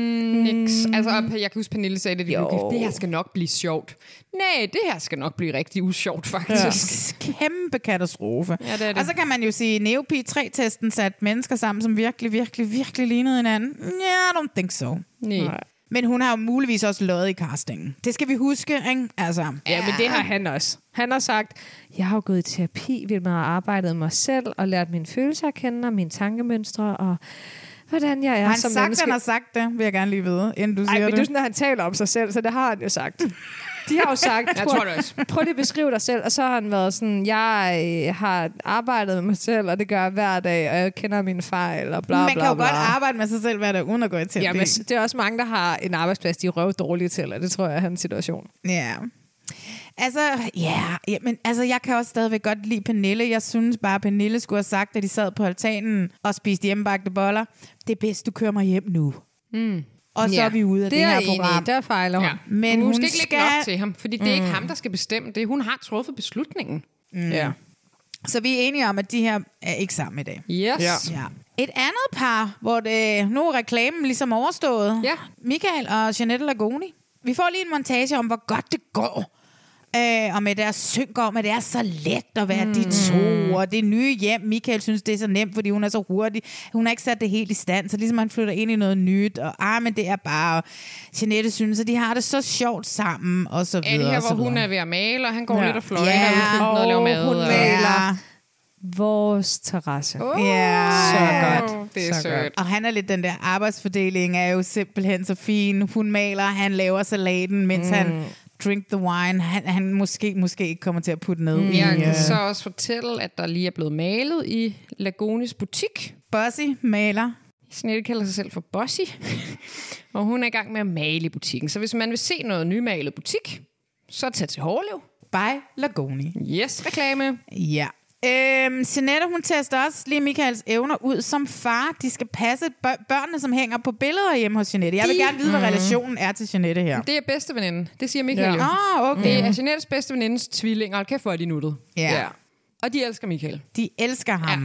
Speaker 2: Niks. Altså, og jeg kan huske, Pernille sagde, at de blev gift. det her skal nok blive sjovt. Nej, det her skal nok blive rigtig usjovt, faktisk.
Speaker 1: Kæmpe katastrofe.
Speaker 2: Ja, det er det.
Speaker 1: Og så kan man jo sige, at Neopi 3-testen satte mennesker sammen, som virkelig, virkelig, virkelig lignede hinanden. Yeah, I don't think so.
Speaker 2: Ja. Nej.
Speaker 1: Men hun har jo muligvis også løjet i castingen. Det skal vi huske, ikke? Altså,
Speaker 3: Ja, men det har han også. Han har sagt, jeg har jo gået i terapi, vil man har arbejdet mig selv, og lært mine følelser at kende, og mine tankemønstre, og hvordan jeg er
Speaker 1: har han
Speaker 3: som
Speaker 1: sagt,
Speaker 3: menneske.
Speaker 1: han har sagt det, vil jeg gerne lige vide, inden du
Speaker 3: Ej,
Speaker 1: siger
Speaker 3: men det er jo
Speaker 1: det.
Speaker 3: sådan, at han taler om sig selv, så det har han jo sagt. De [laughs] har jo sagt,
Speaker 2: Jeg tror det også.
Speaker 3: [laughs] prøv lige at beskrive dig selv. Og så har han været sådan, jeg øh, har arbejdet med mig selv, og det gør jeg hver dag, og jeg kender mine fejl, og bla
Speaker 1: Man
Speaker 3: bla
Speaker 1: kan jo
Speaker 3: bla.
Speaker 1: godt arbejde med sig selv hver dag, uden at gå i terapi.
Speaker 3: Ja, men det er også mange, der har en arbejdsplads, de er røv dårlige til, og det tror jeg er hans situation.
Speaker 1: Ja. Altså, ja, ja, men altså, jeg kan også stadigvæk godt lide Pernille. Jeg synes bare, at Pernille skulle have sagt, at de sad på altanen og spiste hjemmebagte boller. Det er bedst, du kører mig hjem nu. Mm. Og så ja. er vi ude af det, det her
Speaker 3: jeg enig i.
Speaker 1: program.
Speaker 3: Der fejler hun.
Speaker 2: Ja.
Speaker 3: Ja.
Speaker 1: Men
Speaker 2: Men hun,
Speaker 1: hun
Speaker 2: skal ikke lægge
Speaker 1: skal-
Speaker 2: nok til ham, fordi det er ikke ham, der skal bestemme det. Hun har truffet beslutningen.
Speaker 3: Mm. ja.
Speaker 1: Så vi er enige om, at de her er ikke sammen i dag.
Speaker 2: Yes. Ja.
Speaker 1: Ja. Et andet par, hvor det, nu er reklamen ligesom overstået.
Speaker 2: Ja.
Speaker 1: Michael og Janette Lagoni. Vi får lige en montage om, hvor godt det går. Øh, og med deres synker om, at det er så let at være mm. de to, og det nye hjem. Michael synes, det er så nemt, fordi hun er så hurtig. Hun har ikke sat det helt i stand, så ligesom han flytter ind i noget nyt, og ah, men det er bare... Og Jeanette synes, at de har det så sjovt sammen, og så
Speaker 2: Er
Speaker 1: videre.
Speaker 2: det her,
Speaker 1: og så
Speaker 2: hvor hun
Speaker 1: videre.
Speaker 2: er ved at male, og han går ja.
Speaker 3: Ja.
Speaker 2: lidt og fløjter
Speaker 1: Ja.
Speaker 2: ja. og, og laver
Speaker 3: Og
Speaker 2: mad.
Speaker 3: hun
Speaker 2: og...
Speaker 3: maler.
Speaker 1: Ja.
Speaker 3: Vores terrasse. Oh.
Speaker 1: Ja.
Speaker 3: Så
Speaker 1: Ja.
Speaker 3: godt.
Speaker 2: Det er
Speaker 3: så
Speaker 2: sødt.
Speaker 1: Og han er lidt den der arbejdsfordeling, er jo simpelthen så fin. Hun maler, han laver salaten, mens mm. han drink the wine. Han, han måske, måske ikke kommer til at putte ned mm. i
Speaker 2: Jeg kan
Speaker 1: yeah.
Speaker 2: så også fortælle, at der lige er blevet malet i Lagonis butik.
Speaker 1: Bossy maler.
Speaker 2: Snette kalder sig selv for Bossy, [laughs] og hun er i gang med at male i butikken. Så hvis man vil se noget nymalet butik, så tag til Hårlev.
Speaker 1: By Lagoni.
Speaker 2: Yes, reklame.
Speaker 1: Ja. Øhm, Jeanette, hun tester også lige Michaels evner ud som far. De skal passe bør- børnene, som hænger på billeder hjemme hos Jeanette. Jeg vil gerne vide, hvad relationen er til Jeanette her.
Speaker 2: Det er bedste veninde. Det siger Michael ja. jo.
Speaker 1: Åh, oh, okay.
Speaker 2: Det er Jeanettes bedste venindes tvillinger. Hold kæft, hvor er de nuttet.
Speaker 1: Ja.
Speaker 2: Og de elsker Michael.
Speaker 1: De elsker ham.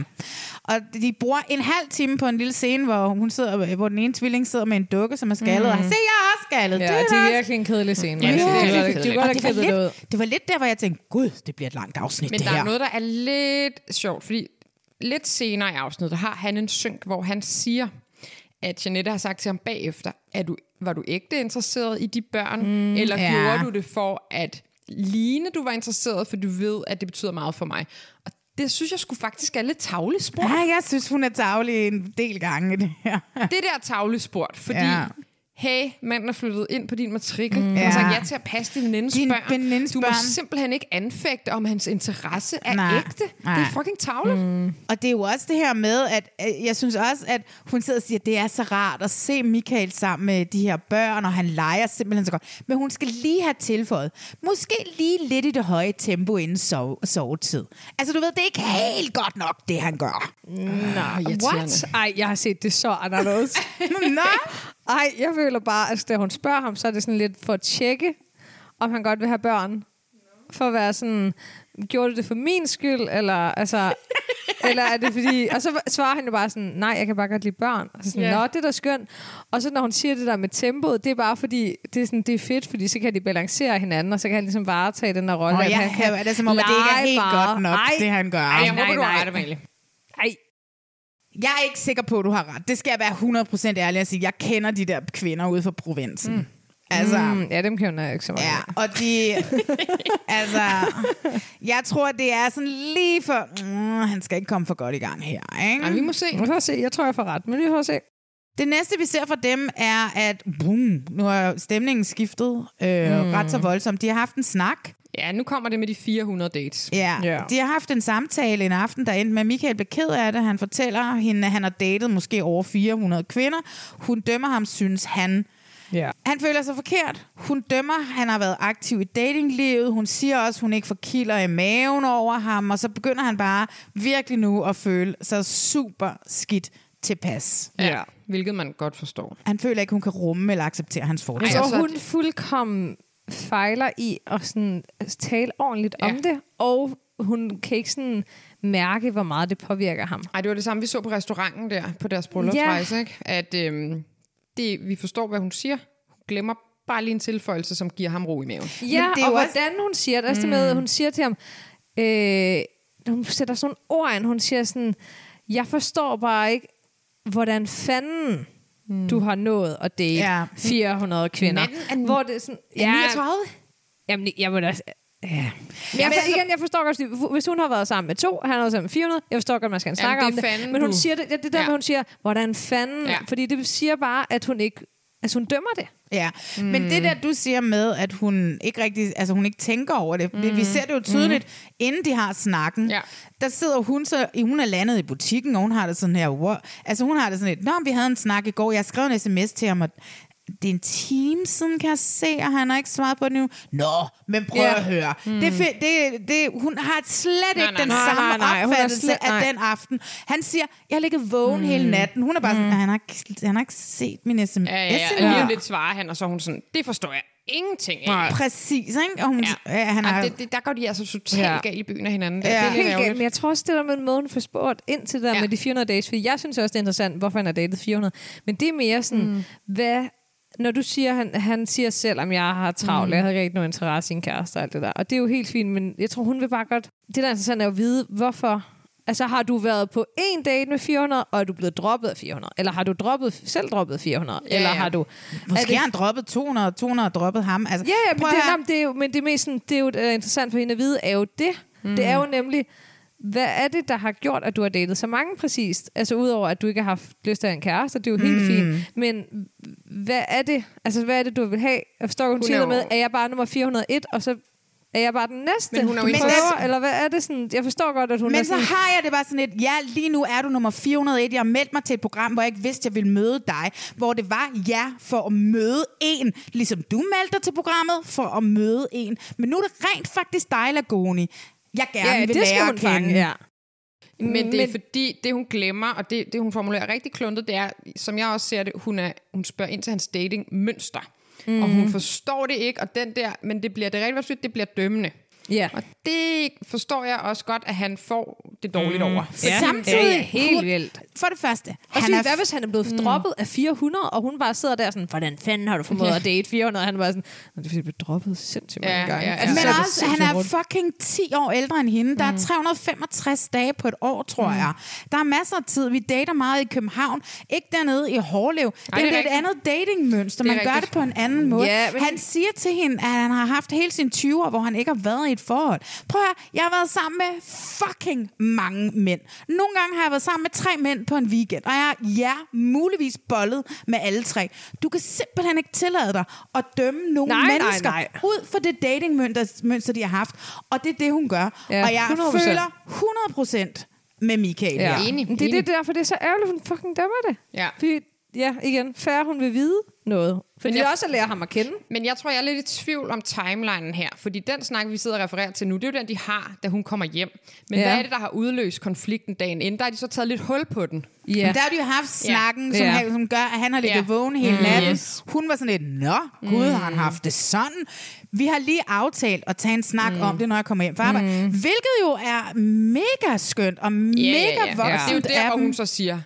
Speaker 1: Ja. Og de bruger en halv time på en lille scene, hvor, hun sidder, hvor den ene tvilling sidder med en dukke, som er skaldet. Mm. Og
Speaker 2: Mhm.
Speaker 1: se, jeg er også skaldet.
Speaker 3: Ja,
Speaker 1: er
Speaker 3: det er
Speaker 1: også-
Speaker 3: virkelig en kedelig scene.
Speaker 2: Ja,
Speaker 3: Ja,
Speaker 2: det
Speaker 3: det,
Speaker 2: er virkelig
Speaker 3: var-
Speaker 2: kedeligt.
Speaker 3: de
Speaker 1: Og
Speaker 3: var
Speaker 1: det,
Speaker 3: da
Speaker 1: var
Speaker 3: klippet det ud.
Speaker 1: lidt, det var lidt der, hvor jeg tænkte, gud, det bliver et langt afsnit,
Speaker 2: Men
Speaker 1: det
Speaker 2: der
Speaker 1: her.
Speaker 2: er noget, der er lidt sjovt, fordi lidt senere i afsnittet har han en synk, hvor han siger, at Janette har sagt til ham bagefter, at du, var du ægte interesseret i de børn, mm, eller
Speaker 1: ja.
Speaker 2: gjorde du det for at Line, du var interesseret, for du ved, at det betyder meget for mig. Og det synes jeg skulle faktisk er lidt tavlesport.
Speaker 1: Ja, jeg synes, hun er tavlig en del gange. i Det her.
Speaker 2: det der tavlesport, fordi...
Speaker 1: Ja.
Speaker 2: Ja. Hey, manden er flyttet ind på din matrikel mm.
Speaker 1: Ja.
Speaker 2: og sagt ja til at passe din venindes
Speaker 1: Din
Speaker 2: børn.
Speaker 1: venindes
Speaker 2: Du må
Speaker 1: børn.
Speaker 2: simpelthen ikke anfægte, om hans interesse er
Speaker 1: Nej.
Speaker 2: ægte. Det
Speaker 1: Nej.
Speaker 2: er fucking tavlet. Mm.
Speaker 1: Og det er jo også det her med, at øh, jeg synes også, at hun sidder og siger, at det er så rart at se Michael sammen med de her børn, og han leger simpelthen så godt. Men hun skal lige have tilføjet. Måske lige lidt i det høje tempo inden sove- sovetid. Altså du ved, det er ikke helt godt nok, det han
Speaker 2: [laughs]
Speaker 1: gør.
Speaker 3: What? Ej, jeg har set det så anderledes.
Speaker 1: Nå,
Speaker 3: Ej, jeg føler bare, at da hun spørger ham, så er det sådan lidt for at tjekke, om han godt vil have børn. For at være sådan, gjorde du det for min skyld, eller
Speaker 2: [laughs]
Speaker 3: altså... eller er det fordi... Og så svarer han jo bare sådan, nej, jeg kan bare godt lide børn. Og så sådan, nå, det er da skønt. Og så når hun siger det der med tempoet, det er bare fordi, det er, sådan, det er fedt, fordi så kan de balancere hinanden, og så kan han ligesom varetage den der rolle.
Speaker 1: Og
Speaker 3: at
Speaker 1: jeg
Speaker 3: han
Speaker 1: kan, er det som om, at det ikke er
Speaker 3: lege
Speaker 1: helt
Speaker 3: bare.
Speaker 1: godt nok,
Speaker 3: Ej,
Speaker 1: det han gør.
Speaker 2: Ej, jeg håber,
Speaker 3: nej,
Speaker 2: du har
Speaker 3: nej.
Speaker 2: ret, Amalie.
Speaker 3: ej,
Speaker 1: Jeg er ikke sikker på, at du har ret. Det skal jeg være 100% ærlig at sige. Jeg kender de der kvinder ude fra provinsen. Mm. Altså, mm.
Speaker 3: mm, ja, dem kender jeg ikke så meget.
Speaker 1: Ja, og [laughs] de... altså, jeg tror, det er sådan lige for... Mm, han skal ikke komme for godt i gang her, ikke?
Speaker 2: Ej, vi må se.
Speaker 3: Vi får se. Jeg tror, jeg får ret, men vi får se.
Speaker 1: Det næste, vi ser fra dem, er, at boom, nu har stemningen skiftet øh, mm. ret så voldsomt. De har haft en snak.
Speaker 2: Ja, nu kommer det med de 400 dates.
Speaker 1: Ja.
Speaker 3: Ja.
Speaker 1: De har haft en samtale en aften, der endte med, at Michael blev ked af det. Han fortæller hende, at han har datet måske over 400 kvinder. Hun dømmer ham, synes han.
Speaker 3: Ja.
Speaker 1: Han føler sig forkert. Hun dømmer, han har været aktiv i datinglivet. Hun siger også, hun ikke får kilder i maven over ham. Og så begynder han bare virkelig nu at føle sig super skidt tilpas.
Speaker 2: Ja. Hvilket man godt forstår.
Speaker 1: Han føler ikke, hun kan rumme eller acceptere hans fortid.
Speaker 3: Jeg
Speaker 2: Ej,
Speaker 3: tror,
Speaker 2: altså-
Speaker 3: hun fuldkommen fejler i at sådan altså, tale ordentligt ja. om det, og hun kan ikke sådan mærke, hvor meget det påvirker ham.
Speaker 2: Ej, det var det samme, vi så på restauranten der, på deres bryllupsrejse, ikke? At øhm, det, vi forstår, hvad hun siger. Hun glemmer bare lige en tilføjelse, som giver ham ro i maven.
Speaker 3: Ja,
Speaker 1: Men det
Speaker 3: det
Speaker 1: er
Speaker 3: og
Speaker 1: jo også-
Speaker 3: hvordan hun siger det. Også Mm. det med, at hun siger til ham, øh, hun sætter sådan nogle ord ind, hun siger sådan, jeg forstår bare ikke, hvordan fanden mm. du har nået at date
Speaker 1: Ja.
Speaker 3: ja. 400 kvinder.
Speaker 2: Manden er-
Speaker 3: hvor det er sådan,
Speaker 2: Ja. 39?
Speaker 3: Jamen, jeg må da... Ja. Men jeg, for, igen, jeg forstår godt, fordi hvis hun har været sammen med to, han har været sammen med 400, jeg forstår godt, man skal snakke
Speaker 2: det
Speaker 3: om
Speaker 2: er
Speaker 3: det.
Speaker 2: fanden,
Speaker 3: men hun
Speaker 2: du.
Speaker 3: siger det, ja, det der,
Speaker 2: Ja.
Speaker 3: ja. hun siger, hvordan fanden... Ja.
Speaker 2: Ja.
Speaker 3: Fordi det siger bare, at hun ikke... Altså, hun dømmer det.
Speaker 1: Ja, mm. men det der, du siger med, at hun ikke rigtig, altså hun ikke tænker over det, mm. vi ser det jo tydeligt, mm. inden de har snakken,
Speaker 2: Ja.
Speaker 1: der sidder hun så, hun er landet i butikken, og hun har det sådan her, wow. altså hun har det sådan lidt, nå, men vi havde en snak i går, jeg skrev en sms til ham, og det er en time siden, kan jeg se, og han har ikke svaret på det nu. Nå, men prøv
Speaker 3: Ja.
Speaker 1: at høre. Mm. Det, fe- det, det, hun har slet ikke
Speaker 2: nej,
Speaker 1: den
Speaker 2: nej.
Speaker 1: samme
Speaker 3: Nej, nej, nej. Hun er
Speaker 1: opfattelse
Speaker 3: slet-
Speaker 1: af
Speaker 3: nej.
Speaker 1: den aften. Han siger, jeg har ligget vågen mm. hele natten. Hun er bare sådan, han har, ikke- han har ikke set min sms.
Speaker 2: Ja, ja, ja. Og lige om lidt svarer han, og så er hun sådan, det forstår jeg ingenting af. Nej.
Speaker 1: Præcis, ikke? Og hun, ja. Ja, han har,
Speaker 2: Ej, det, det, der går de altså totalt
Speaker 3: Ja.
Speaker 2: ja. galt i byen af hinanden.
Speaker 1: Ja.
Speaker 2: Ja. Det er
Speaker 3: helt
Speaker 2: lidt
Speaker 3: galt, men
Speaker 2: ærgerligt.
Speaker 3: jeg tror også, det der med måden for sport ind til det der ja.
Speaker 2: Ja.
Speaker 3: med de 400 days, for jeg synes også, det er interessant, hvorfor han har datet 400. Men det er mere sådan, mm. hvad, når du siger, han, han siger selv, om jeg har travlt, mm. jeg havde ikke nogen interesse i en kæreste og alt det der. Og det er jo helt fint, men jeg tror, hun vil bare godt... Det der er interessant er jo at vide, hvorfor... Altså har du været på en date med 400, og er du blevet droppet af 400? Eller har du droppet, selv droppet 400? Ja, eller
Speaker 2: ja.
Speaker 3: har du... er
Speaker 1: måske
Speaker 3: det
Speaker 1: har han droppet 200, og 200 har droppet ham. Altså,
Speaker 3: Ja, ja men,
Speaker 1: prøv
Speaker 3: det,
Speaker 1: at høre.
Speaker 3: jamen, det er jo, men det er mest sådan, det er jo øh, interessant for hende at vide, er jo det. Mm. Det er jo nemlig, hvad er det, der har gjort, at du har datet så mange præcist? Altså udover, at du ikke har haft lyst til at have en kæreste, det er jo helt fint. Men hvad er det, altså, hvad er det du vil have? Jeg forstår, hun, hun
Speaker 2: er
Speaker 3: siger
Speaker 2: jo-
Speaker 3: det med, er jeg bare nummer 401, og så er jeg bare den næste?
Speaker 2: Men hun er jo
Speaker 3: du
Speaker 2: ikke-
Speaker 3: prøver, eller hvad er det sådan? Jeg forstår godt, at hun er
Speaker 1: Men så
Speaker 3: sådan...
Speaker 1: har jeg det bare sådan lidt, ja, lige nu er du nummer 401. Jeg har meldt mig til et program, hvor jeg ikke vidste, jeg ville møde dig. Hvor det var ja for at møde en, ligesom du meldte dig til programmet, for at møde en. Men nu er det rent faktisk dig, Lagoni. Jeg gerne
Speaker 3: ja,
Speaker 1: vil
Speaker 3: det skal
Speaker 1: lære
Speaker 3: hun
Speaker 1: at kende.
Speaker 3: fange, ja.
Speaker 2: Men det er fordi, det hun glemmer, og det, det hun formulerer rigtig kluntet, det er, som jeg også ser det, hun, er, hun spørger ind til hans datingmønster. Mm. Og hun forstår det ikke, og den der, men det bliver det er rigtig, hvad du siger, det bliver dømmende.
Speaker 3: Ja.
Speaker 2: Og det forstår jeg også godt, at han får det dårligt mm. over.
Speaker 1: Men
Speaker 2: Fordi-
Speaker 1: samtidig...
Speaker 3: Ja, helt
Speaker 1: kunne-
Speaker 3: vildt.
Speaker 1: For det første...
Speaker 3: Og
Speaker 1: han
Speaker 3: så
Speaker 1: er
Speaker 3: hvad hvis han er blevet mm. droppet af 400, og hun bare sidder der sådan, hvordan fanden har du formået at date 400? Og han var sådan, "Nå, det er fordi, jeg blev droppet sindssygt mange
Speaker 2: Ja,
Speaker 3: gange. Altså,
Speaker 2: ja,
Speaker 1: Men
Speaker 2: ja.
Speaker 3: så er det
Speaker 1: også, han
Speaker 3: sindssygt
Speaker 1: er
Speaker 3: hårdt.
Speaker 1: fucking 10 år ældre end hende. Der
Speaker 2: Mm.
Speaker 1: er 365 dage på et år, tror jeg. Der er masser af tid. Vi dater meget i København. Ikke dernede i Hårlev.
Speaker 2: det
Speaker 1: det
Speaker 2: er
Speaker 1: er, et andet datingmønster.
Speaker 2: Det er
Speaker 1: Man gør det
Speaker 2: rigtigt.
Speaker 1: på en anden måde.
Speaker 3: Ja, men-
Speaker 1: Han siger til hende, at han har haft hele sine 20 år, hvor han ikke har været i et forhold. Prøv at høre, jeg har været sammen med fucking mange mænd. Nogle gange har jeg været sammen med tre mænd på en weekend, og jeg har ja, muligvis bollet med alle tre. Du kan simpelthen ikke tillade dig at dømme nogen
Speaker 3: Nej, nej,
Speaker 1: mennesker
Speaker 3: nej.
Speaker 1: ud for det datingmønster, mønster, de har haft. Og det er det, hun gør.
Speaker 3: Ja,
Speaker 1: Ja, og jeg
Speaker 3: 100%.
Speaker 1: 100%. føler 100 procent med Michael.
Speaker 3: Ja.
Speaker 1: Ja.
Speaker 2: Enig,
Speaker 3: Men Det er
Speaker 2: enig.
Speaker 3: det derfor, det er så ærgerligt, hun fucking dømmer det.
Speaker 2: Ja.
Speaker 3: Fordi, ja, igen, færre hun vil vide noget. Fordi
Speaker 2: jeg-
Speaker 3: jeg... også at lære ham at kende.
Speaker 2: Men jeg tror, jeg er lidt i tvivl om timelinen her, fordi den snak, vi sidder og refererer til nu, det er jo den, de har, da hun kommer hjem. Men
Speaker 3: Ja.
Speaker 2: ja. hvad er det, der har udløst konflikten dagen inden? Der har de så taget lidt hul på den.
Speaker 3: Ja.
Speaker 1: Men der har de jo haft snakken, som,
Speaker 3: Ja.
Speaker 1: han, som gør, at han har ligget
Speaker 2: Ja.
Speaker 1: ja. vågen hele natten.
Speaker 2: Yes.
Speaker 1: Hun var sådan lidt, nå, gud, har han haft det sådan? Vi har lige aftalt at tage en snak om det, når jeg kommer hjem fra arbejde. Hvilket jo er mega skønt og mega
Speaker 2: Og Det er jo
Speaker 1: voksent
Speaker 2: der,
Speaker 1: af
Speaker 2: hvor
Speaker 1: dem.
Speaker 2: hun så siger,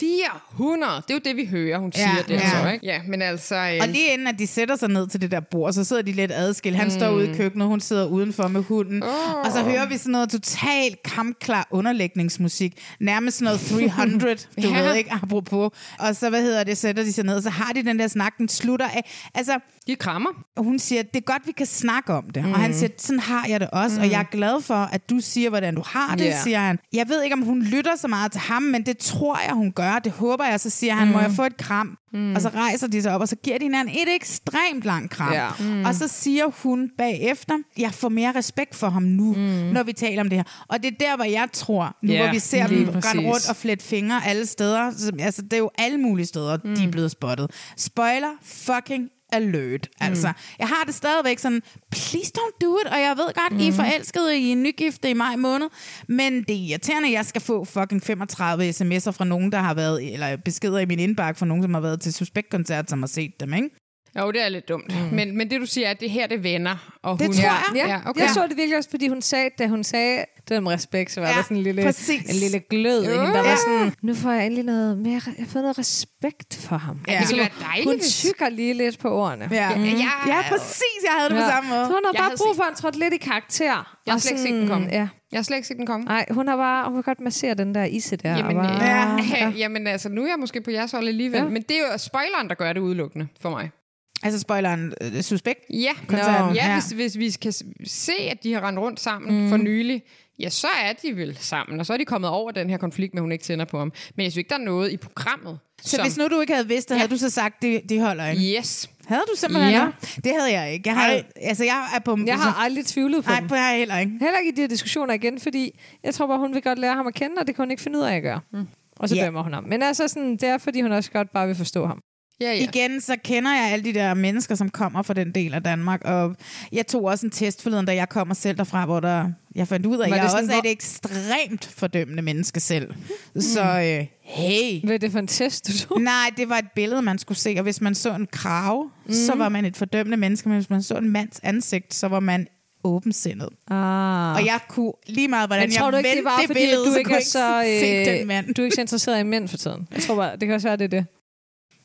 Speaker 2: 400, det er jo det, vi hører, hun
Speaker 1: Ja,
Speaker 2: siger det.
Speaker 1: ja.
Speaker 2: Så, ikke? ja, men altså... Øh,
Speaker 1: Og lige inden, at de sætter sig ned til det der bord, så sidder de lidt adskilt. Han mm. står ude i køkkenet, hun sidder udenfor med hunden. Oh. Og så hører vi sådan noget totalt kampklar underlægningsmusik. Nærmest sådan noget 300, du
Speaker 2: Ja.
Speaker 1: ved ikke, apropos. Og så, hvad hedder det, sætter de sig ned, og så har de den der snak, den slutter af. Altså,
Speaker 2: de krammer.
Speaker 1: og hun siger, det er godt, vi kan snakke om det. Mm. Og han siger, sådan har jeg det også, mm. og jeg er glad for, at du siger, hvordan du har det,
Speaker 2: Ja.
Speaker 1: yeah. siger han. Jeg ved ikke, om hun lytter så meget til ham, men det tror jeg, hun gør. Det håber jeg, så siger han, må jeg få et kram? Mm. Og så rejser de sig op, og så giver de hinanden et ekstremt langt kram.
Speaker 3: Ja.
Speaker 1: Mm. Og så siger hun bagefter, jeg får mere respekt for ham nu, mm. når vi taler om det her. Og det er der, hvor jeg tror, nu
Speaker 3: Ja,
Speaker 1: yeah. hvor vi ser
Speaker 3: lige
Speaker 1: dem
Speaker 3: præcis.
Speaker 1: rende rundt og flette fingre alle steder. Så- Altså, det er jo alle mulige steder, mm. de er blevet spottet. Spoiler fucking alert. Altså, jeg har det stadigvæk sådan, please don't do it, og jeg ved godt, mm. I er forelskede i en nygifte i maj måned, men det er irriterende, at jeg skal få fucking 35 sms'er fra nogen, der har været, eller beskeder i min indbakke fra nogen, som har været til suspektkoncert, som har set dem, ikke?
Speaker 2: Jo, det er lidt dumt. Mm. Men, men det, du siger, er, at det her, det vender. Og
Speaker 1: Det
Speaker 2: hun,
Speaker 1: tror jeg.
Speaker 2: Ja, ja, okay.
Speaker 3: Jeg så det virkelig også, fordi hun sagde, da hun sagde det om respekt, så var ja,
Speaker 1: Ja,
Speaker 3: der sådan en lille,
Speaker 1: præcis.
Speaker 3: en lille glød i hende, der
Speaker 1: Ja.
Speaker 3: var sådan, nu får jeg endelig noget mere, jeg har fået noget respekt for ham.
Speaker 1: Ja.
Speaker 2: Det ville være dejligt,
Speaker 3: Hun
Speaker 2: hvis-
Speaker 3: tykker lige lidt på ordene.
Speaker 1: Ja, mm.
Speaker 2: ja.
Speaker 1: ja, ja præcis, jeg havde det ja. på samme
Speaker 3: Så
Speaker 1: måde.
Speaker 3: hun har
Speaker 2: Jeg
Speaker 3: bare
Speaker 2: havde
Speaker 3: brug
Speaker 2: set-
Speaker 3: for, at han trådte lidt i karakter.
Speaker 2: Jeg har
Speaker 3: Og
Speaker 2: slet ikke set
Speaker 3: sådan-
Speaker 2: den komme.
Speaker 3: Ja.
Speaker 2: Jeg har slet ikke set den komme.
Speaker 3: Nej, hun har bare, hun kan godt massere den der isse der.
Speaker 2: Jamen, øh,
Speaker 3: og bare,
Speaker 2: ja.
Speaker 1: Ja.
Speaker 2: [laughs] Ja. jamen altså, nu er jeg måske på jeres hold alligevel.
Speaker 3: Ja.
Speaker 2: Ja. Men det er jo spoileren, der gør det udelukkende for mig.
Speaker 1: Altså, spoileren, øh, suspekt.
Speaker 2: Ja,
Speaker 1: Koncerten.
Speaker 2: ja,
Speaker 1: Ja.
Speaker 2: Hvis, hvis vi kan s- se, at de har rendt rundt sammen mm. for nylig, ja, så er de vel sammen, og så er de kommet over den her konflikt med, at hun ikke tænder på ham. Men jeg synes ikke, der er noget i programmet,
Speaker 1: Så hvis nu du ikke havde vidst det, havde du så sagt, det, det holder ikke?
Speaker 2: Yes.
Speaker 1: Havde du simpelthen
Speaker 2: Ja.
Speaker 1: ja. Det havde jeg ikke. Jeg, har, altså, jeg er på...
Speaker 3: Jeg har aldrig tvivlet på
Speaker 1: Nej,
Speaker 3: dem.
Speaker 1: på jeg heller ikke.
Speaker 3: Heller ikke i de her diskussioner igen, fordi jeg tror bare, hun vil godt lære ham at kende, og det kan hun ikke finde ud af at gøre. Mm. Og så
Speaker 1: Ja.
Speaker 3: dømmer hun ham. Men altså sådan, det er, fordi hun også godt bare vil forstå ham.
Speaker 2: Ja, ja.
Speaker 1: Igen, så kender jeg alle de der mennesker, som kommer fra den del af Danmark, og jeg tog også en test forleden, da jeg kommer selv derfra, hvor der, jeg fandt ud af, at
Speaker 3: Var
Speaker 1: jeg
Speaker 3: det
Speaker 1: også
Speaker 3: sådan,
Speaker 1: er
Speaker 3: hvor- Mm.
Speaker 1: et ekstremt fordømmende menneske selv. Så øh, hey,
Speaker 3: Hvad er det for en test, du tog?
Speaker 1: Nej, det var et billede, man skulle se, og hvis man så en krave, mm.
Speaker 3: Mhm.
Speaker 1: så var man et fordømmende menneske, men hvis man så en mands ansigt, så var man åbensindet.
Speaker 3: Ah.
Speaker 1: Og jeg kunne lige meget, hvordan
Speaker 3: Men
Speaker 1: jeg
Speaker 3: tror du ikke, det
Speaker 1: vendte
Speaker 3: var, fordi
Speaker 1: billede,
Speaker 3: at du
Speaker 1: så
Speaker 3: ikke
Speaker 1: kunne
Speaker 3: er
Speaker 1: jeg
Speaker 3: så,
Speaker 1: se
Speaker 3: øh,
Speaker 1: den mand.
Speaker 3: du er ikke så interesseret i mænd for tiden? Jeg tror bare, det kan også være, det
Speaker 1: [laughs]
Speaker 3: er det.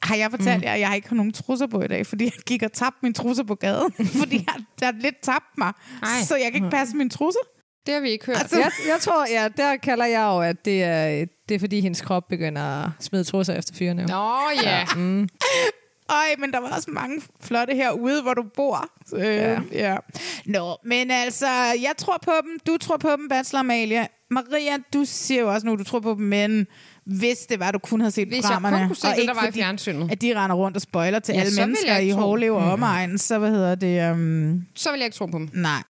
Speaker 1: Har jeg
Speaker 3: Mm.
Speaker 1: fortalt jer, at jeg ikke har nogen trusser på i dag, fordi jeg gik og tabte mine trusser på gaden, [laughs] fordi jeg, jeg har lidt tabt mig,
Speaker 2: Ej.
Speaker 1: Ej. så jeg kan
Speaker 3: Mm.
Speaker 1: ikke passe mine trusser.
Speaker 2: Det har vi ikke hørt.
Speaker 1: Altså,
Speaker 3: Jeg, jeg tror, ja, der kalder jeg jo, at det er, det er fordi, hendes krop begynder at smide trusser efter fyrene. No.
Speaker 2: Nå ja,
Speaker 1: Øj, men der var også mange flotte herude, hvor du bor. Øh, ja. ja. Nå, men altså, jeg tror på dem. Du tror på dem, Bachelor Amalie. Maria, du siger jo også nu, du tror på dem, men hvis det var, du kun havde set
Speaker 2: Hvis jeg
Speaker 1: programmerne,
Speaker 2: kun kunne se
Speaker 1: og
Speaker 2: det,
Speaker 1: ikke
Speaker 2: der var i
Speaker 1: fordi,
Speaker 2: fjernsynet.
Speaker 1: at de render rundt og spoiler til
Speaker 2: Ja,
Speaker 1: ja, alle
Speaker 2: så ville
Speaker 1: mennesker
Speaker 2: jeg
Speaker 1: i
Speaker 2: tro. Mm.
Speaker 1: Hårlev og omegn, så hvad hedder det? Um,
Speaker 2: så vil jeg ikke tro på dem.
Speaker 1: nej.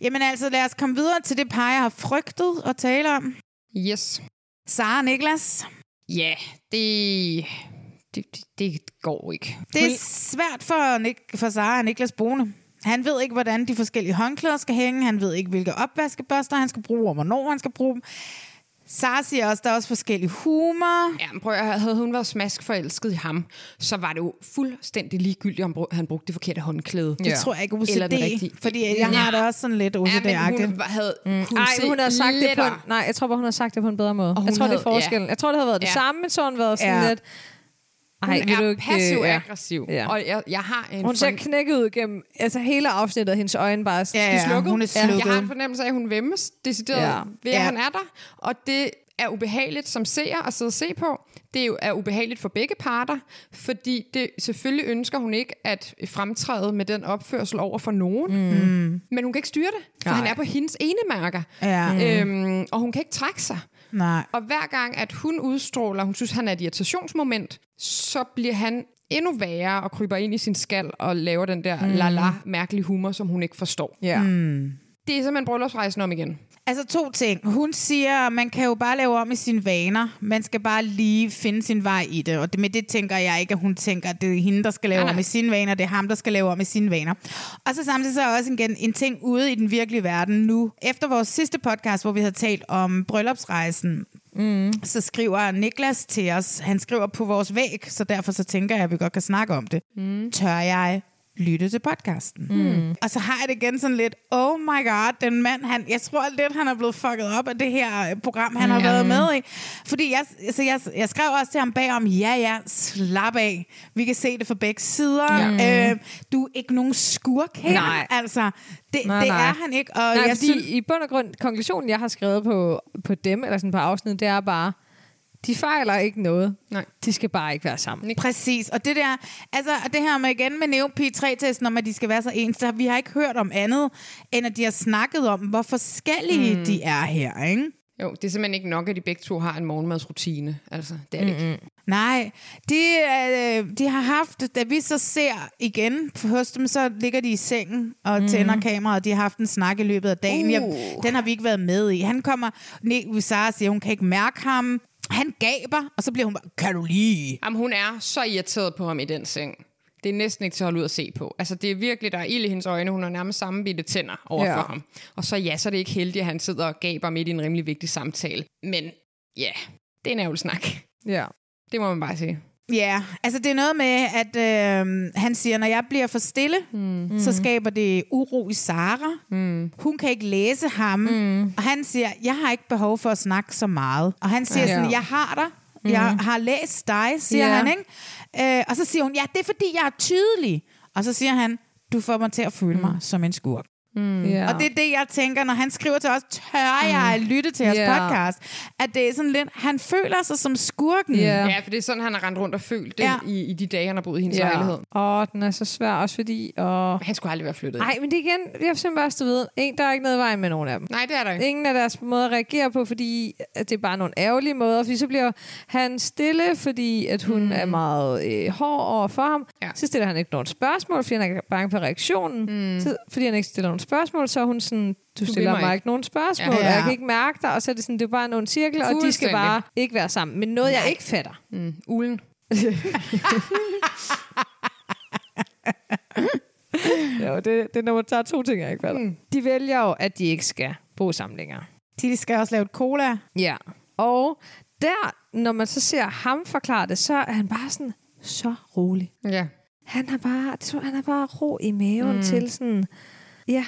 Speaker 1: Jamen altså, lad os komme videre til det par, jeg har frygtet at tale om.
Speaker 2: Yes.
Speaker 1: Sara og Niklas.
Speaker 2: Ja, det, det, det, det går ikke.
Speaker 1: Det er svært for, Nik- for Sara og Niklas Bone. Han ved ikke, hvordan de forskellige håndklæder skal hænge. Han ved ikke, hvilke opvaskebørster han skal bruge, og hvornår han skal bruge dem. Sara siger også, der er også forskellig humor.
Speaker 2: Ja, men prøv at høre, havde hun været smaskforelsket i ham, så var det jo fuldstændig ligegyldigt, om br- han brugte det forkerte håndklæde.
Speaker 1: Det tror jeg ikke OCD,
Speaker 2: Eller den rigtige.
Speaker 1: fordi jeg har det også sådan lidt OCD-agtigt.
Speaker 2: Ja, men hun var- havde... Mm. Kunne
Speaker 3: Nej,
Speaker 2: se
Speaker 3: hun har sagt det på en,
Speaker 2: lettere.
Speaker 3: Nej, jeg tror bare, hun har sagt det på en bedre måde.
Speaker 2: hun
Speaker 3: Jeg tror, det er
Speaker 2: havde- ja.
Speaker 3: forskellen. Jeg tror, det havde været det
Speaker 2: Ja.
Speaker 3: samme, men så har hun været sådan
Speaker 1: Ja.
Speaker 3: lidt... Ej,
Speaker 2: Hun
Speaker 3: vil du
Speaker 2: er
Speaker 3: ikke, øh, ja.
Speaker 2: passiv-aggressiv.
Speaker 3: Ja.
Speaker 2: Og jeg, jeg har en
Speaker 3: Hun ser knækket ud gennem altså hele afsnittet, og hendes øjne bare
Speaker 1: Ja, ja,
Speaker 3: slukket.
Speaker 1: hun er
Speaker 2: Jeg har en
Speaker 1: slukket.
Speaker 2: fornemmelse af, at hun vemmes decideret ja.
Speaker 3: Ja.
Speaker 2: ved, at ja.
Speaker 1: Ja.
Speaker 2: han er der. Og det er ubehageligt som seer at sidde og se på. Det er jo er ubehageligt for begge parter, fordi det, selvfølgelig ønsker hun ikke at fremtræde med den opførsel over for nogen. Mm. Men hun kan ikke styre det, for Nej. han er på hendes enemærker.
Speaker 1: Ja.
Speaker 3: Mm.
Speaker 2: Øhm, og hun kan ikke trække sig.
Speaker 1: Nej.
Speaker 2: Og hver gang, at hun udstråler, hun synes, han er et irritationsmoment, så bliver han endnu værre og kryber ind i sin skal og laver den der mm. la mærkelige humor, som hun ikke forstår.
Speaker 3: Ja. Mm.
Speaker 2: Det er simpelthen bryllupsrejsen om igen.
Speaker 1: Altså to ting. Hun siger, man kan jo bare lave om i sine vaner. Man skal bare lige finde sin vej i det. Og det, med det tænker jeg ikke, at hun tænker, at det er hende, der skal lave
Speaker 2: Nej, nej.
Speaker 1: om i sine vaner. Det er ham, der skal lave om i sine vaner. Og så samtidig så er også igen en ting ude i den virkelige verden nu. Efter vores sidste podcast, hvor vi havde talt om bryllupsrejsen, så
Speaker 3: Mm-hmm.
Speaker 1: skriver Niklas til os, han skriver på vores væg, så derfor så tænker jeg, at vi godt kan snakke om det. Mm. Tør jeg lytte til podcasten? Mm. Og så har jeg det igen sådan lidt, oh my god, den mand, han, jeg tror lidt, han er blevet fucket op af det her øh, program, han har
Speaker 3: Mm,
Speaker 1: været med i. Fordi jeg, altså jeg, jeg skrev også til ham bagom, ja ja, slap af. Vi kan se det fra begge sider. Ja. Øh, du er ikke nogen skurk her.
Speaker 3: Nej.
Speaker 1: Altså, det,
Speaker 3: Nej,
Speaker 1: det
Speaker 3: nej.
Speaker 1: er han ikke. Og
Speaker 3: Nej,
Speaker 1: jeg
Speaker 3: fordi
Speaker 1: synes,
Speaker 3: i bund og grund, konklusionen, jeg har skrevet på, på dem, eller sådan på afsnittet, det er bare, de fejler ikke noget.
Speaker 2: Nej.
Speaker 3: De skal bare ikke være sammen.
Speaker 1: Præcis, og det der, altså og det her med igen med NeoP3-testen, om at de skal være så ens, så vi har ikke hørt om andet, end at de har snakket om, hvor forskellige mm. de er her, ikke?
Speaker 2: Jo, det er simpelthen ikke nok, at de begge to har en morgenmadsrutine. Altså, det er det ikke.
Speaker 1: Nej, de, øh, de har haft, da vi så ser igen hos dem, så ligger de i sengen og mm. tænder kameraet, og de har haft en snak i løbet af dagen. Uh. Jeg, den har vi ikke været med i. Han kommer, nej, Sara siger, hun kan ikke mærke ham. Han gaber, og så bliver hun bare, kan du lige?
Speaker 2: Jamen, hun er så irriteret på ham i den seng. Det er næsten ikke til at holde ud at se på. Altså, det er virkelig, der er ild i hendes øjne. Hun har nærmest sammenbidte tænder over ja.
Speaker 3: Ja.
Speaker 2: for ham. Og så ja, så er det ikke heldigt, at han sidder og gaber midt i en rimelig vigtig samtale. Men ja, det er en ærgerlig snak.
Speaker 3: Ja.
Speaker 2: Det må man bare sige.
Speaker 1: Ja, yeah. altså det er noget med, at øh, han siger, når jeg bliver for stille, mm. så skaber det uro i Sara. Mm. Hun kan ikke læse ham. Mm. Og han siger, jeg har ikke behov for at snakke så meget. Og han siger
Speaker 3: Ja.
Speaker 1: sådan, jeg har dig. Mm. Jeg har læst dig, siger
Speaker 3: Ja.
Speaker 1: yeah. han. Ikke? Øh, og så siger hun, ja, det er fordi, jeg er tydelig. Og så siger han, du får mig til at føle mig som en skurk.
Speaker 3: Mm. ja.
Speaker 1: Og det er det, jeg tænker, når han skriver til os, tør jeg at lytte til jeres
Speaker 3: Ja.
Speaker 1: podcast? At det er sådan lidt, han føler sig som skurken.
Speaker 3: Ja.
Speaker 2: Ja, ja for det er sådan, han har rendt rundt og følt det ja.
Speaker 1: Ja.
Speaker 2: i, i de dage, han har boet i hendes ja.
Speaker 3: ja.
Speaker 2: lejlighed.
Speaker 3: Åh, den er så svær, også fordi... Åh.
Speaker 2: Han skulle aldrig være flyttet.
Speaker 3: Nej, men det er igen, jeg har simpelthen bare stået ved, en, der er ikke noget i vejen med nogen af dem.
Speaker 2: Nej det er der ikke.
Speaker 3: Ingen af deres måder at reagere på, fordi at det er bare nogle ærgerlige måder, fordi så bliver han stille, fordi at hun mm. er meget øh, hård over for ham.
Speaker 2: Ja.
Speaker 3: Ja. Så stiller han ikke nogen spørgsmål, fordi han er bange for reaktionen. Mm. Så, fordi han ikke stiller nogen spørgsmål, så er hun sådan, du stiller
Speaker 2: mig
Speaker 3: mig ikke.
Speaker 2: ikke."
Speaker 3: nogen
Speaker 1: Ja.
Speaker 3: spørgsmål, ja. og jeg kan ikke mærke dig, og så er det sådan, det er bare en ond cirkel, og de skal
Speaker 2: Fuldstændig.
Speaker 3: bare ikke være sammen. Men noget, Nej. jeg ikke fatter.
Speaker 2: Ulen.
Speaker 3: Jo, det, det er nummer, der er to ting, jeg ikke fatter. Mm. De vælger jo, at de ikke skal bo sammen længere.
Speaker 1: De skal også lave et cola.
Speaker 3: Ja. Og der, når man så ser ham forklare det, så er han bare sådan så rolig.
Speaker 2: Ja.
Speaker 3: Han har bare, det tror jeg, han har bare ro i maven mm. til sådan, ja,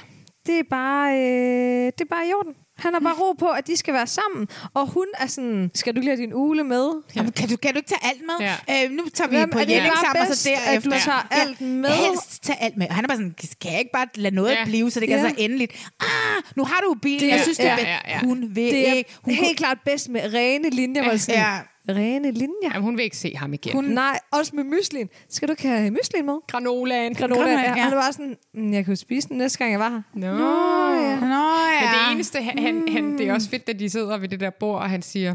Speaker 3: det er bare, øh, det er bare i orden. Han har bare ro på, at de skal være sammen. Og hun er sådan, skal du lige have din ule med?
Speaker 1: Ja. Jamen, kan, du, kan du ikke tage alt med?
Speaker 2: Ja.
Speaker 1: Øh, nu tager vi
Speaker 3: Hvem-
Speaker 1: på
Speaker 3: er det
Speaker 1: Jelling
Speaker 3: bare
Speaker 1: sammen, og
Speaker 3: bedst,
Speaker 1: så
Speaker 3: at du
Speaker 1: derefter.
Speaker 3: tager alt med?
Speaker 1: Helst tage alt med. Og Han er bare sådan, kan jeg ikke bare lade noget
Speaker 2: Ja.
Speaker 1: ja. blive, så det kan
Speaker 3: Ja.
Speaker 1: så endeligt. Ah, nu har du jo bilen,
Speaker 3: Det-
Speaker 1: jeg synes, det
Speaker 3: ja,
Speaker 1: er
Speaker 2: ja, ja.
Speaker 1: bedst. Hun vil
Speaker 3: Det er
Speaker 1: ikke. Hun
Speaker 3: helt klart bedst med rene linjer. hvor jeg Sådan,
Speaker 1: Ja.
Speaker 3: Rene linjer?
Speaker 2: Jamen, hun vil ikke se ham igen.
Speaker 3: Hun... Nej, også med myslin. Skal du ikke have myslin med?
Speaker 2: Granolaen.
Speaker 3: Granola.
Speaker 1: Granola,
Speaker 3: ja.
Speaker 1: ja.
Speaker 3: Han var sådan, "Mm, jeg kunne jo spise den næste gang, jeg var her.
Speaker 2: Nå.
Speaker 1: Nå
Speaker 2: Men det
Speaker 1: ja.
Speaker 2: eneste, han, han, han, det er også fedt, at de sidder ved det der bord, og han siger,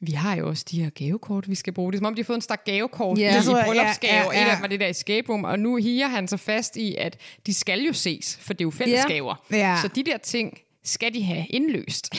Speaker 2: vi har jo også de her gavekort, vi skal bruge. Det er som om, de har fået en stak gavekort
Speaker 3: Ja.
Speaker 2: yeah. i,
Speaker 3: Det
Speaker 1: tror
Speaker 2: i
Speaker 1: jeg, ja,
Speaker 2: bryllupsgave, ja,
Speaker 1: ja,
Speaker 2: ja, ja. og et
Speaker 1: ja.
Speaker 2: af dem var det der escape room, og nu higer han så fast i, at de skal jo ses, for det er jo fællesskaber.
Speaker 1: Ja. Ja.
Speaker 2: Så de der ting skal de have indløst.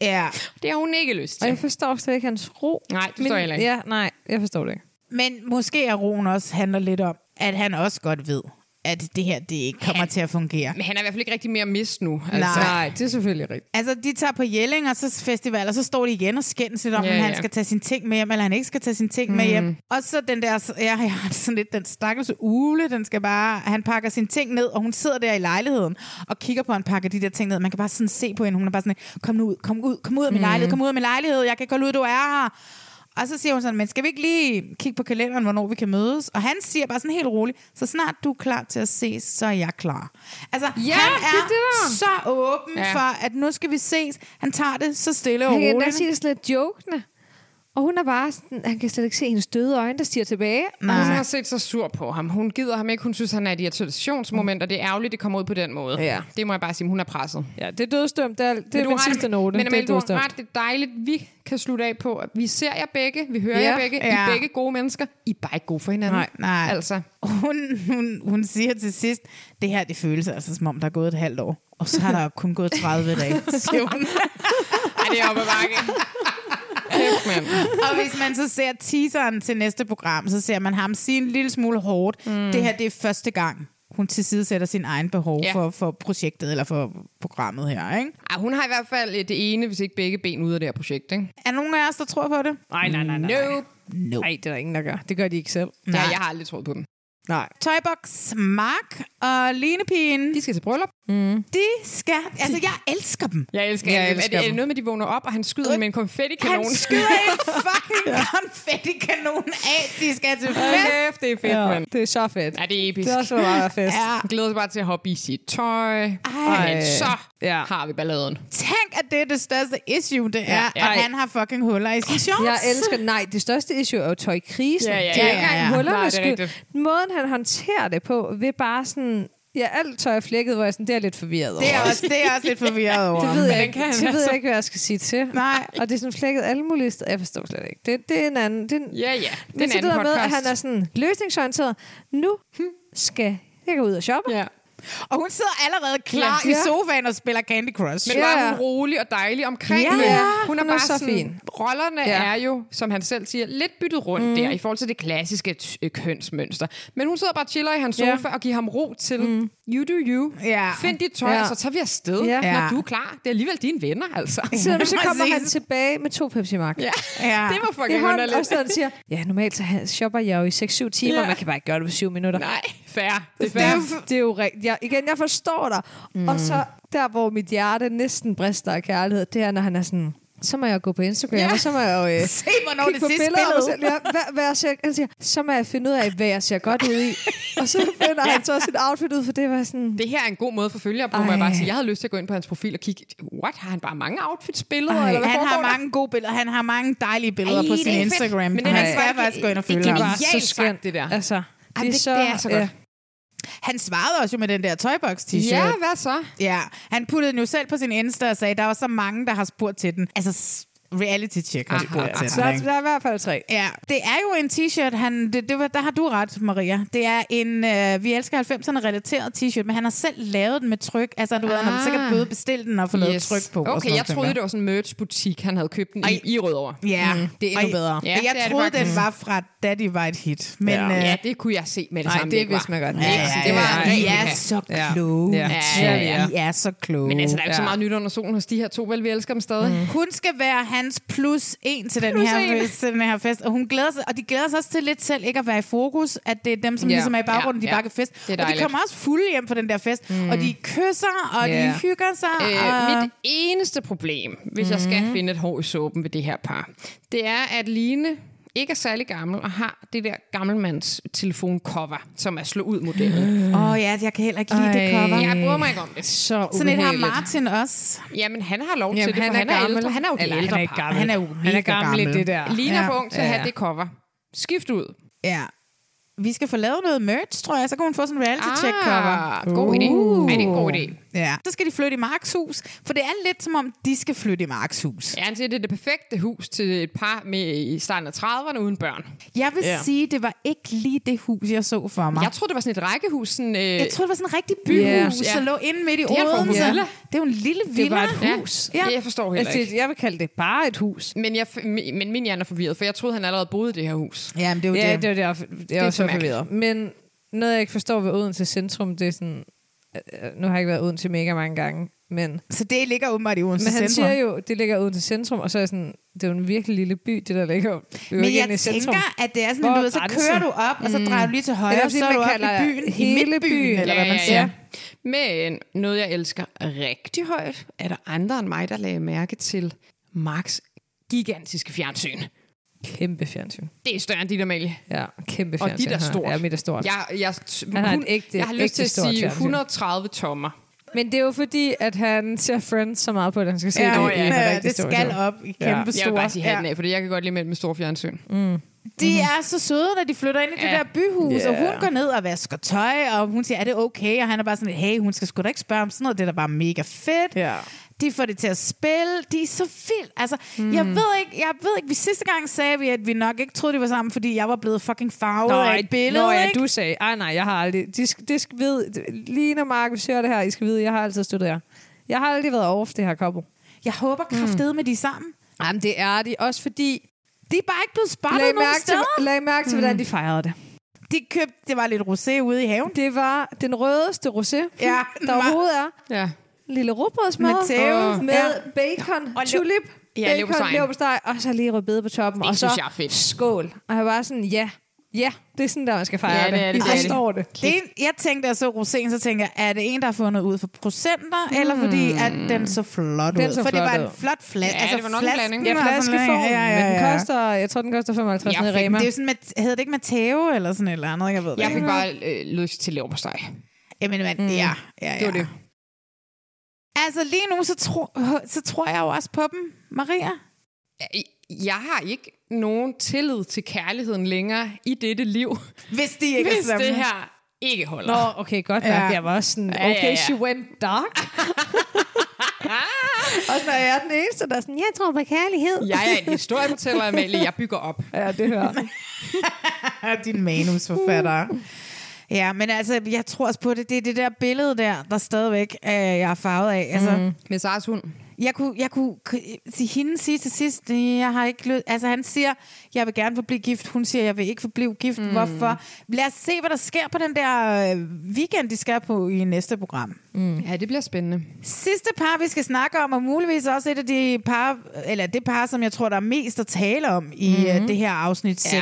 Speaker 1: ja.
Speaker 2: [laughs] det har hun ikke lyst
Speaker 3: Og jeg
Speaker 2: til.
Speaker 3: forstår slet ikke hans ro.
Speaker 2: Nej, det forstår jeg heller ikke.
Speaker 3: Ja, nej, jeg forstår det ikke.
Speaker 1: Men måske er roen også handler lidt om, at han også godt ved, at det her det ikke kommer til at fungere.
Speaker 2: Men han er i hvert fald ikke rigtig mere mist nu. Altså.
Speaker 3: Nej, det er selvfølgelig rigtigt.
Speaker 1: Altså, de tager på Jelling og så festival, og så står de igen og skændes lidt om,
Speaker 2: Ja,
Speaker 1: ja, om han
Speaker 2: ja.
Speaker 1: skal tage sine ting med hjem, eller han ikke skal tage sine ting mm. med hjem. Og så den der, ja, [laughs] jeg har sådan lidt den stakkels ule, den skal bare, han pakker sine ting ned, og hun sidder der i lejligheden og kigger på, at han pakker de der ting ned. Man kan bare sådan se på hende, hun er bare sådan, kom nu ud, kom ud, kom ud af min mm. lejlighed, kom ud af min lejlighed, jeg kan godt ud, du er her. Og så siger hun sådan, men skal vi ikke lige kigge på kalenderen, hvornår vi kan mødes? Og han siger bare sådan helt roligt, så snart du er klar til at ses, så er jeg klar. Altså, ja, han
Speaker 3: det
Speaker 1: er
Speaker 3: er det der.
Speaker 1: så åben ja.
Speaker 2: Ja.
Speaker 1: for, at nu skal vi ses. Han tager det så stille og
Speaker 3: Han kan
Speaker 1: roligt.
Speaker 3: endda sige det sådan lidt jokende. Og hun er bare sådan, han kan slet ikke se hendes døde øjne, der stiger tilbage.
Speaker 2: Nej. Hun har set sig sur på ham. Hun gider ham ikke. Hun synes, han er i et irritationsmoment, og det er ærgerligt, det kommer ud på den måde.
Speaker 3: Ja.
Speaker 2: Det må jeg bare sige. Hun er presset.
Speaker 3: Ja, det er dødstømt. Det er, det er
Speaker 2: du
Speaker 3: min
Speaker 2: har
Speaker 3: sidste
Speaker 2: det-
Speaker 3: note.
Speaker 2: Men
Speaker 3: det er
Speaker 2: Amal, du
Speaker 3: dødstømt.
Speaker 2: har ret. Det er dejligt, vi kan slutte af på. at Vi ser jer begge. Vi hører
Speaker 3: Ja.
Speaker 2: ja. jer begge. Ja. I
Speaker 1: Ja.
Speaker 2: er begge gode mennesker. I er bare ikke gode for hinanden.
Speaker 1: Nej, nej.
Speaker 2: Altså,
Speaker 1: hun, hun, hun siger til sidst, det her det føles altså som om, der er gået et halvt år. Og så har der kun gået 30 dage, siger hun.
Speaker 2: ej, det er oppe ad bakke. Kæft, mand.
Speaker 1: Og hvis man så ser teaseren til næste program, så ser man ham sige en lille smule hårdt. Mm. Det her, det er første gang, hun tilsidesætter sin egen behov ja.
Speaker 2: Ja.
Speaker 1: for, for projektet eller for programmet her, ikke?
Speaker 2: Ej, hun har i hvert fald øh, det ene, hvis ikke begge ben ude af det her projekt. Ikke?
Speaker 1: Er nogen af os, der tror på det?
Speaker 3: Nej, nej, nej, nej.
Speaker 2: Nope.
Speaker 1: No.
Speaker 3: Nej, det er der ingen, der gør. Det gør de ikke selv.
Speaker 2: Ja, jeg har aldrig troet på dem.
Speaker 3: Nej.
Speaker 1: Toybox, Mark og Linepigen,
Speaker 2: De skal til bryllup.
Speaker 1: de skal... Altså, jeg elsker dem.
Speaker 2: Jeg elsker,
Speaker 3: Jeg
Speaker 2: jeg elsker er,
Speaker 3: elsker
Speaker 2: det, er det
Speaker 3: dem.
Speaker 2: noget med, at de vågner op, og han skyder
Speaker 1: Øh,
Speaker 2: med en konfettikanon?
Speaker 1: Han skyder
Speaker 2: [laughs]
Speaker 1: en fucking konfettikanon af. De skal til fest.
Speaker 2: Kæft, det er fedt, ja.
Speaker 3: Ja,
Speaker 2: mand.
Speaker 3: det er så fedt.
Speaker 2: Ja, det er episk.
Speaker 3: Det er også bare
Speaker 2: [laughs]
Speaker 3: fest.
Speaker 1: Ja.
Speaker 2: Jeg glæder mig bare til at hoppe i sit tøj.
Speaker 1: Ej.
Speaker 2: Men så
Speaker 3: Ja.
Speaker 2: ja. har vi balladen.
Speaker 1: Tænk, at det er det største issue, det er,
Speaker 2: ja.
Speaker 1: at han har fucking huller i sin shorts.
Speaker 3: Jeg elsker, nej, det største issue er jo tøjkrisen.
Speaker 2: Ja, ja,
Speaker 3: det er
Speaker 2: ja,
Speaker 3: ikke
Speaker 1: ja,
Speaker 3: engang
Speaker 1: ja.
Speaker 2: Nej,
Speaker 3: hullerne
Speaker 2: det er
Speaker 3: skyld.
Speaker 2: rigtigt.
Speaker 3: Måden, han håndterer det på, ved bare sådan... Ja, alt tøj er flækket, hvor jeg sådan, det er lidt forvirret
Speaker 1: Det er,
Speaker 3: over.
Speaker 1: også, det er jeg også lidt forvirret over.
Speaker 3: Det ved jeg ikke,
Speaker 2: kan han
Speaker 3: det ved
Speaker 2: altså?
Speaker 3: jeg ikke, hvad jeg skal sige til.
Speaker 1: Nej.
Speaker 3: Og det er sådan flækket alle mulige steder. Jeg forstår slet ikke. Det, det er en anden... Det er en,
Speaker 2: Ja, ja.
Speaker 3: Men
Speaker 2: Den
Speaker 3: så det
Speaker 2: anden
Speaker 3: der med,
Speaker 2: podcast. Hm.
Speaker 3: at han er sådan løsningsorienteret. Nu skal jeg gå ud og shoppe.
Speaker 2: Ja.
Speaker 1: Og hun sidder allerede klar ja.
Speaker 3: Ja.
Speaker 1: i sofaen og spiller Candy Crush.
Speaker 2: Men
Speaker 1: Men,
Speaker 2: var
Speaker 3: Ja.
Speaker 2: hun rolig og dejlig omkring
Speaker 3: Ja,
Speaker 2: det.
Speaker 3: ja.
Speaker 2: Hun er
Speaker 3: Hun er
Speaker 2: bare
Speaker 3: så
Speaker 2: sådan,
Speaker 3: fin.
Speaker 2: Rollerne
Speaker 3: Ja.
Speaker 2: ja. er jo, som han selv siger, lidt byttet rundt mm. der i forhold til det klassiske t- øh, kønsmønster. Men hun sidder bare og chiller i hans
Speaker 3: Ja.
Speaker 2: sofa og giver ham ro til, mm. you do you,
Speaker 1: Ja.
Speaker 2: find dit tøj,
Speaker 3: Ja.
Speaker 2: ja. og så tager vi afsted,
Speaker 3: Ja.
Speaker 2: ja. når
Speaker 1: Ja.
Speaker 2: du er klar. Det er alligevel dine venner, altså. [laughs]
Speaker 3: Så, så kommer han
Speaker 1: Præcis.
Speaker 3: tilbage med to Pepsi Max.
Speaker 2: Ja.
Speaker 1: Ja.
Speaker 2: Det var
Speaker 3: I
Speaker 2: fucking
Speaker 3: hånden,
Speaker 2: underligt.
Speaker 3: og så han siger, ja, normalt så han- shopper jeg jo i 6-7 timer,
Speaker 2: Ja.
Speaker 3: man kan bare ikke gøre det på 7 minutter.
Speaker 2: Nej, fair. Det er
Speaker 3: Det er,
Speaker 2: fair.
Speaker 3: jo- det er jo rigtigt. Jeg, igen, jeg forstår dig. Mm. Og så der, hvor mit hjerte næsten brister af kærlighed, det er, når han er sådan, så må jeg gå på Instagram, ja. og så må jeg jo... Øh,
Speaker 1: Se, hvornår
Speaker 3: kigge
Speaker 1: det
Speaker 3: på
Speaker 1: sidste
Speaker 3: billeder af mig selv.
Speaker 1: billede.
Speaker 3: Ja, hvad, hvad jeg ser, han siger, så må jeg finde ud af, hvad jeg ser godt ud
Speaker 2: [laughs]
Speaker 3: i. Og så finder han så sit outfit ud, for det var sådan...
Speaker 2: Det her er en god måde for følgere på, må
Speaker 3: Ej.
Speaker 2: jeg bare sige. Jeg havde lyst til at gå ind på hans profil og kigge, what, har han bare mange outfits-billeder?
Speaker 3: Ej.
Speaker 2: Eller hvad
Speaker 1: Han
Speaker 2: foregår
Speaker 1: har
Speaker 2: der?
Speaker 1: mange gode billeder. Han har mange dejlige billeder
Speaker 2: Ej,
Speaker 1: på
Speaker 2: det
Speaker 1: sin
Speaker 2: er fedt.
Speaker 1: Instagram.
Speaker 2: Men
Speaker 1: Men
Speaker 2: det er
Speaker 1: han
Speaker 2: altså
Speaker 1: skal
Speaker 2: bare-
Speaker 1: faktisk gå ind og
Speaker 2: det er
Speaker 1: følge ham.
Speaker 2: bare- Genialt sagt, det der.
Speaker 3: Altså,
Speaker 2: Ej, det, det er så godt.
Speaker 3: ja.
Speaker 1: Han svarede også jo med den der Toybox-t-shirt.
Speaker 2: Ja, hvad så?
Speaker 1: ja. Han puttede den jo selv på sin Insta og sagde, der var så mange, der har spurgt til den. Altså, s- reality-check har spurgt til
Speaker 3: Der,
Speaker 1: den.
Speaker 3: er,
Speaker 1: ikke?
Speaker 3: der er i hvert fald tre.
Speaker 1: Ja, det er jo en t-shirt, han, det, det var, der har du ret, Maria. Det er en, øh, vi elsker 90'erne relateret t-shirt, men han har selv lavet den med tryk. Altså, du ah. ved, når man så kan både bestille den og få lavet tryk på. og sådan
Speaker 2: Okay,
Speaker 1: noget,
Speaker 2: jeg
Speaker 1: tænker
Speaker 2: troede, det var sådan en merch-butik, han havde købt den i, i Rødovre.
Speaker 1: Ja, mm,
Speaker 3: det er endnu bedre.
Speaker 1: Ja,
Speaker 2: Ja,
Speaker 1: jeg
Speaker 2: det er det
Speaker 1: troede,
Speaker 2: faktisk.
Speaker 1: den var fra Daddy Var et Hit. Men, ja. Øh,
Speaker 2: Ja, det kunne jeg se med det
Speaker 3: Nej,
Speaker 2: samme.
Speaker 3: det
Speaker 2: ikke var.
Speaker 3: vidste man godt. Altså,
Speaker 2: Ikke?
Speaker 3: Ja, ja,
Speaker 2: Det var
Speaker 3: ja,
Speaker 2: en
Speaker 1: I
Speaker 2: ren
Speaker 1: er
Speaker 2: uha.
Speaker 1: så
Speaker 3: Ja.
Speaker 1: kloge.
Speaker 3: Ja,
Speaker 2: ja,
Speaker 3: ja.
Speaker 1: I er så kloge.
Speaker 2: Men altså, der er jo ikke
Speaker 3: Ja.
Speaker 2: så meget nyt under solen hos de her to, vel? Vi elsker dem stadig. Mm.
Speaker 1: hun skal være hans plus en til den,
Speaker 2: Plus
Speaker 1: her,
Speaker 2: en.
Speaker 1: til den her fest. Og, hun glæder sig, og de glæder sig også til lidt selv ikke at være i fokus, at det er dem, som
Speaker 2: Ja,
Speaker 1: ligesom er i baggrunden,
Speaker 2: ja,
Speaker 1: de
Speaker 2: ja.
Speaker 1: bare kan fest.
Speaker 2: Det er
Speaker 1: og de
Speaker 2: dejligt.
Speaker 1: kommer også fulde hjem fra den der fest, mm. og de kysser, og
Speaker 3: Ja.
Speaker 1: de hygger sig.
Speaker 2: Øh,
Speaker 1: og...
Speaker 2: mit eneste problem, hvis jeg skal finde et hår i såben ved det her par, det er, at Line ikke er særlig gammel og har det der gammelmands telefoncover, som er slå ud modellen. Øh,
Speaker 1: Åh oh, ja, jeg kan heller ikke lide Ej. det cover.
Speaker 2: Jeg bryder mig ikke om det.
Speaker 3: Så
Speaker 1: Sådan et har
Speaker 3: ubehageligt.
Speaker 1: Martin også.
Speaker 2: Jamen, han har lov
Speaker 3: Jamen,
Speaker 2: til det,
Speaker 3: han
Speaker 2: for
Speaker 3: er
Speaker 2: han er,
Speaker 3: gammel.
Speaker 2: ældre. Han er jo det
Speaker 3: Eller han er
Speaker 2: ældre
Speaker 3: ikke
Speaker 2: par.
Speaker 3: gammel.
Speaker 1: Han er jo
Speaker 3: Han er
Speaker 1: mega
Speaker 3: gammel i
Speaker 1: gammel.
Speaker 3: det der.
Speaker 2: Line er for ung til at
Speaker 3: Ja,
Speaker 2: have
Speaker 3: ja.
Speaker 2: det cover. Skift ud.
Speaker 1: Ja. Vi skal få lavet noget merch, tror jeg. Så kan hun få sådan en reality-check-cover.
Speaker 2: Ah, god idé. Uh. Ej, det er en god idé.
Speaker 1: Ja. Så skal de flytte i Marks hus, for det er lidt som om, de skal flytte i Marks hus.
Speaker 2: Ja, han siger, det er det perfekte hus til et par med i starten af 30'erne uden børn.
Speaker 1: Jeg vil ja. sige, det var ikke lige det hus, jeg så for mig.
Speaker 2: Jeg troede, det var sådan et rækkehus. Sådan, øh,
Speaker 1: Jeg tror, det var sådan en rigtig byhus,
Speaker 2: Ja.
Speaker 1: yeah. der lå inde midt i
Speaker 2: er en form for
Speaker 1: Odense.
Speaker 2: villa.
Speaker 1: Det er jo en lille villa.
Speaker 3: Det var et
Speaker 2: ja,
Speaker 3: hus.
Speaker 2: Ja.
Speaker 1: Ja.
Speaker 2: Jeg forstår heller
Speaker 3: Altså,
Speaker 2: ikke.
Speaker 3: det- jeg vil kalde det bare et hus.
Speaker 2: Men, jeg, men min hjerne er forvirret, for jeg troede, han allerede boede i det her hus.
Speaker 1: Ja, men det er jo
Speaker 3: Ja,
Speaker 1: det.
Speaker 3: det var det, jeg, det, jeg
Speaker 2: er
Speaker 3: var
Speaker 2: så
Speaker 3: så
Speaker 2: mærkeligt.
Speaker 3: forvirret. Men noget, jeg ikke forstår ved Odense Centrum, det er sådan... øh, Nu har jeg ikke været i Odense mega mange gange, men...
Speaker 1: Så det ligger åbenbart i Odense
Speaker 3: Men han
Speaker 1: Centrum.
Speaker 3: siger jo, det ligger uden til centrum, og så er jeg sådan, det er jo en virkelig lille by, det der ligger jo jo
Speaker 1: Men
Speaker 3: ikke
Speaker 1: jeg
Speaker 3: inde i centrum.
Speaker 1: tænker, at det er sådan,
Speaker 3: Hvor
Speaker 1: at du ved, så
Speaker 3: grænsen? Mm.
Speaker 1: kører du op, og så drejer du lige til højre,
Speaker 3: Det er
Speaker 1: og
Speaker 3: også
Speaker 1: så er
Speaker 3: det,
Speaker 1: du
Speaker 3: man
Speaker 1: op i
Speaker 3: kalder
Speaker 1: byen, i
Speaker 3: hele
Speaker 1: midtbyen,
Speaker 3: byen.
Speaker 1: eller hvad man
Speaker 3: Ja,
Speaker 1: siger.
Speaker 3: ja.
Speaker 2: Men noget, jeg elsker rigtig højt, er der andre end mig, der lagde mærke til Marks gigantiske fjernsyn.
Speaker 3: Kæmpe fjernsyn.
Speaker 2: Det er større end dit, Amalie.
Speaker 3: Ja, kæmpe
Speaker 2: Og
Speaker 3: fjernsyn.
Speaker 2: dit er
Speaker 3: han har.
Speaker 2: stort.
Speaker 3: Ja, mit er stort.
Speaker 2: Jeg, jeg,
Speaker 3: Han har et ægte-
Speaker 2: jeg har lyst
Speaker 3: ægte
Speaker 2: til at
Speaker 3: stort
Speaker 2: sige
Speaker 3: fjernsyn.
Speaker 2: 130 tommer.
Speaker 3: Men det er jo fordi, at han ser Friends så meget på, at han skal se
Speaker 1: Ja,
Speaker 3: det
Speaker 1: ja,
Speaker 3: i en
Speaker 1: ja,
Speaker 3: rigtig
Speaker 1: det
Speaker 3: stor
Speaker 1: skal
Speaker 3: show.
Speaker 1: op i kæmpe
Speaker 2: Jeg vil
Speaker 1: store.
Speaker 2: bare sige hatten
Speaker 1: Ja.
Speaker 2: af, fordi jeg kan godt lide mænd med store fjernsyn.
Speaker 1: De
Speaker 3: Mhm.
Speaker 1: er så søde, når de flytter ind i det
Speaker 2: Ja.
Speaker 1: der byhus, og hun
Speaker 3: Ja.
Speaker 1: går ned og vasker tøj, og hun siger, er det okay? Og han er bare sådan, hey, hun skal sgu da ikke spørge om sådan noget, det er da bare mega fedt.
Speaker 3: Ja.
Speaker 1: De får det til at spille. De er så vildt. Altså, mm. jeg, ved ikke, jeg ved ikke, vi sidste gang sagde vi, at vi nok ikke troede, de var sammen, fordi jeg var blevet fucking farvet af et billede.
Speaker 3: Nå, ja,
Speaker 1: ikke?
Speaker 3: du sagde, ej nej, jeg har aldrig, de, sk- det skal vide, lige når Mark, hvis I hører det her, I skal vide, jeg har altid støttet jer. Jeg har aldrig været over for det her couple.
Speaker 1: Jeg håber
Speaker 3: Mm.
Speaker 1: kraftedeme, med de er sammen.
Speaker 3: Jamen, det er de, også fordi,
Speaker 1: De er bare ikke blevet
Speaker 3: lag
Speaker 1: spottet nogen
Speaker 3: mærke, til,
Speaker 1: steder.
Speaker 3: lag mærke til, hvordan de fejrede det.
Speaker 1: De købte, det var lidt rosé ude i haven.
Speaker 3: Det var den rødeste rosé,
Speaker 1: Ja,
Speaker 3: der overhovedet er.
Speaker 2: Ja.
Speaker 3: Lille råbrødsmad.
Speaker 1: Med tæve.
Speaker 3: Med
Speaker 1: Ja.
Speaker 3: bacon,
Speaker 1: Og
Speaker 3: og
Speaker 1: lev-
Speaker 3: tulip,
Speaker 2: Ja,
Speaker 3: bacon,
Speaker 2: leverpostejen.
Speaker 3: leverpostej, og så lige rødbede på toppen. og så
Speaker 2: synes jeg er fedt.
Speaker 3: skål. Og jeg var sådan, ja, ja, det er sådan, der man skal fejre
Speaker 2: Ja, det er det,
Speaker 3: I
Speaker 2: det er det.
Speaker 3: forstår det.
Speaker 1: Det, er- jeg tænkte, at så roséen, så tænker jeg, er det en, der har fundet ud for procenter, mm. eller fordi at den så flot
Speaker 3: Hmm. Den
Speaker 1: ud?
Speaker 3: så
Speaker 1: for det
Speaker 3: flot
Speaker 1: var en
Speaker 3: ud.
Speaker 1: flot flaske.
Speaker 2: Ja,
Speaker 1: altså,
Speaker 2: det var nok en
Speaker 1: flasken
Speaker 2: blanding.
Speaker 3: Ja,
Speaker 1: var sådan
Speaker 3: flaskeform,
Speaker 1: lidt- ja, ja, ja.
Speaker 3: men den koster, jeg tror, den koster 55 nede i
Speaker 2: fik-
Speaker 3: Rema.
Speaker 1: Det er jo sådan, med, hedder det ikke Matteo eller sådan et eller andet, jeg ved det
Speaker 2: Jeg
Speaker 1: ikke.
Speaker 2: fik bare øh, lyst til leverpostej.
Speaker 1: Jamen, man, mm. ja, ja, ja.
Speaker 2: Det var det.
Speaker 1: Altså lige nu, så, tro, så tror jeg jo også på dem, Maria.
Speaker 2: Jeg har ikke nogen tillid til kærligheden længere i dette liv,
Speaker 1: Hvis de ikke er
Speaker 2: hvis
Speaker 1: sammen.
Speaker 2: det her ikke holder.
Speaker 3: Nå, okay, godt nok.
Speaker 1: Ja.
Speaker 3: Ja. Jeg var også sådan, okay,
Speaker 2: Ja, ja, ja.
Speaker 3: she went dark. og så er jeg den eneste, der er sådan, jeg tror på kærlighed.
Speaker 2: Jeg er en historiefortæller, Amalie. Jeg bygger op.
Speaker 3: Ja, det hører.
Speaker 1: din manusforfatter. Ja, men altså, jeg tror også på det. Det er det der billede der, der stadigvæk øh, jeg er farvet af. Altså, mm.
Speaker 2: Med Sars hund.
Speaker 1: Jeg kunne, jeg kunne k- sige, hende sige til sidst, "Øh, jeg har ikke lyst. Altså, han siger, jeg vil gerne forblive gift. Hun siger, jeg vil ikke forblive gift.
Speaker 2: Mhm.
Speaker 1: Mm. Hvorfor? Lad os se, hvad der sker på den der øh, weekend, de skal på i næste program.
Speaker 2: Ja, det bliver spændende.
Speaker 1: Sidste par, vi skal snakke om, og muligvis også et af de par, eller det par, som jeg tror, der er mest at tale om i mm. det her afsnit 6.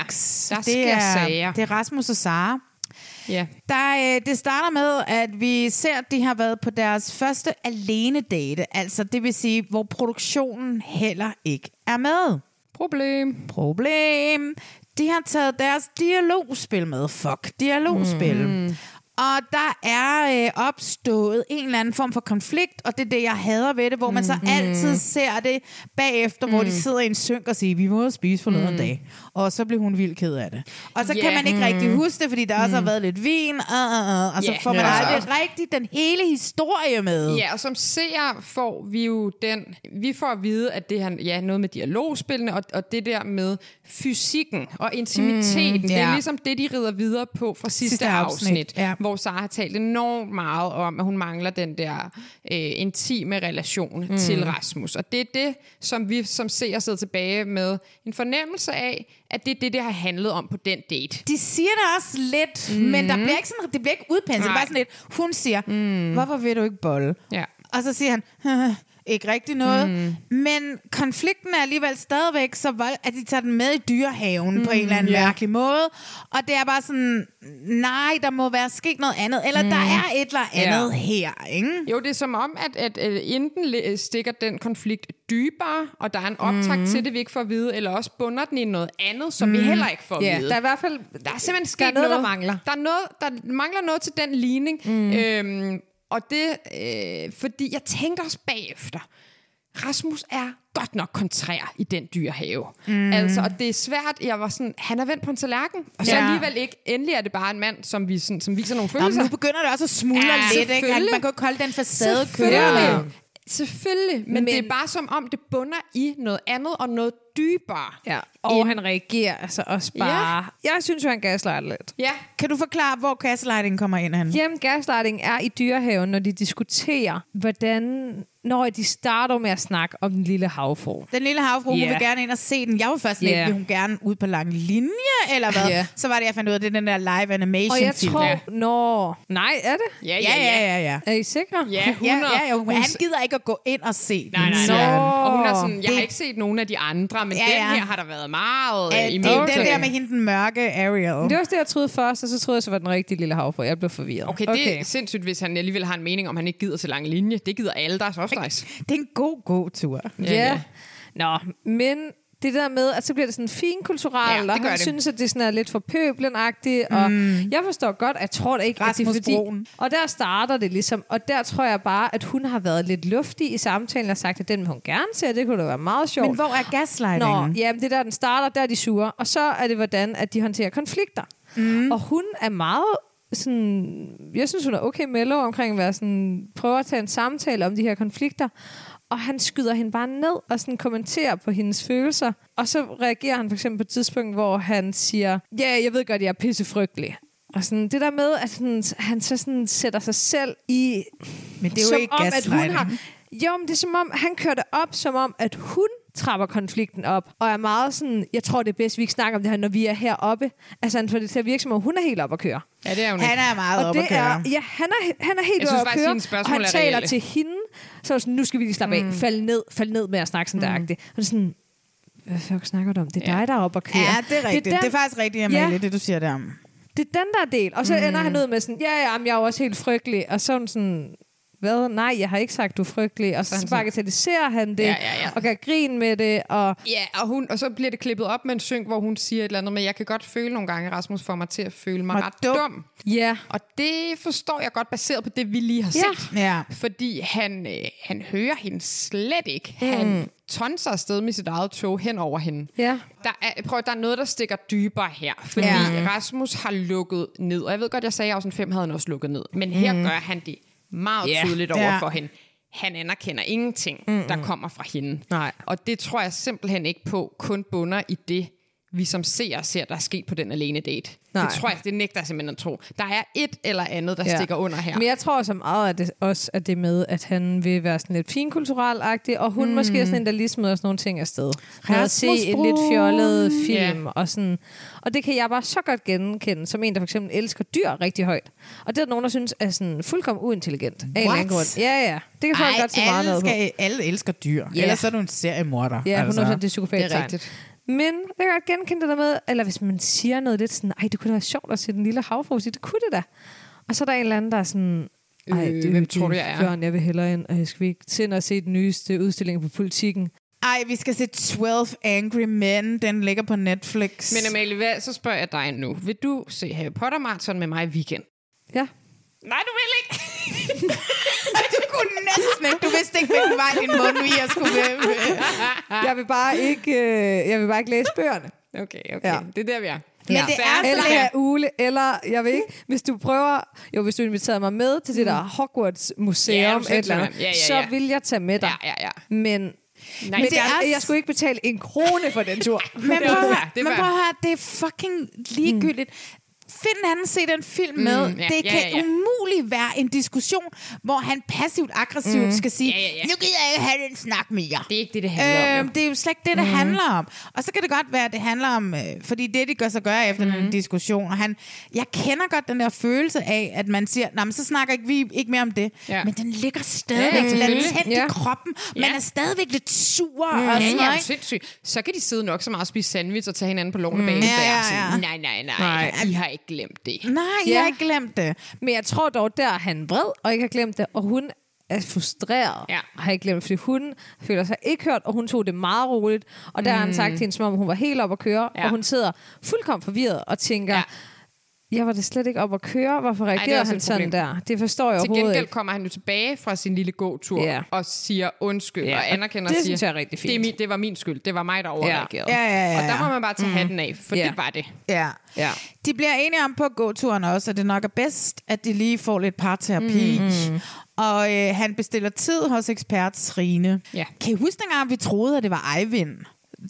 Speaker 2: Mhm. der sker
Speaker 1: det, er,
Speaker 2: sager.
Speaker 1: det er Rasmus og Sara.
Speaker 2: Ja.
Speaker 1: Der, øh, det starter med, at vi ser, at de har været på deres første alene date, altså det vil sige, hvor produktionen heller ikke er med.
Speaker 2: Problem.
Speaker 1: Problem. De har taget deres dialogspil med. Fuck, dialogspil. Mm. Og der er øh, opstået en eller anden form for konflikt, og det er det, jeg hader ved det, hvor man så
Speaker 2: Mm-hmm.
Speaker 1: altid ser det bagefter, hvor
Speaker 2: Mm.
Speaker 1: de sidder i en synk og siger, vi må spise for noget mm. dag. Og så bliver hun vildt ked af det. Og så yeah. kan
Speaker 2: Ja. Mm.
Speaker 1: man ikke rigtig huske det, fordi der også har været lidt vin, uh, uh, uh, og så
Speaker 2: Ja.
Speaker 1: får man
Speaker 2: Ja.
Speaker 1: aldrig rigtig den hele historie med.
Speaker 2: Ja, og som seer får vi jo den... Vi får at vide, at det er ja, noget med dialogspillene, og, og det der med fysikken og intimiteten. Mm, Det
Speaker 1: ja.
Speaker 2: er ligesom det, de rider videre på fra sidste,
Speaker 1: Sidste
Speaker 2: sidste
Speaker 1: afsnit,
Speaker 2: afsnit,
Speaker 1: ja.
Speaker 2: hvor Sara har talt enormt meget om, at hun mangler den der øh, intime relation mm. til Rasmus. Og det er det, som vi som seer sidder tilbage med en fornemmelse af, at det er det, det har handlet om på den date.
Speaker 1: De siger det også lidt, mm. men der bliver ikke sådan, det bliver ikke udpenset. Det er
Speaker 2: Nej.
Speaker 1: bare sådan lidt, hun siger, mm. hvorfor vil du ikke bolle?
Speaker 2: Ja.
Speaker 1: Og så siger han, [laughs] "Haha, ikke rigtig noget. Mm. Men konflikten er alligevel stadigvæk så vold, at de tager den med i dyrehaven mm. på en eller anden yeah. mærkelig måde. Og det er bare sådan, nej, der må være sket noget andet. Eller mm. der er et eller andet yeah. her, ikke?
Speaker 2: Jo, det er som om, at, at, at enten le- stikker den konflikt dybere, og der er en optakt
Speaker 3: Mhm.
Speaker 2: mm. til det, vi ikke får at vide, eller også bunder den i noget andet, som mm. vi heller ikke får at
Speaker 3: Ja,
Speaker 2: vide.
Speaker 3: der er i hvert fald...
Speaker 2: der er simpelthen sket
Speaker 3: der er noget, der
Speaker 2: noget,
Speaker 3: mangler. Mhm.
Speaker 2: Der, er noget, der mangler noget til den ligning. Mm. Øhm, og det, øh, fordi jeg tænkte også bagefter, Rasmus er godt nok kontrær i den dyrehave.
Speaker 3: Mhm.
Speaker 2: Mm. Altså, og det er svært. Jeg var sådan, han er vendt på en tallerken, og så
Speaker 1: Ja.
Speaker 2: ja. alligevel ikke. Endelig er det bare en mand, som, vi, sådan, som viser nogle
Speaker 1: Nå, men
Speaker 2: følelser.
Speaker 1: nu begynder det også at smuldre
Speaker 2: altså. Ja,
Speaker 1: ja, lidt, ikke? At
Speaker 2: selvfølgelig.
Speaker 1: Man kan kolde den facade
Speaker 2: Selvfølgelig.
Speaker 1: kørende.
Speaker 2: Selvfølgelig, men, men det er bare som om, det bunder i noget andet og noget dybere.
Speaker 3: Ja, og han reagerer altså også bare... Ja. Jeg synes jo, han gaslighter lidt.
Speaker 2: ja.
Speaker 1: Kan du forklare, hvor gaslighting kommer ind, han?
Speaker 3: Jamen, gaslighting er i dyrehaven, når de diskuterer, hvordan Når de starter med at snakke om den lille havfru.
Speaker 1: Den lille havfru, yeah. hun
Speaker 3: Ja.
Speaker 1: vil gerne ind og se den. Jeg var først lidt,
Speaker 3: Ja.
Speaker 1: vil hun gerne ud på lang linje, eller hvad?
Speaker 3: Ja.
Speaker 1: Så var det, jeg fandt ud af, det er den der live animation
Speaker 3: Og jeg
Speaker 1: film.
Speaker 3: tror... Nå... Nej, er det?
Speaker 2: Ja,
Speaker 1: Ja, ja, ja, ja.
Speaker 3: Er I sikre?
Speaker 2: Ja, hun
Speaker 1: Ja,
Speaker 2: er-
Speaker 1: ja, jo, han gider ikke at gå ind og se den.
Speaker 2: Nej, nej,
Speaker 3: Nå.
Speaker 2: nej. altså, Og hun er sådan, jeg har ikke set nogen af de andre, men
Speaker 1: Ja,
Speaker 2: ja, den
Speaker 1: ja.
Speaker 2: her har der været meget
Speaker 1: Ja,
Speaker 2: ja,
Speaker 1: det
Speaker 2: imod.
Speaker 1: er den der med hende, den mørke Ariel.
Speaker 3: Det var også det, jeg troede først, og så troede jeg, så var den rigtige lille havfru. Jeg blev forvirret.
Speaker 2: Okay, det okay. er sindssygt, hvis han alligevel har en mening om, han ikke gider så lang linje. Det gider alle, der er softlice.
Speaker 1: Det er en god, god tur.
Speaker 3: Ja. ja. Nå, men det der med, at så bliver det sådan finkulturelt,
Speaker 2: Ja, det
Speaker 3: og
Speaker 2: gør
Speaker 3: han
Speaker 2: det.
Speaker 3: synes, at det sådan er lidt for pøblenagtigt, og jeg forstår godt, at jeg tror da ikke,
Speaker 1: Rasmus
Speaker 3: at det er
Speaker 1: Broen.
Speaker 3: fordi... Og der starter det ligesom, og der tror jeg bare, at hun har været lidt luftig i samtalen og sagt, at den vil hun gerne se, og det kunne da være meget sjovt.
Speaker 1: Men hvor er gaslightingen?
Speaker 3: Nå, ja, det er der, den starter, der er de sure. Og så er det, hvordan at de håndterer konflikter. Mm. Og hun er meget sådan, jeg synes, hun er okay mellow omkring at være sådan, prøver at tage en samtale om de her konflikter. Og han skyder hende bare ned og sådan kommenterer på hendes følelser. Og så reagerer han for eksempel på et tidspunkt, hvor han siger, ja, yeah, jeg ved godt, jeg er pissefrygtelig. Og sådan, det der med, at sådan, han så sådan sætter sig selv i...
Speaker 1: Men det er jo
Speaker 3: som
Speaker 1: ikke
Speaker 3: om, at hun har,
Speaker 1: gaslighting.
Speaker 3: jo, men det er som om, han kører det op, som om, at hun trapper konflikten op, og er meget sådan, jeg tror, det er bedst, vi ikke snakker om det her, når vi er heroppe. Altså, han får det til at virke, som om hun er helt oppe at køre.
Speaker 2: Ja, det er hun
Speaker 1: Han
Speaker 2: ikke.
Speaker 1: er meget
Speaker 3: og
Speaker 1: oppe
Speaker 3: det
Speaker 1: at
Speaker 3: er,
Speaker 1: køre.
Speaker 3: ja, han er, han er helt
Speaker 2: Jeg synes
Speaker 3: oppe at
Speaker 2: faktisk,
Speaker 3: køre,
Speaker 2: hendes
Speaker 3: og
Speaker 2: spørgsmål
Speaker 3: han
Speaker 2: er Mm.
Speaker 3: taler
Speaker 2: reelle.
Speaker 3: til hende, så er sådan, nu skal vi lige slappe af, fald ned, fald ned med at snakke sådan mm. der. Og det er sådan, hvad fuck snakker du om? Det er dig, der er oppe at køre.
Speaker 1: Ja, det er rigtigt. Det er,
Speaker 3: den-
Speaker 1: faktisk rigtigt, Amalie, ja. det du siger der om.
Speaker 3: det er den der del. Og så mm. ender han ud med sådan, ja, ja, men jeg er jo også helt frygtelig. Og så er hun sådan, hvad? Nej, jeg har ikke sagt, du er frygtelig. Og så, så bagatelliserer han det,
Speaker 2: Ja, ja, ja.
Speaker 3: og gør grin med det. Og
Speaker 2: Ja, og, hun, og så bliver det klippet op med en synk, hvor hun siger et eller andet med, jeg kan godt føle nogle gange, Rasmus får mig til at føle mig
Speaker 1: Mig
Speaker 2: ret
Speaker 1: dum."
Speaker 2: dum. dum.
Speaker 3: ja,
Speaker 2: Og det forstår jeg godt, baseret på det, vi lige har
Speaker 3: Ja.
Speaker 2: set.
Speaker 1: Ja.
Speaker 2: Fordi han, øh, han hører hende slet ikke. Mm. Han tonser afsted med sit eget tog hen over hende.
Speaker 3: Ja.
Speaker 2: Der er, prøv, at- der er noget, der stikker dybere her. Fordi
Speaker 1: Ja.
Speaker 2: ja. Rasmus har lukket ned. Og jeg ved godt, jeg sagde, at i afsnit 5 havde han også lukket ned. Men her mm. gør han det meget
Speaker 3: Ja.
Speaker 2: yeah. tydeligt over
Speaker 1: Ja.
Speaker 2: yeah. for hende. Han anerkender ingenting, mm. der kommer fra hende.
Speaker 3: Nej.
Speaker 2: Og det tror jeg simpelthen ikke på, kun bunder i det, vi som seere ser, der er sket på den alene date.
Speaker 3: Nej.
Speaker 2: Det tror jeg, det nægter jeg simpelthen at tro. Der er et eller andet, der ja.
Speaker 3: ja.
Speaker 2: stikker under her.
Speaker 3: Men jeg tror også meget, at det også er det med, at han vil være sådan lidt finkulturel-agtig, og hun mm. måske er
Speaker 2: Hmm.
Speaker 3: sådan en, der lige smider sådan nogle ting afsted. Noget se
Speaker 1: Rasmus
Speaker 3: en lidt fjollet film.
Speaker 2: Ja.
Speaker 3: Og, sådan. og det kan jeg bare så godt genkende, som en, der for eksempel elsker dyr rigtig højt. Og det er der nogen, der synes er sådan fuldkommen uintelligent. Af en eller anden
Speaker 1: What?
Speaker 3: grund. Ja, ja. Det kan folk
Speaker 1: Ej,
Speaker 3: godt se meget
Speaker 1: alle,
Speaker 3: noget på.
Speaker 1: skal, alle elsker dyr.
Speaker 3: Ja.
Speaker 1: Ellers så er du en seriemorder.
Speaker 3: Ja, altså, 100% det er psykopat
Speaker 2: det er rigtigt.
Speaker 3: Men jeg kan godt genkende det der med, eller hvis man siger noget lidt sådan, ej, det kunne da være sjovt at se den lille havfru, sige, det kunne det da. Og så er der en eller anden, der er sådan, ej,
Speaker 2: Øh,
Speaker 3: det,
Speaker 2: hvem
Speaker 3: det
Speaker 2: tror du, jeg er?"
Speaker 3: Bjørn, jeg vil hellere ind, og jeg skal vi ikke tænde og se den nyeste udstilling på politikken.
Speaker 1: Ej, vi skal se 12 Angry Men. Den ligger på Netflix.
Speaker 2: Men Amalie, hvad, så spørger jeg dig nu. Vil du se Harry Potter Marathon med mig i weekend?
Speaker 3: Ja.
Speaker 2: Nej, du vil ikke.
Speaker 1: du kunne næsten ikke. Du vidste ikke, hvilken vej din mund vi jeg skulle med.
Speaker 2: Ah.
Speaker 3: Jeg vil bare ikke, øh, jeg vil bare ikke læse bøgerne.
Speaker 2: Okay, okay.
Speaker 3: Ja.
Speaker 2: Ja. Det er der, vi Altså, er.
Speaker 1: Men det er
Speaker 3: Eller
Speaker 1: Eller-
Speaker 3: have ule, eller jeg ved ikke, hvis du prøver, jo, hvis du inviterer mig med til det der Hogwarts
Speaker 2: Mm. Ja, du
Speaker 3: Museum,
Speaker 2: er
Speaker 3: ja, et eller andet,
Speaker 2: sindssygt, mand. Ja,
Speaker 3: så
Speaker 2: ja, ja.
Speaker 3: vil jeg tage med dig.
Speaker 2: Ja, ja, ja.
Speaker 3: Men, Nej, men
Speaker 1: det
Speaker 3: det
Speaker 1: er
Speaker 3: er,
Speaker 1: også-
Speaker 3: jeg skulle ikke betale en krone for den
Speaker 2: [laughs]
Speaker 3: tur.
Speaker 1: Men
Speaker 2: Det er
Speaker 1: prøv, at
Speaker 2: fair,
Speaker 1: høre,
Speaker 2: det er
Speaker 1: men
Speaker 2: fair.
Speaker 1: prøv at høre, det er fucking ligegyldigt. Find en anden, se den film med.
Speaker 2: Mm, ja,
Speaker 1: det
Speaker 2: ja,
Speaker 1: kan
Speaker 2: ja, ja.
Speaker 1: umuligt være en diskussion, hvor han passivt-aggressivt mm. skal sige,
Speaker 2: Ja, ja, ja.
Speaker 1: nu gider jeg ikke have den snak mere.
Speaker 2: Det er ikke det, det handler om, jo.
Speaker 1: Det er jo slet ikke det, det mm. handler om. Og så kan det godt være, at det handler om, øh, fordi det, de gør sig gøre efter mm. den diskussion, og han, jeg kender godt den der følelse af, at man siger, nej, men så snakker ikke, vi ikke mere om det. Ja.
Speaker 2: Ja.
Speaker 1: Men den ligger stadigvæk ja,
Speaker 2: selvfølgelig.
Speaker 1: latent ja.
Speaker 3: Ja.
Speaker 1: i kroppen. Man
Speaker 2: Ja.
Speaker 1: er stadigvæk lidt sur. Mm. Og sådan
Speaker 2: Ja,
Speaker 1: noget,
Speaker 2: ja,
Speaker 1: ikke?
Speaker 2: sindssygt. Så kan de sidde nok så meget og spise sandwich og tage hinanden på lånet mm. bagefter.
Speaker 1: Ja, ja,
Speaker 2: og
Speaker 1: ja. Mm.
Speaker 2: Sådan, nej, nej, nej, nej. I har ikke glemt det.
Speaker 1: Nej, ja. jeg
Speaker 3: Ja.
Speaker 1: har ikke glemt det.
Speaker 3: Men jeg tror dog, der er han vred, og ikke har glemt det, og hun er frustreret,
Speaker 2: Ja.
Speaker 3: og har ikke glemt, fordi hun føler sig ikke hørt, og hun tog det meget roligt, og der har han sagt til hende, som om hun var helt op at køre,
Speaker 2: Mm. Ja.
Speaker 3: og hun sidder fuldkommen forvirret og tænker,
Speaker 2: Ja.
Speaker 3: ja. jeg var det slet ikke op at køre, hvorfor
Speaker 2: det er
Speaker 3: reagerer
Speaker 2: også
Speaker 3: han
Speaker 2: et
Speaker 3: sådan
Speaker 2: problem.
Speaker 3: der? Det forstår jeg
Speaker 2: Til
Speaker 3: overhovedet
Speaker 2: gengæld
Speaker 3: ikke.
Speaker 2: kommer han jo tilbage fra sin lille gåtur
Speaker 3: Ja.
Speaker 2: og siger undskyld
Speaker 3: Ja,
Speaker 2: og
Speaker 3: og
Speaker 2: anerkender
Speaker 3: det
Speaker 2: og siger,
Speaker 3: synes jeg er rigtig
Speaker 2: Det, er
Speaker 3: fint."
Speaker 2: min, det var min skyld, det var mig, der overreagerede.
Speaker 1: Ja, ja, ja,
Speaker 2: Og der
Speaker 1: ja.
Speaker 2: må man bare tage hatten af, for
Speaker 3: Ja.
Speaker 2: det var det.
Speaker 1: Ja.
Speaker 3: Ja.
Speaker 1: De bliver enige om på gåturen også, at det nok er bedst, at de lige får lidt parterapi. Mm,
Speaker 3: Mm-hmm.
Speaker 1: mm. Og øh, han bestiller tid hos ekspert Trine.
Speaker 2: Ja.
Speaker 1: Kan I huske dengang, vi troede, at det var Eivind?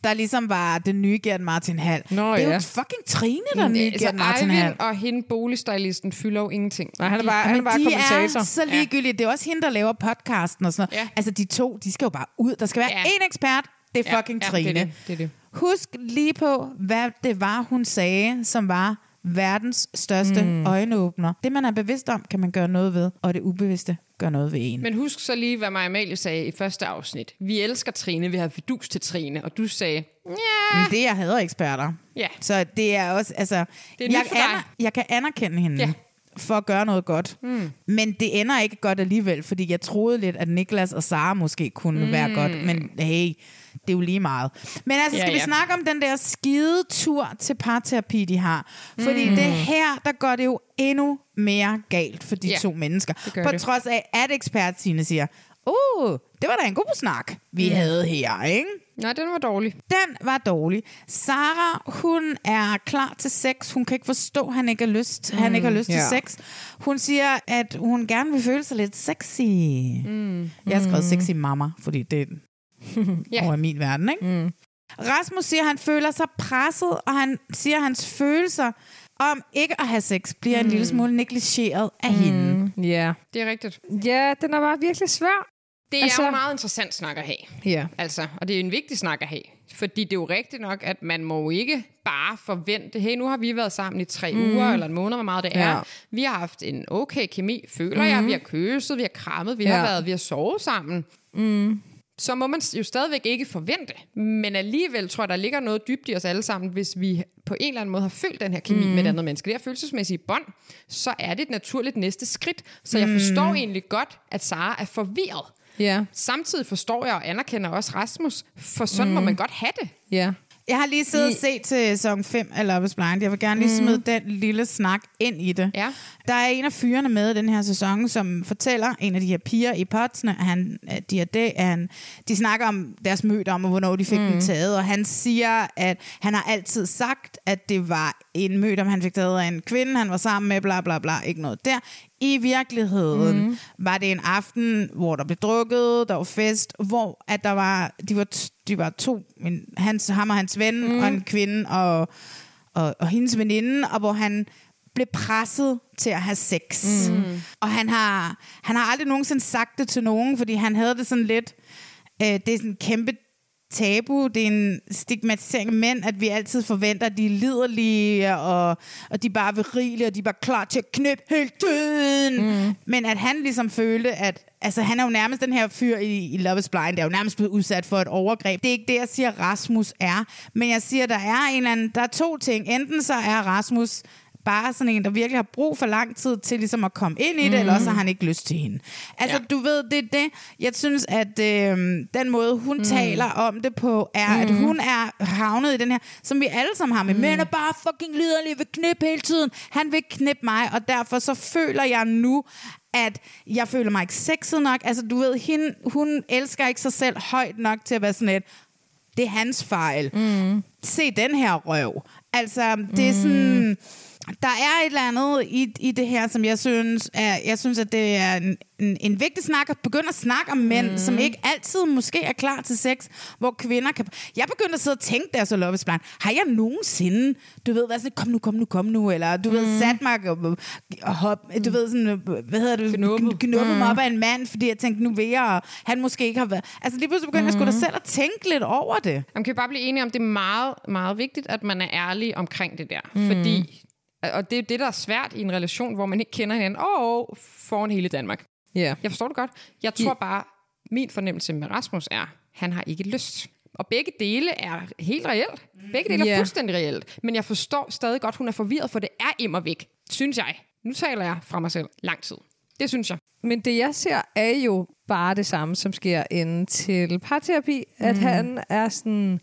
Speaker 1: der ligesom var den nye Gert Martin Hall.
Speaker 3: Nå,
Speaker 1: det er
Speaker 3: ja.
Speaker 1: jo fucking Trine, der er den
Speaker 3: øh,
Speaker 1: nye Gert Martin Hall.
Speaker 2: Eivind og hende boligstylisten fylder jo ingenting.
Speaker 3: altså, Nej, han er bare, han er
Speaker 1: Men
Speaker 3: bare
Speaker 1: de
Speaker 3: kommentator.
Speaker 1: er så ligegyldige. Det er også hende, der laver podcasten og sådan noget.
Speaker 2: Ja.
Speaker 1: Altså, de to, de skal jo bare ud. Der skal være
Speaker 2: Ja.
Speaker 1: én ekspert. Det er
Speaker 2: Ja,
Speaker 1: fucking
Speaker 2: ja,
Speaker 1: Trine.
Speaker 2: det er det, det er det.
Speaker 1: Husk lige på, hvad det var, hun sagde, som var verdens største mm. øjenåbner. Det, man er bevidst om, kan man gøre noget ved, og det ubevidste gør noget ved en.
Speaker 2: Men husk så lige, hvad Maja Amalie sagde i første afsnit. Vi elsker Trine, vi har fidus til Trine, og du sagde, ja,
Speaker 1: Men det, jeg hader eksperter.
Speaker 2: Ja.
Speaker 1: Så det er også, altså...
Speaker 2: Det er nyt
Speaker 1: jeg,
Speaker 2: for dig.
Speaker 1: jeg kan anerkende hende.
Speaker 2: Ja.
Speaker 1: for at gøre noget godt. Mm. Men det ender ikke godt alligevel, fordi jeg troede lidt, at Niklas og Sara måske kunne mm. være godt, men hey, det er jo lige meget. Men altså,
Speaker 2: Ja,
Speaker 1: skal ja, vi
Speaker 2: ja.
Speaker 1: snakke om den der skide tur til parterapi, de har? Fordi mm. det her, der går det jo endnu mere galt for de
Speaker 2: Ja,
Speaker 1: ja, to mennesker.
Speaker 2: gør
Speaker 1: På
Speaker 2: det.
Speaker 1: trods af, at ekspertine siger, uh, det var da en god snak, vi mm. havde her, ikke?
Speaker 2: nej, den var dårlig.
Speaker 1: Den var dårlig. Sara, hun er klar til sex. Hun kan ikke forstå, at han ikke har lyst, mm, han ikke har lyst
Speaker 3: ja.
Speaker 1: til sex. Hun siger, at hun gerne vil føle sig lidt sexy. Mm, jeg har skrevet sexy mamma, fordi det
Speaker 2: Ja.
Speaker 1: yeah. over i min verden. [laughs] Ikke? Mm. Rasmus siger, at han føler sig presset, og han siger, at hans følelser om ikke at have sex bliver mm. en lille smule negligeret af mm. hende.
Speaker 3: Ja.
Speaker 2: Det er rigtigt.
Speaker 3: ja, den er bare virkelig svær.
Speaker 2: Det er altså,
Speaker 3: Altså-
Speaker 2: jo en meget interessant snak at have.
Speaker 3: Ja.
Speaker 2: Altså, og det er en vigtig snak at have. Fordi det er jo rigtigt nok, at man må jo ikke bare forvente, hey, nu har vi været sammen i tre mm. uger eller en måned, hvor meget det er.
Speaker 3: Ja.
Speaker 2: Vi har haft en okay kemi, føler mm. jeg. Vi har kysset, vi har krammet, vi ja.
Speaker 3: Ja.
Speaker 2: har været, vi har sovet sammen. Mm. Så må man jo stadigvæk ikke forvente. Men alligevel tror jeg, der ligger noget dybt i os alle sammen, hvis vi på en eller anden måde har følt den her kemi mm. med et andet menneske. Det her følelsesmæssige bånd, så er det et naturligt næste skridt. Så jeg forstår egentlig godt, at Sara er forvirret.
Speaker 3: Ja.
Speaker 2: Samtidig forstår jeg og anerkender også Rasmus, for sådan mm. må man godt have det.
Speaker 3: Ja.
Speaker 1: Jeg har lige siddet og set til sæson 5 af Love is Blind. Jeg vil gerne lige smide den lille snak ind i det.
Speaker 2: Ja.
Speaker 1: Der er en af fyrene med i den her sæson, som fortæller en af de her piger i potsene, at han, at de, er det, at han, de snakker om deres møde om, og hvornår de fik mm. den taget, og han siger, at han har altid sagt, at det var en møde om, han fik taget af en kvinde, han var sammen med, bla bla bla, ikke noget der. I virkeligheden mm. var det en aften, hvor der blev drukket, der var fest, hvor at der var, de var, t- de var to, en, hans, ham og hans ven, mm. og en kvinde, og, og, og hendes veninde, og hvor han blev presset til at have sex. Mm. Og han har, han har aldrig nogensinde sagt det til nogen, fordi han havde det sådan lidt, øh, det er sådan en kæmpe tabu, det er en stigmatisering af mænd, at vi altid forventer, at de er liderlige, og, og de er bare virile, og de er bare klar til at knæppe hele tiden. Mm. Men at han ligesom følte, at altså, han er jo nærmest den her fyr i, i Love is Blind, der er jo nærmest blevet udsat for et overgreb. Det er ikke det, jeg siger, Rasmus er. Men jeg siger, der er en eller anden, der er to ting. Enten så er Rasmus bare sådan en, der virkelig har brug for lang tid til ligesom at komme ind i det, mm. eller også har han ikke lyst til hende. Altså, ja. du ved, det er det. Jeg synes, at øh, den måde, hun mm. taler om det på, er, mm. at hun er havnet i den her, som vi alle sammen har med. Mm. Mænd er bare fucking liderlige, vil knippe hele tiden. Han vil knippe mig, og derfor så føler jeg nu, at jeg føler mig ikke sexet nok. Altså, du ved, hende, hun elsker ikke sig selv højt nok til at være sådan et, det er hans fejl. Mm. Se den her røv. Altså, det er sådan... Der er et eller andet i, i det her, som jeg synes, er, jeg synes, at det er en, en, en vigtig snak at begynde at snakke om mænd, mm. som ikke altid måske er klar til sex, hvor kvinder kan... Jeg begyndte at sidde og tænke der så Love is Blind. Har jeg nogensinde, du ved, været sådan, kom nu, kom nu, kom nu, eller du mm. ved, sat mig og, og hop, du ved sådan, øh, hvad hedder det,
Speaker 2: Knuppet.
Speaker 1: kn- knuppet mm. mig op af en mand, fordi jeg tænkte, nu vil jeg, og han måske ikke har været... Altså lige pludselig begyndte mm. jeg sgu da selv at tænke lidt over det.
Speaker 2: Man kan vi bare blive enige om, det er meget, meget vigtigt, at man er ærlig omkring det der. Mm. Fordi, og det er det, der er svært i en relation, hvor man ikke kender hinanden, og foran hele Danmark.
Speaker 3: Ja.
Speaker 2: Jeg forstår det godt. Jeg tror bare, min fornemmelse med Rasmus er, han har ikke lyst. Og begge dele er helt reelt. Begge dele er
Speaker 3: Ja.
Speaker 2: fuldstændig reelt. Men jeg forstår stadig godt, hun er forvirret, for det er immer væk, synes jeg. Nu taler jeg fra mig selv lang tid. Det synes jeg.
Speaker 3: Men det, jeg ser, er jo bare det samme, som sker inden til parterapi. Mm. At han er sådan,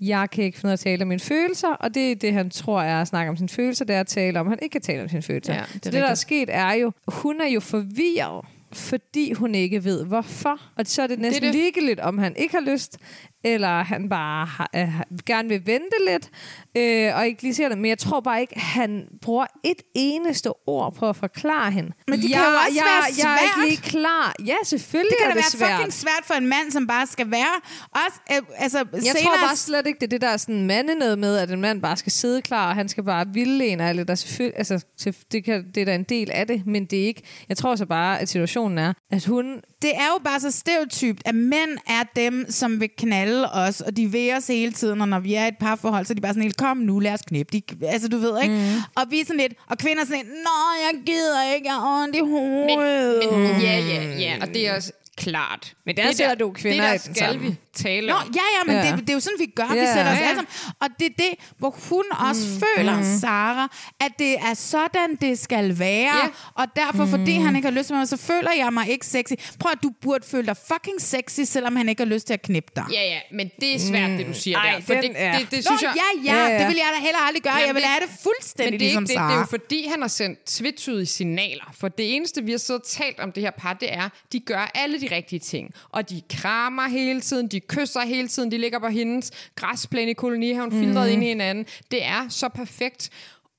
Speaker 3: jeg kan ikke finde ud af at tale om mine følelser, og det er det, han tror er at snakke om sine følelser, det er at tale om, at han ikke kan tale om sine følelser.
Speaker 2: Ja,
Speaker 3: Ja,
Speaker 2: det er
Speaker 3: det så det, der er
Speaker 2: rigtigt.
Speaker 3: sket, er jo, hun er jo forvirret fordi hun ikke ved hvorfor. Og så er det næsten det
Speaker 2: det.
Speaker 3: det. ligegyldigt, om han ikke har lyst, eller han bare har, øh, gerne vil vente lidt, øh, og ikke lige ser det. Men jeg tror bare ikke, han bruger et eneste ord på at forklare hende.
Speaker 1: Men det
Speaker 3: jeg,
Speaker 1: kan jo også
Speaker 3: jeg,
Speaker 1: være
Speaker 3: Jeg er
Speaker 1: svært.
Speaker 3: ikke lige klar. Ja, selvfølgelig
Speaker 1: Det kan
Speaker 3: er
Speaker 1: da
Speaker 3: det
Speaker 1: være
Speaker 3: svært.
Speaker 1: fucking svært for en mand, som bare skal være. Også, øh, altså,
Speaker 3: Jeg
Speaker 1: senere,
Speaker 3: tror bare slet ikke, det er det der sådan mande noget med, at en mand bare skal sidde klar, og han skal bare ville en og alt det der selvfølgelig, altså, selvf- det, kan, det er da en del af det, men det er ikke, jeg tror så bare, at situationen er, at hun,
Speaker 1: det er jo bare så stereotypt, at mænd er dem, som vil knalde os, og de vil os hele tiden, og når vi er i et parforhold, så er de bare sådan helt, kom nu, lad os knæppe. De, altså, du ved, ikke? Mm. Og vi er sådan lidt, og kvinder er sådan lidt, nå, jeg gider ikke, jeg har ondt i hovedet.
Speaker 2: Men, men, ja, ja, ja, og det er også klart. Men
Speaker 3: Hmm. der sidder du kvinder i
Speaker 2: Det der
Speaker 3: den
Speaker 2: skal
Speaker 3: samme.
Speaker 2: vi tale
Speaker 1: Nå,
Speaker 2: om.
Speaker 1: ja, ja, men
Speaker 3: Ja.
Speaker 1: ja. Det, det er jo sådan, vi gør. Vi
Speaker 3: Ja.
Speaker 1: sætter os
Speaker 3: Ja.
Speaker 1: alle sammen. Og det er det, hvor hun også mm. føler, mm. Sara, at det er sådan, det skal være.
Speaker 2: Ja.
Speaker 1: Ja. Og derfor, mm. fordi han ikke har lyst til mig, så føler jeg mig ikke sexy. Prøv at du burde føle dig fucking sexy, selvom han ikke har lyst til at knippe dig.
Speaker 2: Ja, ja, men det er svært, det du siger
Speaker 3: Hmm. Ej,
Speaker 2: der. For
Speaker 3: den
Speaker 2: det, det,
Speaker 3: er-
Speaker 2: det, det
Speaker 1: Nå,
Speaker 2: synes jeg...
Speaker 1: ja, ja,
Speaker 3: Ja, ja.
Speaker 1: det vil jeg da heller aldrig gøre.
Speaker 2: Jamen,
Speaker 1: jeg vil
Speaker 2: det-
Speaker 1: have det fuldstændig
Speaker 2: Men det er,
Speaker 1: ligesom
Speaker 2: ikke det, det
Speaker 1: Sara.
Speaker 2: er jo fordi, han har sendt tvetydige signaler. For det eneste, vi har siddet og talt om det her par, det er, de gør alle de rigtige ting. Og de krammer hele tiden, de kysser hele tiden, de ligger på hendes græsplæne i kolonihaven, mm.
Speaker 1: Mhm.
Speaker 2: filtreret ind i hinanden. Det er så perfekt.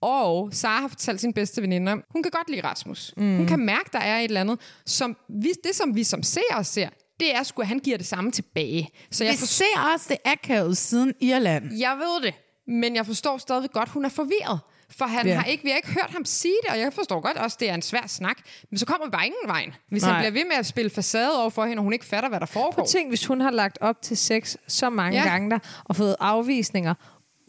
Speaker 2: Og Sara har fortalt sin bedste veninde om, hun kan godt lide Rasmus. Mm.
Speaker 1: Mhm.
Speaker 2: Hun kan mærke, der er et eller andet. Som vi, det, som vi som seere ser, det er sgu, at han giver det samme tilbage. Så jeg
Speaker 1: Vi ser også det akavet siden Irland.
Speaker 2: jeg ved det, men jeg forstår stadig godt, hun er forvirret. For han ja. har ikke, vi har ikke hørt ham sige det, og jeg forstår godt også, det er en svær snak. Men så kommer vi bare ingen vejen, hvis Nej.
Speaker 3: Nej.
Speaker 2: han bliver ved med at spille facade over for hende, og hun ikke fatter, hvad der foregår.
Speaker 3: prøv at tænk, hvis hun har lagt op til sex så mange
Speaker 2: Ja.
Speaker 3: ja. gange der, og fået afvisninger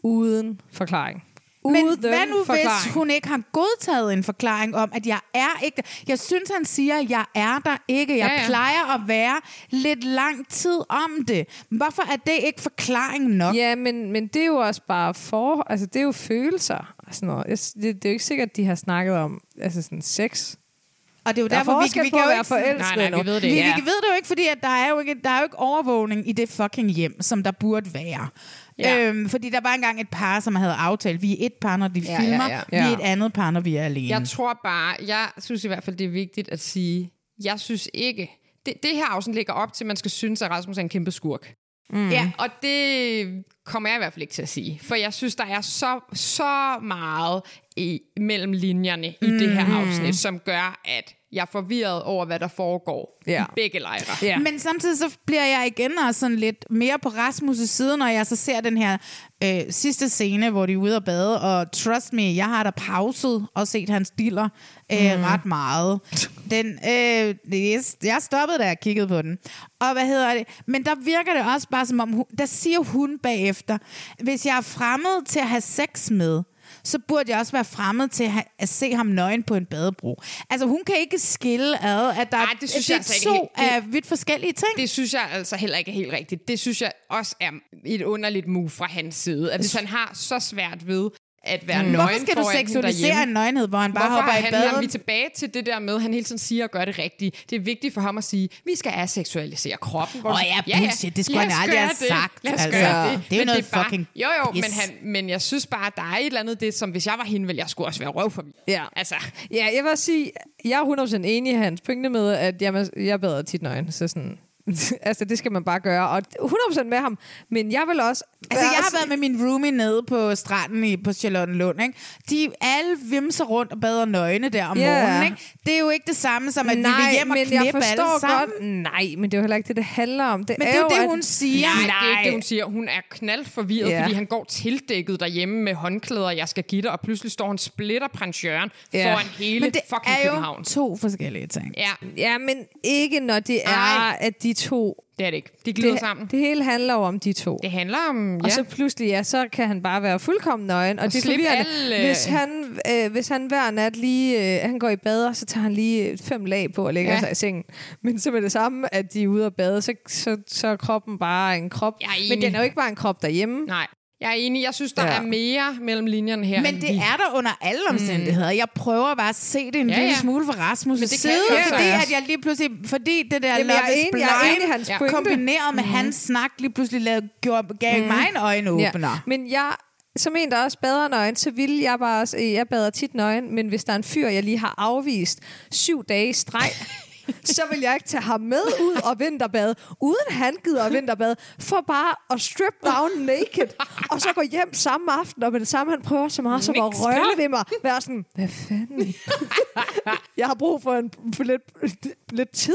Speaker 3: uden forklaring.
Speaker 1: Men
Speaker 3: uden
Speaker 1: hvad nu
Speaker 3: forklaring.
Speaker 1: hvis hun ikke har godtaget en forklaring om, at jeg er ikke... Jeg synes, han siger, at jeg er der ikke. Jeg
Speaker 2: Ja,
Speaker 1: ja,
Speaker 2: ja.
Speaker 1: ja. plejer at være lidt lang tid om det. Hvorfor er det ikke forklaring nok?
Speaker 3: Ja, men, men det er jo også bare for... Altså, det er jo følelser og sådan noget. Jeg, s- det, det er jo ikke sikkert, at de har snakket om altså sådan sex.
Speaker 1: Og det er jo
Speaker 3: Der er
Speaker 1: derfor, vi,
Speaker 3: forskel
Speaker 1: vi
Speaker 3: på
Speaker 1: kan jo
Speaker 3: at være
Speaker 1: ikke...
Speaker 3: forelsket
Speaker 2: Nej, nej, vi ved det,
Speaker 1: Vi,
Speaker 2: ja.
Speaker 1: vi ved det jo ikke, fordi at der, er jo ikke, der er jo ikke overvågning i det fucking hjem, som der burde være.
Speaker 2: Ja.
Speaker 1: Ja. Øhm, fordi der var engang et par, som havde aftalt, vi er et par, når de
Speaker 2: Ja,
Speaker 1: ja,
Speaker 2: ja,
Speaker 1: filmer,
Speaker 2: ja.
Speaker 1: ja, ja. vi er et andet par, når vi er alene.
Speaker 2: Jeg tror bare, jeg synes i hvert fald, det er vigtigt at sige, jeg synes ikke, det, det her afsnit ligger op til, at man skal synes, at Rasmus er en kæmpe skurk. Mm. Ja, og det kommer jeg i hvert fald ikke til at sige. For jeg synes, der er så, så meget i, mellem linjerne i mm. det her afsnit, som gør, at jeg er forvirret over, hvad der foregår ja.
Speaker 3: Ja.
Speaker 2: i begge lejre.
Speaker 3: Ja.
Speaker 1: Men samtidig så bliver jeg igen også sådan lidt mere på Rasmus' side, når jeg så ser den her øh, sidste scene, hvor de er ude og bade, og trust me, jeg har da pauset og set hans diller øh, mm. ret meget. Den, øh, yes, jeg stoppede, da jeg kiggede på den. Og hvad hedder det? Men der virker det også bare som om, hun, der siger hun bagefter, hvis jeg er fremmed til at have sex med, så burde jeg også være fremmed til at, ha- at se ham nøgen på en badebro. Altså, hun kan ikke skille ad, at der
Speaker 2: Ej, det synes jeg altså ikke
Speaker 1: to
Speaker 2: helt- det-
Speaker 1: er vidt forskellige ting.
Speaker 2: Det synes jeg altså heller ikke er helt rigtigt. Det synes jeg også er et underligt move fra hans side. At hvis han har så svært ved at være nøgen
Speaker 1: Hvorfor skal du
Speaker 2: foran hende
Speaker 1: seksualisere
Speaker 2: derhjemme,
Speaker 1: en nøgenhed, hvor han bare
Speaker 2: Hvorfor
Speaker 1: hopper i
Speaker 2: handler vi er
Speaker 1: badet?
Speaker 2: tilbage til det der med, at han hele tiden siger og gør det rigtige? Det er vigtigt for ham at sige, vi skal aseksualisere kroppen. Åh
Speaker 1: Åh ja, bullshit, det skulle han
Speaker 2: lad os
Speaker 1: aldrig
Speaker 2: gøre
Speaker 1: have
Speaker 2: det.
Speaker 1: sagt,
Speaker 2: Lad os
Speaker 1: altså.
Speaker 2: gøre
Speaker 1: Ja.
Speaker 2: det.
Speaker 1: Det er jo
Speaker 2: Men
Speaker 1: noget
Speaker 2: bare,
Speaker 1: fucking
Speaker 2: Jo, jo, men,
Speaker 1: pis.
Speaker 2: han, men jeg synes bare, der er et eller andet det, som hvis jeg var hende, ville jeg skulle også være røvforvirret.
Speaker 3: Ja.
Speaker 2: Altså,
Speaker 3: Ja, jeg vil også sige, jeg er 100% enig i hans pointe med, at jeg, jeg bader tit nøgen, så sådan... [laughs] altså, det skal man bare gøre, og 100% med ham. Men jeg vil også...
Speaker 1: Altså, jeg har været med min roomie nede på stranden i, på Charlottenlund, ikke? De alle vimser rundt og bader nøgne der om
Speaker 3: Ja.
Speaker 1: morgenen, ikke? Det er jo ikke det samme som, at vi vil hjem og
Speaker 3: men jeg
Speaker 1: knæppe alle
Speaker 3: forstår
Speaker 1: sammen.
Speaker 3: godt... Nej, men det er jo heller ikke det, det handler om. Det
Speaker 1: Men
Speaker 3: er
Speaker 1: det er jo det,
Speaker 3: at-
Speaker 1: hun siger.
Speaker 2: nej, det er ikke det, hun siger. Hun er knaldforvirret,
Speaker 3: Ja.
Speaker 2: yeah. fordi han går tildækket derhjemme med håndklæder, jeg skal give dig, og pludselig står han splitter prins Jørgen
Speaker 3: Ja.
Speaker 2: foran hele
Speaker 1: Men det
Speaker 2: fucking
Speaker 1: er jo
Speaker 2: København.
Speaker 1: to forskellige ting.
Speaker 2: Ja,
Speaker 3: Ja, men ikke når det er,
Speaker 2: Ej.
Speaker 3: at de to...
Speaker 2: det er det ikke. De glider
Speaker 3: Det,
Speaker 2: det, sammen. Det,
Speaker 3: det hele handler jo om de to.
Speaker 2: det handler om... Mm, Ja.
Speaker 3: Og så pludselig, ja, så kan han bare være fuldkommen nøgen. Og, og det er
Speaker 2: slippe
Speaker 3: forvirrende.
Speaker 2: alle-
Speaker 3: Hvis, han, øh, hvis han hver nat lige... Øh, han går i bad, og så tager han lige øh, fem lag på og lægger
Speaker 2: Ja.
Speaker 3: ja. sig i sengen. Men så med det samme, at de er ude og bade, så, så, så er kroppen bare en krop.
Speaker 2: Jeg er enig.
Speaker 3: Men den er jo ikke bare en krop derhjemme.
Speaker 2: Nej, jeg er enig. Jeg synes, der ja.
Speaker 3: Ja.
Speaker 2: er mere mellem linjerne her.
Speaker 1: Men
Speaker 2: end
Speaker 1: det
Speaker 2: vi-
Speaker 1: er der under alle
Speaker 3: Mm.
Speaker 1: omstændigheder. Jeg prøver bare at se det en
Speaker 2: Ja,
Speaker 1: ja, lille
Speaker 2: ja.
Speaker 1: smule fra Rasmus'
Speaker 2: det kan
Speaker 1: side,
Speaker 2: vi også
Speaker 1: fordi
Speaker 2: sagtens.
Speaker 1: at jeg lige pludselig, fordi det der
Speaker 3: Jamen,
Speaker 1: Love
Speaker 3: jeg er
Speaker 1: is
Speaker 3: enig, jeg er enig i
Speaker 1: Blind
Speaker 3: hans pointe. Mhm.
Speaker 1: kombineret med hans snak, lige pludselig lavede, gjorde, gav mm. mig en øjenåbner. Ja.
Speaker 3: Men jeg, som en, der også bader nøgen, så vil jeg bare også, jeg bader tit nøgen, men hvis der er en fyr, jeg lige har afvist syv dage i streg, så vil jeg ikke tage ham med ud og vinterbade, uden han gider at vinterbade, for bare at strip down naked, og så gå hjem samme aften, og med det samme, han prøver så meget som at
Speaker 2: Niks
Speaker 3: røle
Speaker 2: gør.
Speaker 3: ved mig. Være sådan, hvad fanden? jeg har brug for, en, for lidt, lidt tid.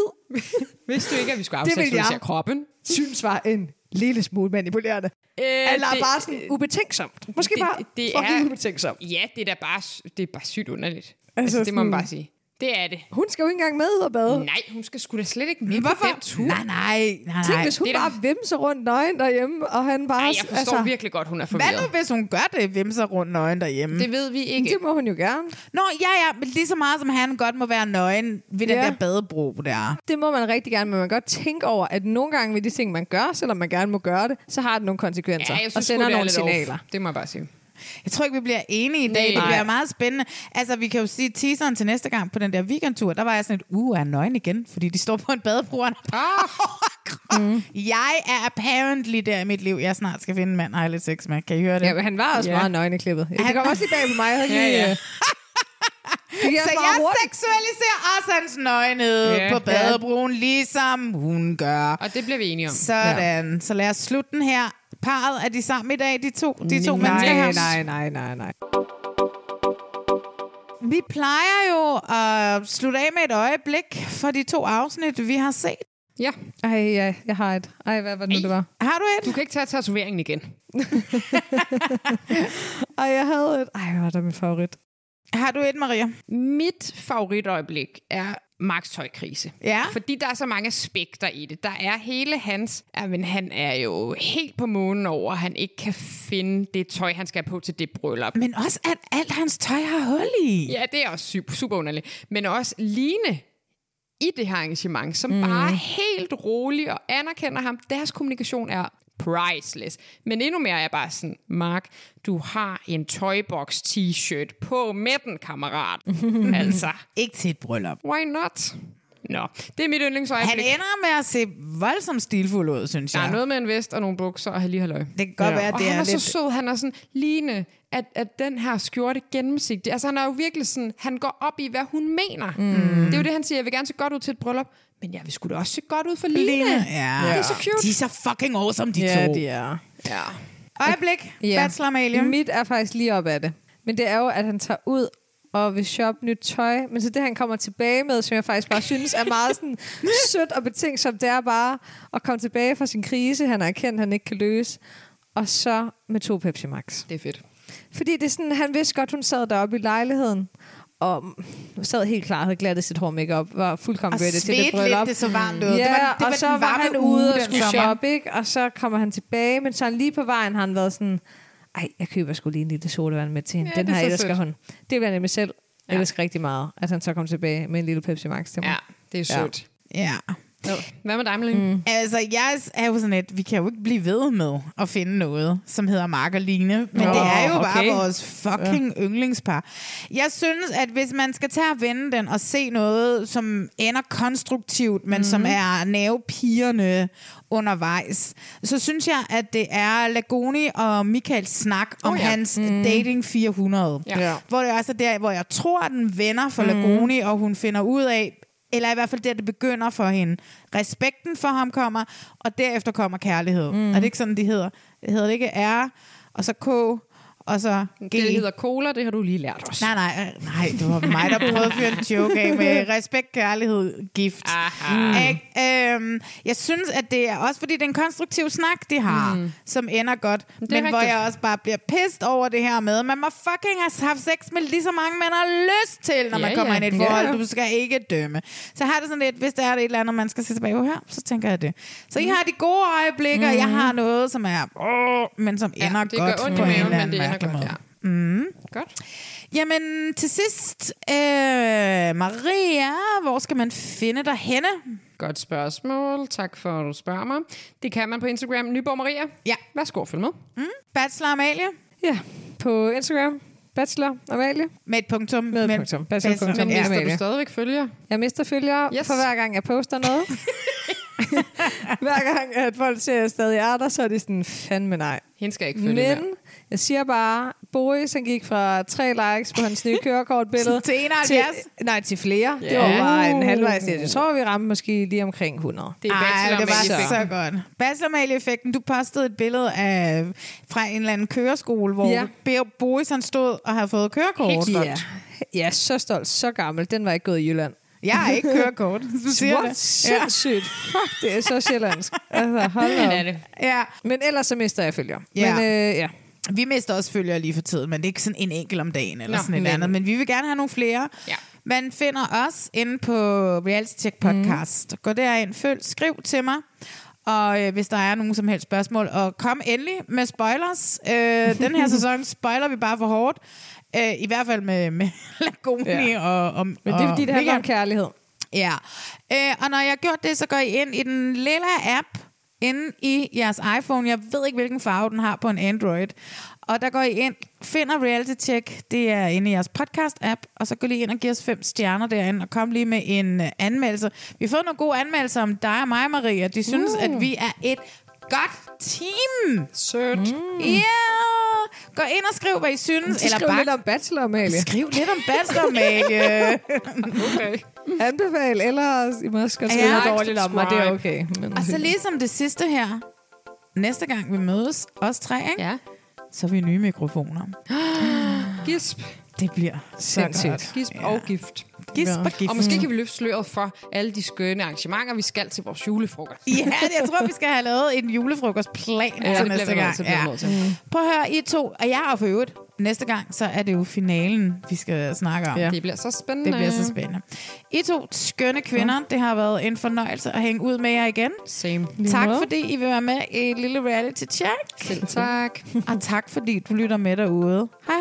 Speaker 2: Hvis du ikke, at vi skulle
Speaker 3: Det vil
Speaker 2: afsætte
Speaker 3: jeg.
Speaker 2: af kroppen.
Speaker 3: Synes var en lille smule manipulerende.
Speaker 2: Øh,
Speaker 3: Eller det, bare sådan ubetænksomt. Måske det, bare det, det fucking er... ubetænksomt.
Speaker 2: Ja, det er da bare, s- det er bare sygt underligt. Altså, altså det må man
Speaker 3: sådan-
Speaker 2: bare sige. Det er det.
Speaker 3: Hun skal jo ikke engang med ud og bade.
Speaker 2: Nej, hun skal sgu da slet ikke med på den
Speaker 1: Hvorfor?
Speaker 2: tur.
Speaker 1: Nej, nej, nej,
Speaker 3: Tænk,
Speaker 1: nej.
Speaker 3: hvis hun
Speaker 2: det er da-
Speaker 3: bare vimser rundt nøgen derhjemme, og han bare...
Speaker 2: Ej, jeg forstår altså, virkelig godt, hun er
Speaker 1: Hvad nu,
Speaker 2: forvirret.
Speaker 1: hvis hun gør det, vimser rundt nøgen derhjemme?
Speaker 2: Det ved vi ikke.
Speaker 3: Det må hun jo gerne.
Speaker 1: Nå, ja, ja, men lige så meget som han godt må være nøgen ved den
Speaker 3: Ja.
Speaker 1: der badebro der.
Speaker 3: Det må man rigtig gerne, men man kan godt tænke over, at nogle gange ved de ting, man gør, selvom man gerne må gøre det, så har det nogle konsekvenser.
Speaker 2: Ja, jeg synes,
Speaker 3: og
Speaker 2: sgu,
Speaker 3: sender
Speaker 2: det er
Speaker 3: nogle
Speaker 2: lidt off.
Speaker 3: signaler.
Speaker 2: Det må jeg bare sige.
Speaker 1: Jeg tror ikke, vi bliver enige i dag. Nej. Det
Speaker 2: Nej.
Speaker 1: bliver meget spændende. Altså, vi kan jo sige teaseren til næste gang på den der weekendtur. Der var jeg sådan et, uh, er han nøgen igen? Fordi de står på en badebro, og han har [laughs]
Speaker 3: Ah!
Speaker 1: bare mm. Jeg er apparently der i mit liv. Jeg snart skal finde en mand, og have lidt sex med. Kan I høre det?
Speaker 3: Ja, men han var også
Speaker 2: Ja.
Speaker 3: meget nøgen i klippet. Ja,
Speaker 1: Han-
Speaker 3: det kom også lige bag på mig. Jeg havde ikke lige,
Speaker 2: ja.
Speaker 3: øh, Det gik
Speaker 1: Så
Speaker 3: også
Speaker 1: jeg
Speaker 3: meget hurtigt.
Speaker 1: seksualiserer også hans nøgenhed
Speaker 2: Ja.
Speaker 1: yeah. på badebroen, ligesom hun gør.
Speaker 2: Og det bliver vi enige om.
Speaker 1: Sådan. Ja. Så lad os slutte den her. Parret, er de sammen i dag, de to, de to mennesker her?
Speaker 3: Mm, Nej, nej, nej, nej, nej.
Speaker 1: Vi plejer jo at slutte af med et øjeblik for de to afsnit, vi har set.
Speaker 2: Ja,
Speaker 3: Ej, ja, jeg har et. Ej, hvad var det nu, det var?
Speaker 1: Har du et?
Speaker 2: du kan ikke tage tatoveringen igen.
Speaker 3: Ej, jeg havde et. Ej, hvad var det min favorit?
Speaker 1: Har du et, Maria?
Speaker 2: Mit favoritøjeblik er Marks tøjkrise.
Speaker 1: Ja.
Speaker 2: Fordi der er så mange aspekter i det. Der er hele hans... Jamen, han er jo helt på månen over, at han ikke kan finde det tøj, han skal have på til det bryllup.
Speaker 1: Men også, at alt hans tøj har hul i.
Speaker 2: Ja, det er også super, super underligt. Men også Line i det her arrangement, som mm. bare er helt rolig og anerkender ham. Deres kommunikation er priceless. Men endnu mere er jeg bare sådan, Mark, du har en Toybox t-shirt på med den, kammerat. altså,
Speaker 1: Ikke til et bryllup.
Speaker 2: why not? Nå, det er mit
Speaker 1: Han
Speaker 2: yndlingsøjeblik.
Speaker 1: ender med at se voldsomt stilfuld ud, synes
Speaker 2: Der
Speaker 1: jeg.
Speaker 2: er noget med en vest og nogle bukser og lige halløj.
Speaker 1: Det kan godt være, at
Speaker 2: og
Speaker 1: det
Speaker 2: han
Speaker 1: er
Speaker 2: er
Speaker 1: lidt-
Speaker 2: så sød. Han er sådan, Line, at, at den her skjorte gennemsigtig. Altså, han er jo virkelig sådan, han går op i, hvad hun mener. Mm. Det er jo det, han siger, jeg vil gerne se godt ud til et bryllup. Men jeg vil sgu da også se godt ud for Line. Line.
Speaker 1: Ja.
Speaker 2: Det er så cute.
Speaker 1: De er så fucking awesome, de to.
Speaker 3: er.
Speaker 2: Ja.
Speaker 1: Øjeblik.
Speaker 3: Ja.
Speaker 1: Bachelor Amalie.
Speaker 3: Mit er faktisk lige op af det. Men det er jo, at han tager ud og vil shoppe nyt tøj. Men så det, han kommer tilbage med, som jeg faktisk bare synes er
Speaker 1: [laughs]
Speaker 3: meget sådan sødt og betænksomt, det er bare at komme tilbage fra sin krise, han har erkendt, han ikke kan løse. Og så med to Pepsi Max.
Speaker 2: Det er fedt.
Speaker 3: Fordi det er sådan, han vidste godt, hun sad deroppe i lejligheden. Og sad helt klar, havde glattet sit hår makeup var fuldkommen
Speaker 1: Og
Speaker 3: ready til det
Speaker 1: svedte
Speaker 3: bryllup.
Speaker 1: lidt, det så varmt ud.
Speaker 3: Ja,
Speaker 1: Det var- det
Speaker 3: og
Speaker 1: var
Speaker 3: så
Speaker 1: den
Speaker 3: var
Speaker 1: varme
Speaker 3: han
Speaker 1: uge
Speaker 3: ude og
Speaker 1: den
Speaker 3: skulle
Speaker 1: sommer.
Speaker 3: shoppe, ikke? Og så kommer han tilbage, men sådan lige på vejen har han været sådan, ej, jeg køber sgu lige en lille sodavand med til hende.
Speaker 2: Ja,
Speaker 3: Den
Speaker 2: det er
Speaker 3: her
Speaker 2: så
Speaker 3: elsker
Speaker 2: sødt.
Speaker 3: hun. Det vil jeg nemlig selv ja. elske rigtig meget, at han så kom tilbage med en lille Pepsi Max til mig.
Speaker 2: Ja, det er sødt.
Speaker 1: Ja.
Speaker 2: Ja. Hvad med dig, Malene? Mm.
Speaker 1: Altså, jeg er jo sådan lidt, vi kan jo ikke blive ved med at finde noget, som hedder Mark og Line. Men
Speaker 3: Nå,
Speaker 1: det er jo
Speaker 3: okay.
Speaker 1: bare vores fucking ja. yndlingspar. Jeg synes, at hvis man skal tage og vende den og se noget, som ender konstruktivt, men mm-hmm. som er nervepirrende undervejs, så synes jeg, at det er Lagoni og Michaels snak om oh,
Speaker 2: ja.
Speaker 1: ja. hans mm. Dating 400.
Speaker 2: Ja. Ja.
Speaker 1: Hvor det er også der, hvor jeg tror, at den vender for mm. Lagoni, og hun finder ud af, eller i hvert fald der, det begynder for hende. Respekten for ham kommer, og derefter kommer kærlighed. Mm. Er det ikke sådan, de hedder? Hedder det ikke R, og så K, og så G?
Speaker 2: Det hedder cola, det har du lige lært os.
Speaker 1: Nej, nej, øh, nej, det var mig, der prøvede at fyre en joke af med
Speaker 2: [laughs]
Speaker 1: respekt, kærlighed, gift.
Speaker 2: Aha.
Speaker 1: Ikke? Øhm, jeg synes, at det er også, fordi det er en konstruktiv snak, de har, mm. som ender godt. Men
Speaker 2: rigtigt.
Speaker 1: hvor jeg også bare bliver pissed over det her med, man må fucking have haft sex med lige så mange, man har lyst til, når
Speaker 2: Ja,
Speaker 1: man kommer
Speaker 2: ja.
Speaker 1: ind i et
Speaker 2: Ja,
Speaker 1: forhold.
Speaker 2: ja.
Speaker 1: Du skal ikke dømme. Så jeg har det sådan lidt, hvis der er et eller andet, man skal se tilbage på her, så tænker jeg det. Så
Speaker 2: Mm.
Speaker 1: I har de gode øjeblikke, mm. og jeg har noget, som er, åh, men som ender
Speaker 2: det
Speaker 1: godt
Speaker 2: gør ondt i
Speaker 1: på en
Speaker 2: maven,
Speaker 1: eller
Speaker 2: men
Speaker 1: anden
Speaker 2: det ender
Speaker 1: mærkelig
Speaker 2: godt.
Speaker 1: måde.
Speaker 2: Ja. Mm. Godt.
Speaker 1: Jamen, til sidst, øh, Maria, hvor skal man finde dig henne?
Speaker 2: Godt spørgsmål. Tak for, at du spørger mig. Det kan man på Instagram, Nyborg Maria.
Speaker 1: Ja.
Speaker 2: Værsgo at følge med.
Speaker 1: Bachelor Amalie?
Speaker 3: ja. På Instagram, Bachelor Amalie.
Speaker 1: Med et punktum.
Speaker 3: Med et punktum. Bachelor punktum.
Speaker 2: Men
Speaker 3: Ja,
Speaker 2: hvis ja, du
Speaker 3: Amalie.
Speaker 2: stadigvæk følger,
Speaker 3: Jeg mister følgere
Speaker 2: Yes.
Speaker 3: yes. for hver gang, jeg poster
Speaker 2: [laughs]
Speaker 3: noget. [laughs] hver gang, at folk ser, at jeg stadig er der, så er de sådan, fandme nej.
Speaker 2: Hende skal jeg ikke følge
Speaker 3: Men
Speaker 2: mere.
Speaker 3: jeg siger bare, Boris han gik fra tre likes på hans nye kørekortbillede
Speaker 1: [laughs] Til 71?
Speaker 3: nej, til flere. Yeah. Det
Speaker 2: Ja.
Speaker 3: var bare en halvvejs. Jeg tror, vi ramte måske lige omkring 100.
Speaker 2: Det er
Speaker 1: Ej,
Speaker 2: bachelor
Speaker 1: det var
Speaker 3: Bachelor.
Speaker 1: så godt. Bachelormale-effekten, du postede et billede af, fra en eller anden køreskole, hvor
Speaker 3: Ja.
Speaker 1: ja. Boris han stod og havde fået kørekort.
Speaker 3: Ja. ja, så stolt, så gammel. Den var ikke gået i Jylland.
Speaker 1: Jeg har ikke
Speaker 3: [laughs]
Speaker 1: kørekort. Du siger
Speaker 3: What?
Speaker 1: det.
Speaker 3: Sindssygt. Fuck, det er så sjællandsk.
Speaker 1: [laughs]
Speaker 3: Altså, hold da
Speaker 2: er
Speaker 3: op.
Speaker 2: det.
Speaker 1: Ja.
Speaker 3: Men ellers så mister jeg følger.
Speaker 1: Ja.
Speaker 3: Men, øh, ja.
Speaker 1: Vi mister også følgere lige for tiden, men det er ikke sådan en enkelt om dagen eller
Speaker 2: Nå,
Speaker 1: Nå, sådan et
Speaker 2: men-
Speaker 1: men... andet. Men vi vil gerne have nogle flere.
Speaker 2: Ja.
Speaker 1: Man finder os inde på Reality Check
Speaker 3: Mhm.
Speaker 1: Podcast. Mm. Gå derind, følg, skriv til mig. Og øh, hvis der er nogen som helst spørgsmål, og kom endelig med spoilers. Øh, den
Speaker 3: [laughs]
Speaker 1: her sæson spoiler vi bare for hårdt. Øh, I hvert fald med, med [laughs] Lagoni ja. og, og
Speaker 3: Men det er fordi, det handler
Speaker 1: Mega.
Speaker 3: om kærlighed.
Speaker 1: Ja, øh, og når jeg har gjort det, så går I ind i den lille app inde i jeres iPhone. Jeg ved ikke, hvilken farve den har på en Android. Og der går I ind, finder Reality Check, det er inde i jeres podcast-app, og så går I lige ind og giver os fem stjerner derinde, og kom lige med en øh, anmeldelse. Vi har fået nogle gode anmeldelser om dig og mig, Maria. De synes, mm. at vi er et godt team. Mm.
Speaker 3: Sødt.
Speaker 1: Ja! Yeah. Gå ind og skriv, hvad I synes.
Speaker 3: Så skriv
Speaker 1: bare
Speaker 3: lidt om bachelor,
Speaker 2: [laughs]
Speaker 3: Amalie.
Speaker 1: skriv lidt om Bachelor, [laughs]
Speaker 3: [laughs]
Speaker 1: Amalie.
Speaker 2: Okay.
Speaker 3: Anbefal, eller I må også godt
Speaker 1: Ja,
Speaker 3: skrive
Speaker 1: like,
Speaker 3: ja, dårligt om mig. Det er
Speaker 2: subscribe.
Speaker 3: okay. Men
Speaker 1: Og så ligesom det sidste her. Næste gang vi mødes, os tre, ikke?
Speaker 2: Ja.
Speaker 1: så har vi nye mikrofoner.
Speaker 2: Gisp.
Speaker 1: Det bliver
Speaker 3: Sindssygt.
Speaker 1: sindssygt.
Speaker 2: Gisp ja. og gift.
Speaker 1: Gisp og gift.
Speaker 2: Og måske kan vi løfte sløret for alle de skønne arrangementer, vi skal til vores julefrokost.
Speaker 1: Ja, det- jeg tror, vi skal have lavet en julefrokostplan
Speaker 2: Ja,
Speaker 1: ja, til
Speaker 2: det bliver
Speaker 1: næste
Speaker 2: vi nødt
Speaker 1: gang.
Speaker 2: til, det bliver vi nødt til.
Speaker 1: Prøv at høre, I to, og jeg og for øvrigt, næste gang, så er det jo finalen, vi skal snakke om.
Speaker 3: Ja.
Speaker 1: Ja.
Speaker 2: Det bliver så spændende.
Speaker 1: Det bliver så spændende. I to skønne kvinder, det har været en fornøjelse at hænge ud med jer igen.
Speaker 2: Same.
Speaker 1: Tak
Speaker 3: måde.
Speaker 1: fordi I vil være med i et lille reality check.
Speaker 2: Tak.
Speaker 1: Og tak fordi du lytter med derude. Hej